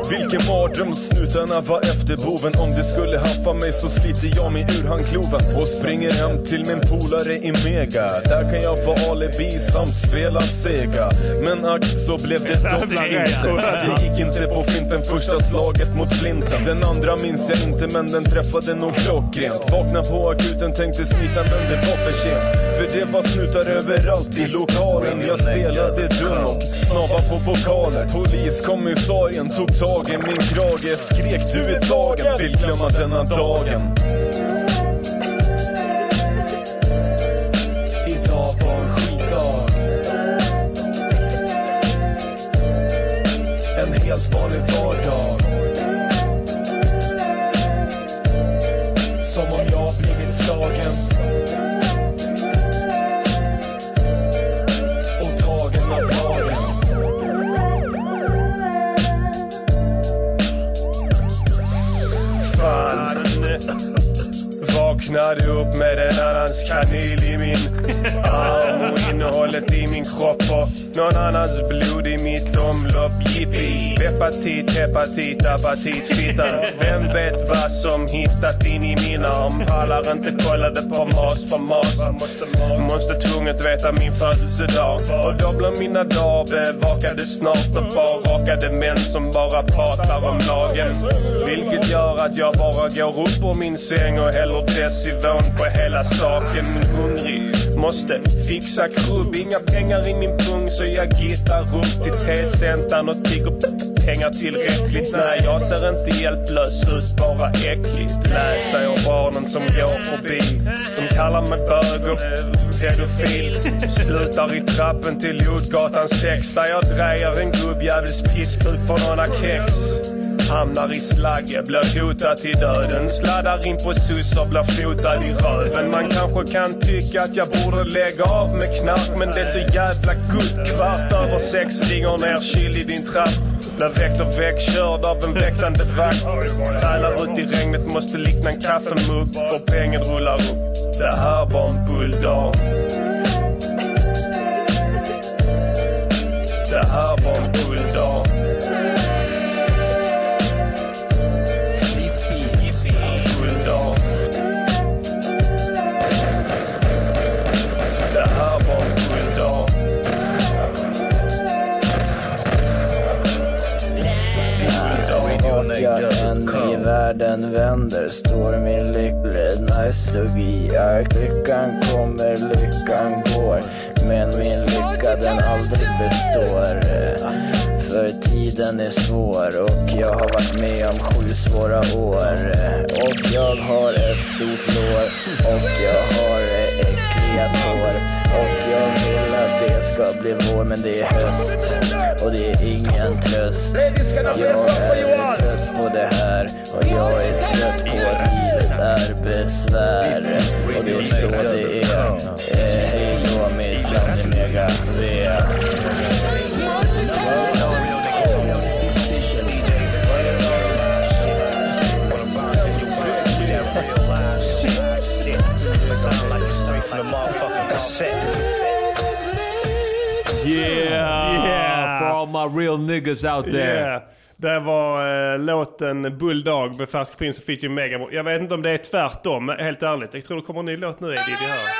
[SPEAKER 11] Vilken mardröm snutarna var efter boven Om de skulle haffa mig så sliter jag mig ur handkloven Och springer hem till min polare i Mega Där kan jag få alibi samt spela Sega Men ack så blev det dock
[SPEAKER 2] Jävla
[SPEAKER 11] inte
[SPEAKER 2] rätt.
[SPEAKER 11] Det gick inte på finten första slaget mot flinten Den andra minns jag inte men den träffade nog klockrent Vakna på akuten, tänkte smita men det var för sent För det var snutar överallt i lokalen Jag spelade dum och snabba på vokaler Poliskommissarien tog tag i min krage Skrek du är tagen, vill glömma denna dagen Idag var en skitdag En helt vanlig vardag Som om jag blivit slagen Och tagen av lagen
[SPEAKER 2] Fan. Vaknar upp med en annans kanel i min arm och innehållet i min kropp och någon annans blod i mitt omlopp. Jippi! Hepatit, hepatit, apatit, fittan. Vem vet vad som hittat in i min arm? Pallar inte, kollade på mas för mas. Måste tvunget veta min födelsedag. Och då blir mina dagar bevakade snart och bara rakade män som bara pratar om lagen. Vilket gör att jag bara går upp ur min säng och häller Desivon på hela saken. Men hungrig, måste fixa krubb. Inga pengar i min pung så jag gittar upp till T-centern och tigger pengar tillräckligt. Nej, jag ser inte hjälplös ut, bara äckligt. Nej, säger barnen som går förbi. De kallar mig bög och pedofil. Slutar i trappen till Jordgatan 6 där jag drejer en gubbjävels pisskuk för några kex. Hamnar i slagge, blir hotad till döden. Sladdar in på sossar, blir fotad i röven. Man kanske kan tycka att jag borde lägga av med knark. Men det är så jävla gött. Kvart över sex ringer ner kyl i din trapp. Blir väckt och väckkörd av en väktande vakt. Trälar ut i regnet, måste likna en kaffemugg. För pengen rullar upp. Det här var en bulldag. Det här var en bulldag. Bulldag. Det här var en bulldag.
[SPEAKER 17] Vakar en ny världen vänder, står min lycklighetsnostalgi är Lyckan kommer, lyckan går, men min lycka den aldrig består. För tiden är svår och jag har varit med om sju svåra år. Och jag har ett stort lår och jag har eh, äckliga tår. Och jag vill att det ska bli vår, men det är höst och det är ingen tröst. Jag är trött på det här och jag är trött på att livet är besvär. Och det är så det är. Eh, Hej då mitt namn är Mega
[SPEAKER 18] Sound like it's straight from the motherfucking cassette.
[SPEAKER 1] Yeah!
[SPEAKER 19] Yeah.
[SPEAKER 1] For all my real niggas out there.
[SPEAKER 19] Yeah. Det var eh, låten Bulldog med Färsk Prins och featuring Megamo. Jag vet inte om det är tvärtom, men helt ärligt. Jag tror det kommer en ny låt nu, Eddie. Det här.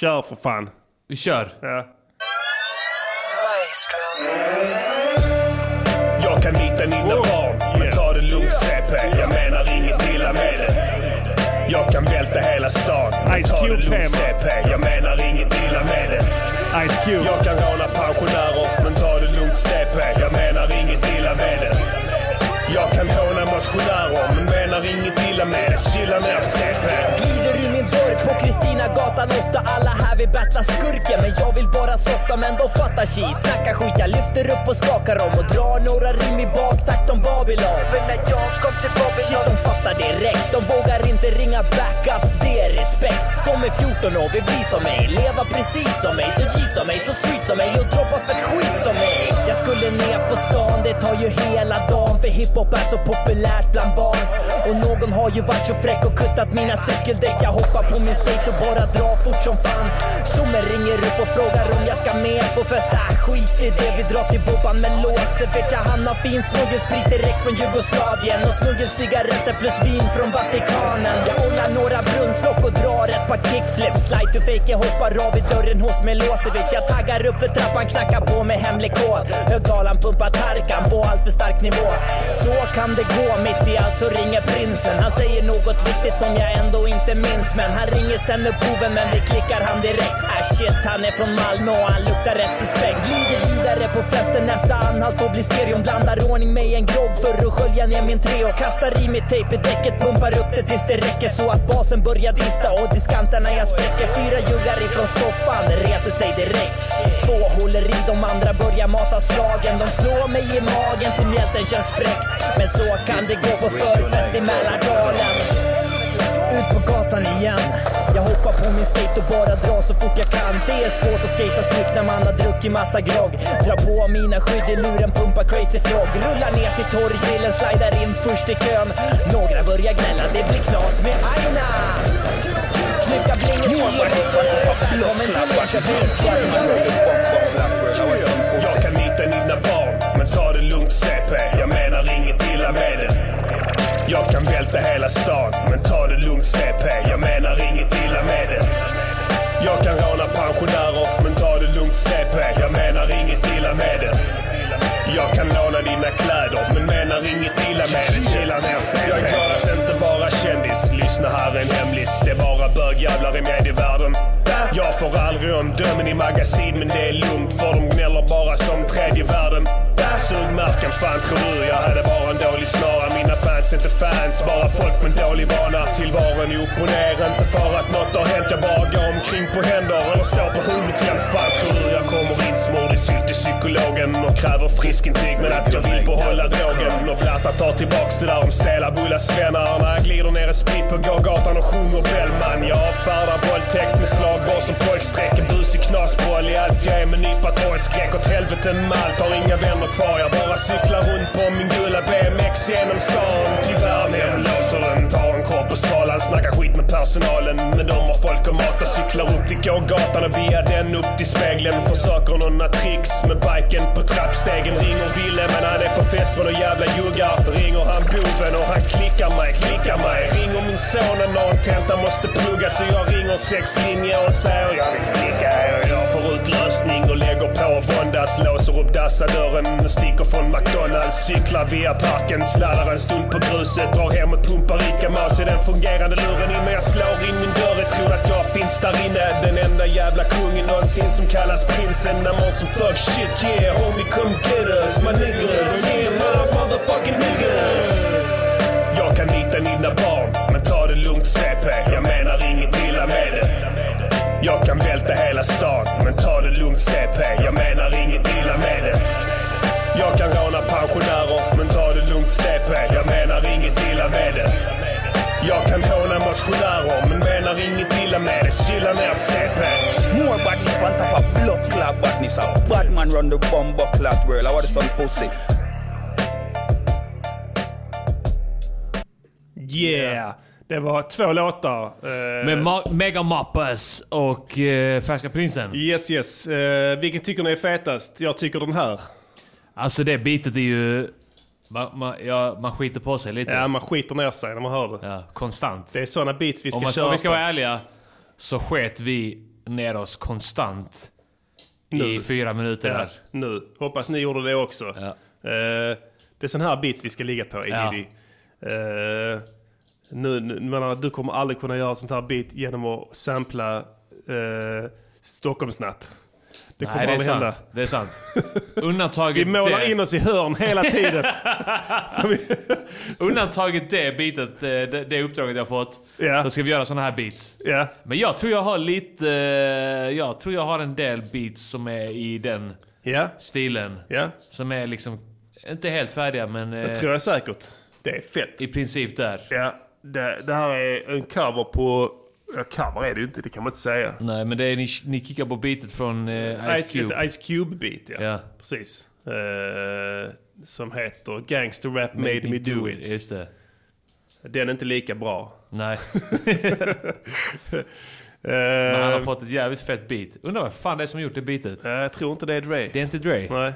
[SPEAKER 19] Kör för fan.
[SPEAKER 1] Vi kör.
[SPEAKER 2] Eh.
[SPEAKER 19] Ja.
[SPEAKER 3] Jag kan hitta dina barn, men ta det lugnt CP. Jag menar inget illa med det. Jag kan välta hela stan, men
[SPEAKER 19] Ice
[SPEAKER 3] ta det
[SPEAKER 19] Cube
[SPEAKER 3] lugnt
[SPEAKER 19] tema.
[SPEAKER 3] CP. Jag menar inget illa med det.
[SPEAKER 19] Ice Cube.
[SPEAKER 3] Jag kan råna pensionärer, men ta det lugnt CP. Jag menar inget illa med det. Jag kan håna motionärer, men menar inget illa med det. Chilla ner CP.
[SPEAKER 20] Glider i min dörr på Kristina
[SPEAKER 18] Gatan 8, alla här vill battla skurken Men jag vill bara sätta men de fattar chi Snacka skit, jag lyfter upp och skakar dem Och drar några rim i baktakt om Babylon För när jag kom till Babylon Shit, de fattar direkt De vågar inte ringa backup, det är respekt De är 14 år, vill bli som mig Leva precis som mig, så G som mig, så street som mig Och droppa för skit som mig Jag skulle ner på stan, det tar ju hela dagen För hiphop är så populärt bland barn Och någon har ju varit så fräck och kuttat mina cykeldäck Jag hoppar på min skate och bara drar fort som fan Tjommen ringer upp och frågar om jag ska med på fest ah, Skit i det, vi drar till Boban med låset Vet jag han har fin smuggelsprit direkt från Jugoslavien Och smuggelcigaretter plus vin från Vatikanen Jag ollar några brunnslock och drar ett par kickflips Slide to fake, hoppar av i dörren hos Milosevic Jag taggar upp för trappan, knackar på med hemlig kod Högtalaren pumpar Tarkan på allt för stark nivå Så kan det gå, mitt i allt så ringer prinsen Han säger något viktigt som jag ändå inte minns Men han ringer sen upp boven men vi klickar han direkt Ah shit, han är från Malmö och han luktar rätt suspekt Glider vidare på festen, nästa anhalt får bli stereon Blandar ordning med en grogg för att skölja ner min treo Kastar i mitt tejp i däcket, pumpar upp det tills det räcker Så att basen börjar dista och diskanterna jag spräcker Fyra juggar ifrån soffan, reser sig direkt Två håller i, de andra börjar mata slagen De slår mig i magen till mjälten känns spräckt Men så kan det gå på förfest i Mälardalen ut på gatan igen Jag hoppar på min skate och bara drar så fort jag kan Det är svårt att skata snyggt när man har druckit massa grogg Drar på mina skydd i luren, pumpar crazy frog Rullar ner till torggrillen, slidar in först i kön Några börjar gnälla, det blir knas med aina Knycka blinget, hoppar Välkommen till Enköping,
[SPEAKER 2] Jag kan nita dina barn, men ta det lugnt CP. Jag menar inget illa med det. Jag kan välta hela stan, men ta det lugnt CP. Jag menar inget illa med det. Jag kan råna pensionärer, men ta det lugnt CP. Jag menar inget illa med det. Jag kan låna dina kläder, men menar inget illa med det. Chilla ner CP. Jag är glad att inte vara kändis. Lyssna här är en hemlis. Det är bara bögjävlar i medievärlden. Jag får aldrig omdömen i magasin, men det är lugnt för de gnäller bara som tredje världen. Sugmärken, fan tror du? Jag hade bara en dålig snara. Mina fans är inte fans, bara folk med dålig vana. Tillvaron är upp och ner, inte för att något har hänt. Jag bara går omkring på händer eller står på huvudet igen. Fan tror du? Jag kommer insmord i sylt till psykologen och kräver friskintyg men att jag vill behålla drogen. Och Platta tar tillbaks det där om stela bulla svennar. När jag glider ner i sprit på gågatan och sjunger Bellman. Jag avfärdar våldtäkt med slagborr som pojkstreck. En busig knasboll i allt jag är med nypa torgskräck. Åt helvete med allt, har inga vänner kvar. Jag bara cyklar runt på min gula BMX genom stan. Tyvärr, när jag låser den tar en korv på skalan. Snackar skit med personalen. Men de har folk och mat. Jag cyklar upp till gågatan och via den upp till spegeln. Försöker några tricks med biken på trappstegen. Ringer Ville men han är på fest med nån jävla jugga. Ringer han boven och han klickar mig, klickar mig. Ringer min son när någon tenta måste plugga. Så jag ringer sex linjer och säger jag vill klicka. er." Jag får ut lösning och lägger på våndas. Låser upp dassadörren och sticker från McDonalds. Cyklar via parken, sladdar en stund på gruset. Drar hem och pumpar Ica Mouse i den fungerande luren innan jag slår in min dörr. Jag tror att jag finns där inne. Den enda jävla kungen någonsin som kallas prinsen. När någon som fuck shit yeah homie come get us. My niggas, yeah my motherfucking niggas. Jag kan nita dina barn, men ta det lugnt CP. Jag menar inget illa med det. Jag kan välta hela stan, men ta det lugnt CP. Jag menar inget illa med det. Jag kan råna pensionärer, men ta det lugnt CP. Jag menar inget illa med det. Jag kan håna motionärer, men menar inget illa med det. Chilla ner CP.
[SPEAKER 3] More badness on top of blood clot badness. A bad man run the bomb clot world. I want some pussy.
[SPEAKER 21] Yeah! Det var två låtar. eh,
[SPEAKER 1] Med Ma- Mega Mappas och eh, Färska Prinsen.
[SPEAKER 21] Yes, yes. Eh, vilken tycker ni är fetast? Jag tycker den här.
[SPEAKER 1] Alltså det bitet är ju... Man, man, ja, man skiter på sig lite.
[SPEAKER 21] Ja, man skiter ner sig när man hör det.
[SPEAKER 1] Ja, konstant.
[SPEAKER 21] Det är sådana beats vi ska
[SPEAKER 1] om, man,
[SPEAKER 21] köra
[SPEAKER 1] om vi ska
[SPEAKER 21] på.
[SPEAKER 1] vara ärliga så sket vi ner oss konstant i
[SPEAKER 21] Nu.
[SPEAKER 1] fyra minuter
[SPEAKER 21] Ja,
[SPEAKER 1] där.
[SPEAKER 21] nu. Hoppas ni gjorde det också. Eh, det är sån här beats vi ska ligga på i
[SPEAKER 1] Ja.
[SPEAKER 21] Diddy. Eh, nu, nu, men, eh, du kommer aldrig kunna göra sånt här beat genom att sampla eh, Stockholmsnatt. Det
[SPEAKER 2] Det kommer
[SPEAKER 1] Nej,
[SPEAKER 2] aldrig
[SPEAKER 1] det är
[SPEAKER 2] hända.
[SPEAKER 1] sant. Det är sant. Undantaget
[SPEAKER 2] Vi målar
[SPEAKER 1] det.
[SPEAKER 2] in oss i hörn hela tiden.
[SPEAKER 1] Undantaget det bitet, eh, det, det uppdraget jag fått. Så ska vi göra sådana här beats.
[SPEAKER 2] Ja.
[SPEAKER 1] Men jag tror jag har lite, eh, jag tror jag har en del beats som är i den stilen. Som är liksom, inte helt färdiga men... eh,
[SPEAKER 2] Det tror jag säkert. Det är fett.
[SPEAKER 1] I princip där.
[SPEAKER 2] Ja, det, det här är en cover på... Ja, cover är det ju inte, det kan man inte säga.
[SPEAKER 1] Nej men det är, ni, ni kickar på beatet från eh, Ice Cube.
[SPEAKER 2] Ett Ice Cube-beat, ja.
[SPEAKER 1] Ja.
[SPEAKER 2] Precis. Eh, som heter Gangster Rap Made, Me Do It.
[SPEAKER 1] Just det.
[SPEAKER 2] Den är inte lika bra. Eh,
[SPEAKER 1] Nej. Men han har fått ett jävligt fett beat. Undrar vad fan det är som gjort det beatet?
[SPEAKER 2] Jag tror inte det är Dre.
[SPEAKER 1] Det är inte Dre?
[SPEAKER 2] Nej.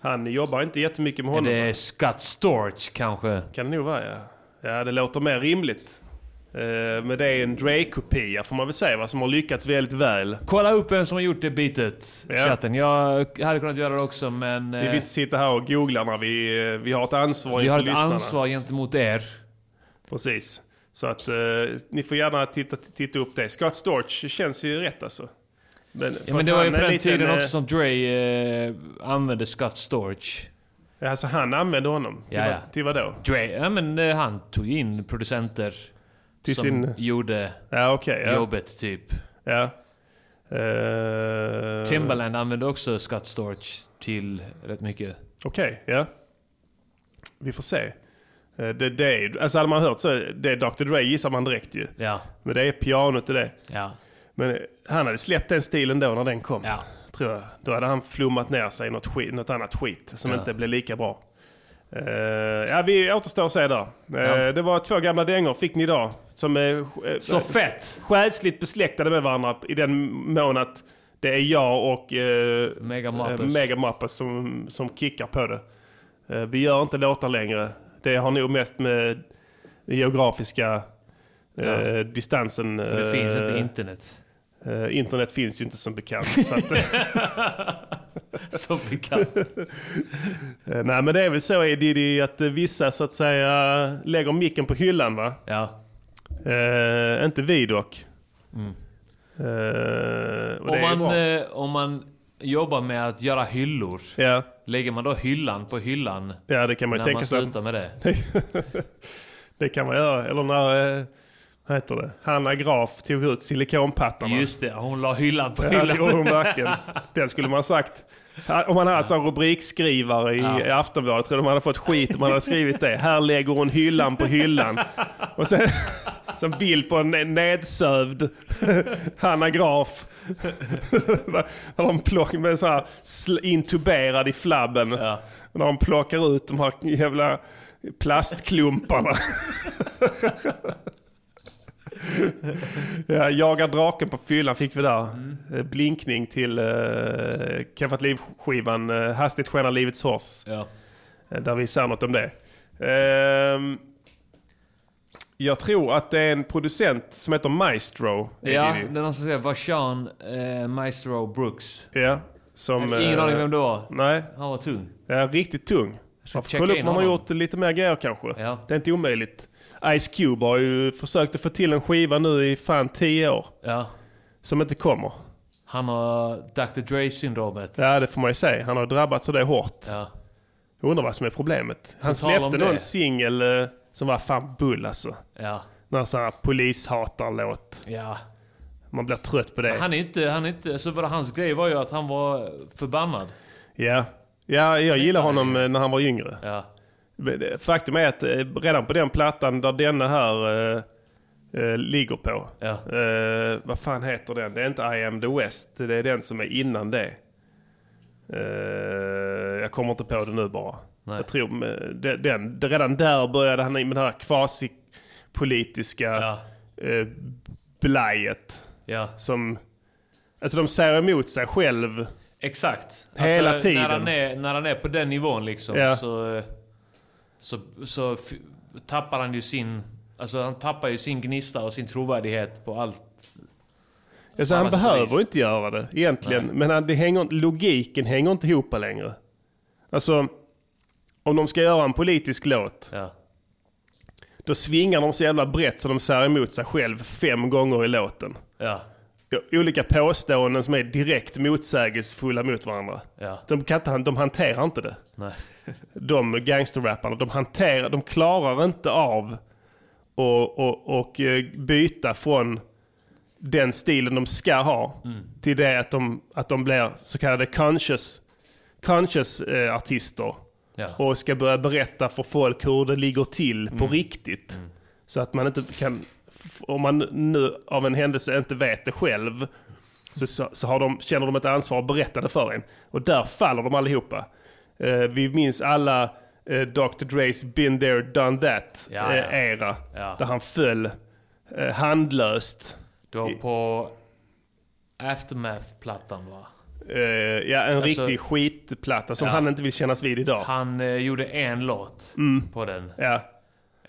[SPEAKER 2] Han jobbar inte jättemycket med
[SPEAKER 1] Är
[SPEAKER 2] honom.
[SPEAKER 1] det Scott Storch kanske?
[SPEAKER 2] Kan det nog vara ja. Ja det låter mer rimligt. Eh, men det är en Dre-kopia får man väl säga va, som har lyckats väldigt väl.
[SPEAKER 1] Kolla upp vem som har gjort det beatet. Chatten. Jag hade kunnat göra det också men... eh,
[SPEAKER 2] Vi vill inte sitta här och googla när vi, eh, vi har ett ansvar
[SPEAKER 1] Vi
[SPEAKER 2] inför
[SPEAKER 1] har ett
[SPEAKER 2] lyssnarna.
[SPEAKER 1] ansvar gentemot er.
[SPEAKER 2] Precis. Så att eh, ni får gärna titta, titta upp det. Scott Storch känns ju rätt alltså. Men, för
[SPEAKER 1] Ja, men
[SPEAKER 2] att
[SPEAKER 1] det var ju
[SPEAKER 2] han
[SPEAKER 1] på
[SPEAKER 2] är
[SPEAKER 1] den
[SPEAKER 2] lite en,
[SPEAKER 1] tiden
[SPEAKER 2] eh,
[SPEAKER 1] också som Dre eh, använde Scott Storch.
[SPEAKER 2] Alltså han använde honom? Till, vad, till vad då?
[SPEAKER 1] Dre, ja men eh, han tog in producenter
[SPEAKER 2] Till
[SPEAKER 1] som
[SPEAKER 2] sin-
[SPEAKER 1] gjorde
[SPEAKER 2] Ja, okej, ja.
[SPEAKER 1] jobbet typ.
[SPEAKER 2] Ja. Eh,
[SPEAKER 1] Timbaland använde också Scott Storch till rätt mycket.
[SPEAKER 2] Okej, ja. Vi får se. Eh, Det, det är, alltså hade man hört så, det är Dr. Dre gissar man direkt ju.
[SPEAKER 1] Ja.
[SPEAKER 2] Men det är pianot och det.
[SPEAKER 1] Ja.
[SPEAKER 2] Men eh, han hade släppt den stilen då när den kom.
[SPEAKER 1] Ja.
[SPEAKER 2] Tror jag. Då hade han flummat ner sig i något, skit, något annat skit som
[SPEAKER 1] Ja.
[SPEAKER 2] inte blev lika bra. Eh, ja, vi återstår att se där. Eh,
[SPEAKER 1] Ja.
[SPEAKER 2] Det var två gamla dängor fick ni idag. Som är eh,
[SPEAKER 1] Så fett!
[SPEAKER 2] Själsligt besläktade med varandra i den mån att det är jag och eh,
[SPEAKER 1] Mega Muppets.
[SPEAKER 2] eh, Mega Muppets som, som kickar på det. Eh, vi gör inte låtar längre. Det har nog mest med den geografiska eh,
[SPEAKER 1] Ja.
[SPEAKER 2] distansen.
[SPEAKER 1] För det finns inte
[SPEAKER 2] eh,
[SPEAKER 1] internet.
[SPEAKER 2] eh, internet finns ju inte som bekant. så att,
[SPEAKER 1] Som bekant.
[SPEAKER 2] Eh, Nej men det är väl så Diddy att eh, vissa så att säga lägger micken på hyllan va?
[SPEAKER 1] Ja.
[SPEAKER 2] Eh, inte vi dock.
[SPEAKER 1] Mm.
[SPEAKER 2] Eh, och det
[SPEAKER 1] Om
[SPEAKER 2] är ju
[SPEAKER 1] man,
[SPEAKER 2] bra.
[SPEAKER 1] eh, om man jobbar med att göra hyllor,
[SPEAKER 2] Ja.
[SPEAKER 1] lägger man då hyllan på hyllan
[SPEAKER 2] Ja, det kan man ju
[SPEAKER 1] när
[SPEAKER 2] tänka
[SPEAKER 1] man
[SPEAKER 2] sig.
[SPEAKER 1] slutar med det?
[SPEAKER 2] det kan man göra. Eller när, eh, vad heter det? Hanna Graf tog ut silikonpattarna.
[SPEAKER 1] Just det, hon la hyllan på
[SPEAKER 2] Ja,
[SPEAKER 1] hyllan.
[SPEAKER 2] det gjorde hon verkligen. Den skulle man ha sagt. Om man hade haft en rubrikskrivare i, i Aftonbladet tror jag de hade fått skit om man hade skrivit det. Här lägger hon hyllan på hyllan. Och sen, sen bild på en nedsövd Hanna Graf. Där de plockar med så här sl- intuberad i flabben. När de plockar ut de här jävla plastklumparna. Ja, jaga draken på fyllan fick vi där.
[SPEAKER 1] Mm.
[SPEAKER 2] Eh, Blinkning till uh, Keffat Liv-skivan eh, Hastigt skenar livets hors. Eh, Där vi sa något om det. Ehm, jag tror att det är en producent som heter Maestro. eh,
[SPEAKER 1] Ja,
[SPEAKER 2] Diddy.
[SPEAKER 1] det är någon som säger Vashan eh, Maestro Brooks.
[SPEAKER 2] ja som,
[SPEAKER 1] Ingen
[SPEAKER 2] eh,
[SPEAKER 1] aning vem det var.
[SPEAKER 2] Nej.
[SPEAKER 1] Han var tung.
[SPEAKER 2] Ja, riktigt tung. Man får
[SPEAKER 1] checka
[SPEAKER 2] kolla upp
[SPEAKER 1] in
[SPEAKER 2] om han har
[SPEAKER 1] honom.
[SPEAKER 2] gjort lite mer grejer kanske. Det är inte omöjligt. Ice Cube har ju försökt att få till en skiva nu i fan 10 år.
[SPEAKER 1] Ja.
[SPEAKER 2] Som inte kommer.
[SPEAKER 1] Han har Dr. Dre-syndromet.
[SPEAKER 2] Ja, det får man ju säga. Han har drabbats av det hårt.
[SPEAKER 1] Ja.
[SPEAKER 2] Jag undrar vad som är problemet.
[SPEAKER 1] På
[SPEAKER 2] Han
[SPEAKER 1] tal om
[SPEAKER 2] släppte
[SPEAKER 1] det.
[SPEAKER 2] någon singel eh, som var fan bull alltså.
[SPEAKER 1] Ja.
[SPEAKER 2] Någon sån här polishatarlåt.
[SPEAKER 1] Ja.
[SPEAKER 2] Man blir trött på det.
[SPEAKER 1] Han är inte, han är inte, så bara hans grej var ju att han var förbannad.
[SPEAKER 2] Ja. ja, jag gillar honom eh, när han var yngre.
[SPEAKER 1] Ja.
[SPEAKER 2] Men, eh, Faktum är att eh, redan på den plattan där denna här eh, eh, ligger på. Eh, vad fan heter den? Det är inte I am the West. Det är den som är innan det. Eh, jag kommer inte på det nu bara.
[SPEAKER 1] Nej.
[SPEAKER 2] Jag tror eh, det- den, det, redan där började han med det här kvasipolitiska eh, blajet.
[SPEAKER 1] Ja.
[SPEAKER 2] Som, alltså de säger emot sig själv.
[SPEAKER 1] Exakt.
[SPEAKER 2] Hela
[SPEAKER 1] Alltså,
[SPEAKER 2] tiden.
[SPEAKER 1] När han, är, när han är på den nivån liksom
[SPEAKER 2] Ja.
[SPEAKER 1] så, eh, så, så f- tappar han ju sin... Alltså han tappar ju sin gnista och sin trovärdighet på allt.
[SPEAKER 2] Alltså, han
[SPEAKER 1] Annars
[SPEAKER 2] behöver
[SPEAKER 1] polis.
[SPEAKER 2] inte göra det egentligen. Men han, det hänger, logiken hänger inte ihop längre. Alltså, om de ska göra en politisk låt. Då svingar de så jävla brett så de sär emot sig själv fem gånger i låten.
[SPEAKER 1] Ja.
[SPEAKER 2] olika påståenden som är direkt motsägelsefulla mot varandra.
[SPEAKER 1] Ja.
[SPEAKER 2] De, kan inte, de hanterar inte det.
[SPEAKER 1] Nej.
[SPEAKER 2] De gangsterrapparna, de, hanterar, de klarar inte av och, och, och eh, byta från den stilen de ska ha
[SPEAKER 1] Mm.
[SPEAKER 2] till det att de, att de blir så kallade conscious, conscious eh, artister.
[SPEAKER 1] Ja. Mm.
[SPEAKER 2] Och ska börja berätta för folk hur det ligger till på riktigt. Så att man inte kan, f- om man nu av en händelse inte vet det själv, så, så, så har de, känner de ett ansvar att berätta det för en. Och där faller de allihopa. Eh, vi minns alla eh, Dr. Dre's Been there, done that
[SPEAKER 1] Ja, ja.
[SPEAKER 2] eh, era.
[SPEAKER 1] Ja.
[SPEAKER 2] Där han föll eh, handlöst.
[SPEAKER 1] Då på Aftermath-plattan va?
[SPEAKER 2] Eh, ja, en
[SPEAKER 1] Alltså-
[SPEAKER 2] riktig skitplatta som
[SPEAKER 1] Ja.
[SPEAKER 2] han inte vill kännas vid idag.
[SPEAKER 1] Han eh, gjorde en låt
[SPEAKER 2] Mm.
[SPEAKER 1] på den.
[SPEAKER 2] Ja.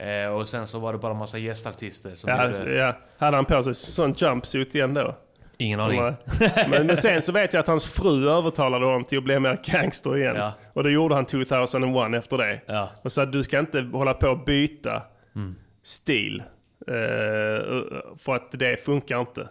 [SPEAKER 1] Eh, och sen så var det bara massa gästartister som
[SPEAKER 2] Ja, alltså,
[SPEAKER 1] gjorde...
[SPEAKER 2] ja. Hade han på sig sån jumpsuit igen då?
[SPEAKER 1] Ingen aning.
[SPEAKER 2] Men, men sen så vet jag att hans fru övertalade honom till att bli mer gangster igen.
[SPEAKER 1] Ja.
[SPEAKER 2] Och då gjorde han 2001 efter det.
[SPEAKER 1] Ja.
[SPEAKER 2] Och sa att du ska inte hålla på och byta
[SPEAKER 1] Mm.
[SPEAKER 2] stil. eh, för att det funkar inte.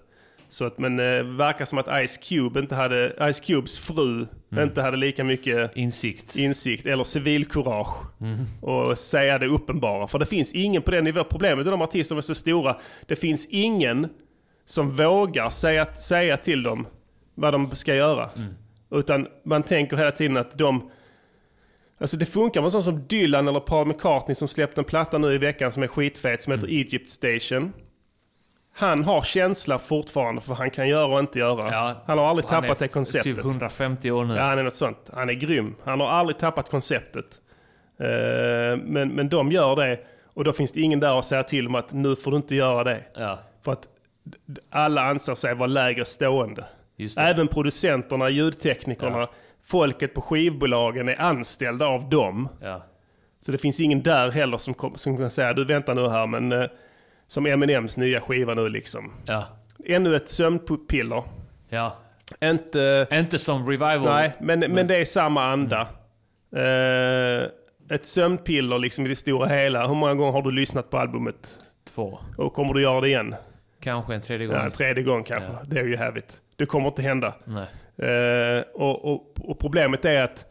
[SPEAKER 2] Så att, men det verkar som att Ice Cube inte hade, Ice Cubes fru
[SPEAKER 1] Mm.
[SPEAKER 2] inte hade lika mycket
[SPEAKER 1] insikt,
[SPEAKER 2] insikt eller civilkurage
[SPEAKER 1] Mm.
[SPEAKER 2] och säga det uppenbara. För det finns ingen på den nivån. Problemet är de artister som är så stora. Det finns ingen som vågar säga, säga till dem vad de ska göra.
[SPEAKER 1] Mm.
[SPEAKER 2] Utan man tänker hela tiden att de... Alltså det funkar med sån som Dylan eller Paul McCartney som släppte en platta nu i veckan som är skitfet som heter
[SPEAKER 1] Mm.
[SPEAKER 2] Egypt Station. Han har känsla fortfarande för vad han kan göra och inte göra. han har aldrig
[SPEAKER 1] han
[SPEAKER 2] tappat
[SPEAKER 1] är
[SPEAKER 2] det konceptet.
[SPEAKER 1] typ 150 år nu.
[SPEAKER 2] Ja, han är något sånt. Han är grym. Han har aldrig tappat konceptet. Eh, men, men de gör det och då finns det ingen där att säga till om att nu får du inte göra det. För att d- d- alla anser sig vara lägre stående. Även producenterna, ljudteknikerna,
[SPEAKER 1] Ja.
[SPEAKER 2] folket på skivbolagen är anställda av dem. Så det finns ingen där heller som, kom, som kan säga du vänta nu här men eh, som Eminems nya skiva nu liksom.
[SPEAKER 1] Ja.
[SPEAKER 2] Ännu ett sömnpiller.
[SPEAKER 1] Ja.
[SPEAKER 2] Inte,
[SPEAKER 1] inte som revival.
[SPEAKER 2] Nej, men, men, det är samma anda. Eh, ett sömnpiller liksom i det stora hela. Hur många gånger har du lyssnat på albumet?
[SPEAKER 1] Två.
[SPEAKER 2] Och kommer du göra det igen?
[SPEAKER 1] Kanske en tredje gång.
[SPEAKER 2] Ja, en tredje gång kanske. There you have it. Det kommer inte hända.
[SPEAKER 1] Nej.
[SPEAKER 2] Eh, och, och, och problemet är att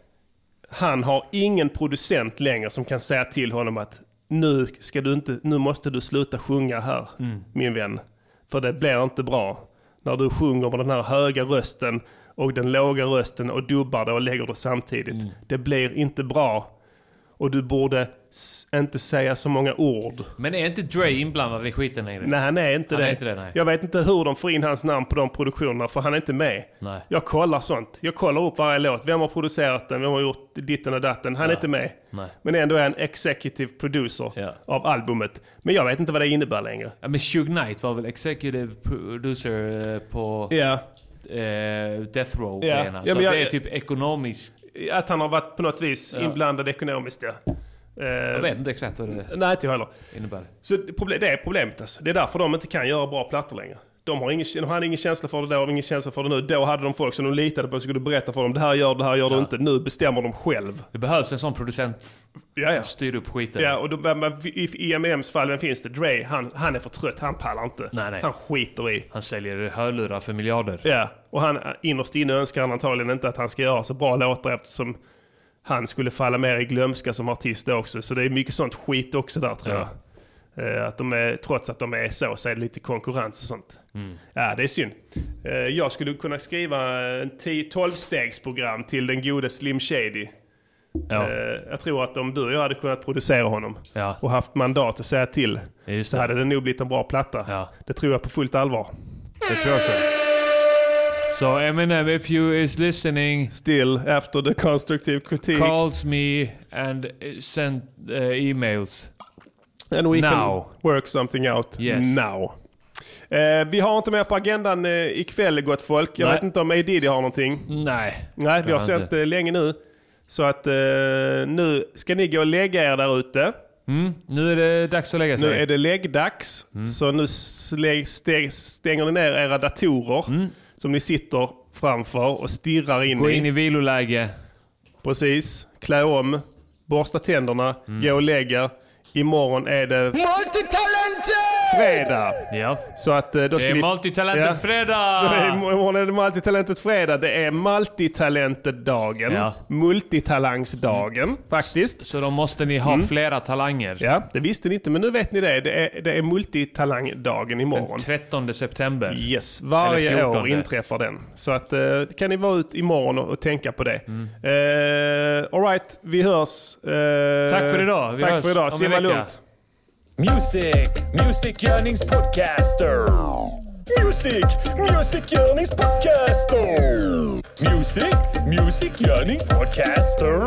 [SPEAKER 2] han har ingen producent längre som kan säga till honom att nu, ska du inte, nu måste du sluta sjunga här,
[SPEAKER 1] Mm.
[SPEAKER 2] min vän. För det blir inte bra. När du sjunger med den här höga rösten och den låga rösten och dubbar det och lägger det samtidigt. Det blir inte bra. Och du borde s- inte säga så många ord.
[SPEAKER 1] Men är inte Dre inblandad i skiten längre?
[SPEAKER 2] Nej, han är inte
[SPEAKER 1] Han
[SPEAKER 2] det.
[SPEAKER 1] är inte det, nej.
[SPEAKER 2] Jag vet inte hur de får in hans namn på de produktionerna, för han är inte med.
[SPEAKER 1] Nej.
[SPEAKER 2] Jag kollar sånt. Jag kollar upp varje låt. Vem har producerat den? Vem har gjort ditten och datten? Han är
[SPEAKER 1] Ja.
[SPEAKER 2] inte med.
[SPEAKER 1] Nej.
[SPEAKER 2] Men ändå är han executive producer av albumet. Men jag vet inte vad det innebär längre.
[SPEAKER 1] Ja, men Shug Knight var väl executive producer eh, på
[SPEAKER 2] Ja.
[SPEAKER 1] eh, Death Row
[SPEAKER 2] Ja.
[SPEAKER 1] ena. Så
[SPEAKER 2] Ja, men jag-
[SPEAKER 1] det är typ ekonomisk...
[SPEAKER 2] Att han har varit på något vis
[SPEAKER 1] Ja.
[SPEAKER 2] inblandad ekonomiskt, ja. Eh,
[SPEAKER 1] Jag vet inte exakt vad det
[SPEAKER 2] Nej, inte jag heller.
[SPEAKER 1] innebär.
[SPEAKER 2] Så det proble- det är problemet alltså. Det är därför de inte kan göra bra plattor längre. De, har ingen, de hade ingen känsla för det då, har ingen känsla för det nu. Då hade de folk som de litade på som skulle berätta för dem. Det här gör du, det här gör du inte. Nu bestämmer de själv.
[SPEAKER 1] Det behövs en sån producent som styr upp skiten.
[SPEAKER 2] Ja, och då, men- men i IMMs fall, vem finns det? Dre, han, han är för trött. Han pallar inte.
[SPEAKER 1] Nej, nej.
[SPEAKER 2] Han skiter i.
[SPEAKER 1] Han säljer hörlurar för miljarder.
[SPEAKER 2] Ja, och han innerst inne önskar han antagligen inte att han ska göra så bra låtar eftersom han skulle falla mer i glömska som artist då också. Så det är mycket sånt skit också där tror
[SPEAKER 1] Ja.
[SPEAKER 2] jag. Eh, Att de är, trots att de är så, så är det lite konkurrens och sånt.
[SPEAKER 1] Mm.
[SPEAKER 2] Ja, det är synd. Eh, Jag skulle kunna skriva en 12-stegsprogram till den gode Slim Shady.
[SPEAKER 1] Ja.
[SPEAKER 2] Eh, Jag tror att om du och jag hade kunnat producera honom
[SPEAKER 1] Ja.
[SPEAKER 2] och haft mandat att säga till så hade det nog blivit en bra platta. Det tror jag på fullt allvar.
[SPEAKER 1] Det tror jag också. So Eminem, if you is listening...
[SPEAKER 2] Still after the constructive critique.
[SPEAKER 1] Calls me and eh, send eh, emails.
[SPEAKER 2] And we
[SPEAKER 1] Now.
[SPEAKER 2] can work something out
[SPEAKER 1] Yes.
[SPEAKER 2] now. Eh, vi har inte mer på agendan eh, ikväll gott folk. Jag
[SPEAKER 1] Nej.
[SPEAKER 2] vet inte om A Diddy har någonting.
[SPEAKER 1] Nej.
[SPEAKER 2] Nej, vi
[SPEAKER 1] Jag
[SPEAKER 2] har
[SPEAKER 1] har
[SPEAKER 2] sänt
[SPEAKER 1] inte.
[SPEAKER 2] det länge nu. Så att eh, nu ska ni gå och lägga er där ute.
[SPEAKER 1] Mm, nu är det dags att lägga sig.
[SPEAKER 2] Nu är det läggdags.
[SPEAKER 1] Mm.
[SPEAKER 2] Så nu slä- stä- stänger ni ner era datorer som ni sitter framför och stirrar in
[SPEAKER 1] Mm. Gå
[SPEAKER 2] i.
[SPEAKER 1] in i viloläge.
[SPEAKER 2] Precis. Klä om,
[SPEAKER 1] Mm.
[SPEAKER 2] borsta tänderna, gå och lägga. Imorgon är det...
[SPEAKER 3] Multitalented!
[SPEAKER 2] fredag.
[SPEAKER 1] Ja.
[SPEAKER 2] Så att eh, då ska
[SPEAKER 1] Det är
[SPEAKER 2] ni...
[SPEAKER 1] multitalentet fredag!
[SPEAKER 2] Det är- Imorgon är det multitalentet fredag. Det är multitalentet-dagen.
[SPEAKER 1] Ja. Mm.
[SPEAKER 2] Multitalangsdagen faktiskt.
[SPEAKER 1] Så då måste ni ha flera talanger.
[SPEAKER 2] Mm. Ja, det visste ni inte men nu vet ni det. Det är, det är multitalangdagen imorgon.
[SPEAKER 1] Den 13 september.
[SPEAKER 2] Yes, varje
[SPEAKER 1] Eller
[SPEAKER 2] år
[SPEAKER 1] 14.
[SPEAKER 2] inträffar den. Så att, eh, kan ni vara ut imorgon och, och tänka på det. Mm. Alright, vi hörs. Eh,
[SPEAKER 1] Tack för idag. Vi
[SPEAKER 2] tack
[SPEAKER 1] hörs
[SPEAKER 2] för
[SPEAKER 1] om en
[SPEAKER 2] idag. Simma
[SPEAKER 1] vecka.
[SPEAKER 2] lugnt.
[SPEAKER 3] Music, Music Yearnings Podcaster. Music, Music Yearnings Podcaster. Music, Music Yearnings Podcaster.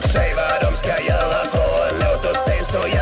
[SPEAKER 13] Säg vad de ska göra för en låt och sen så gör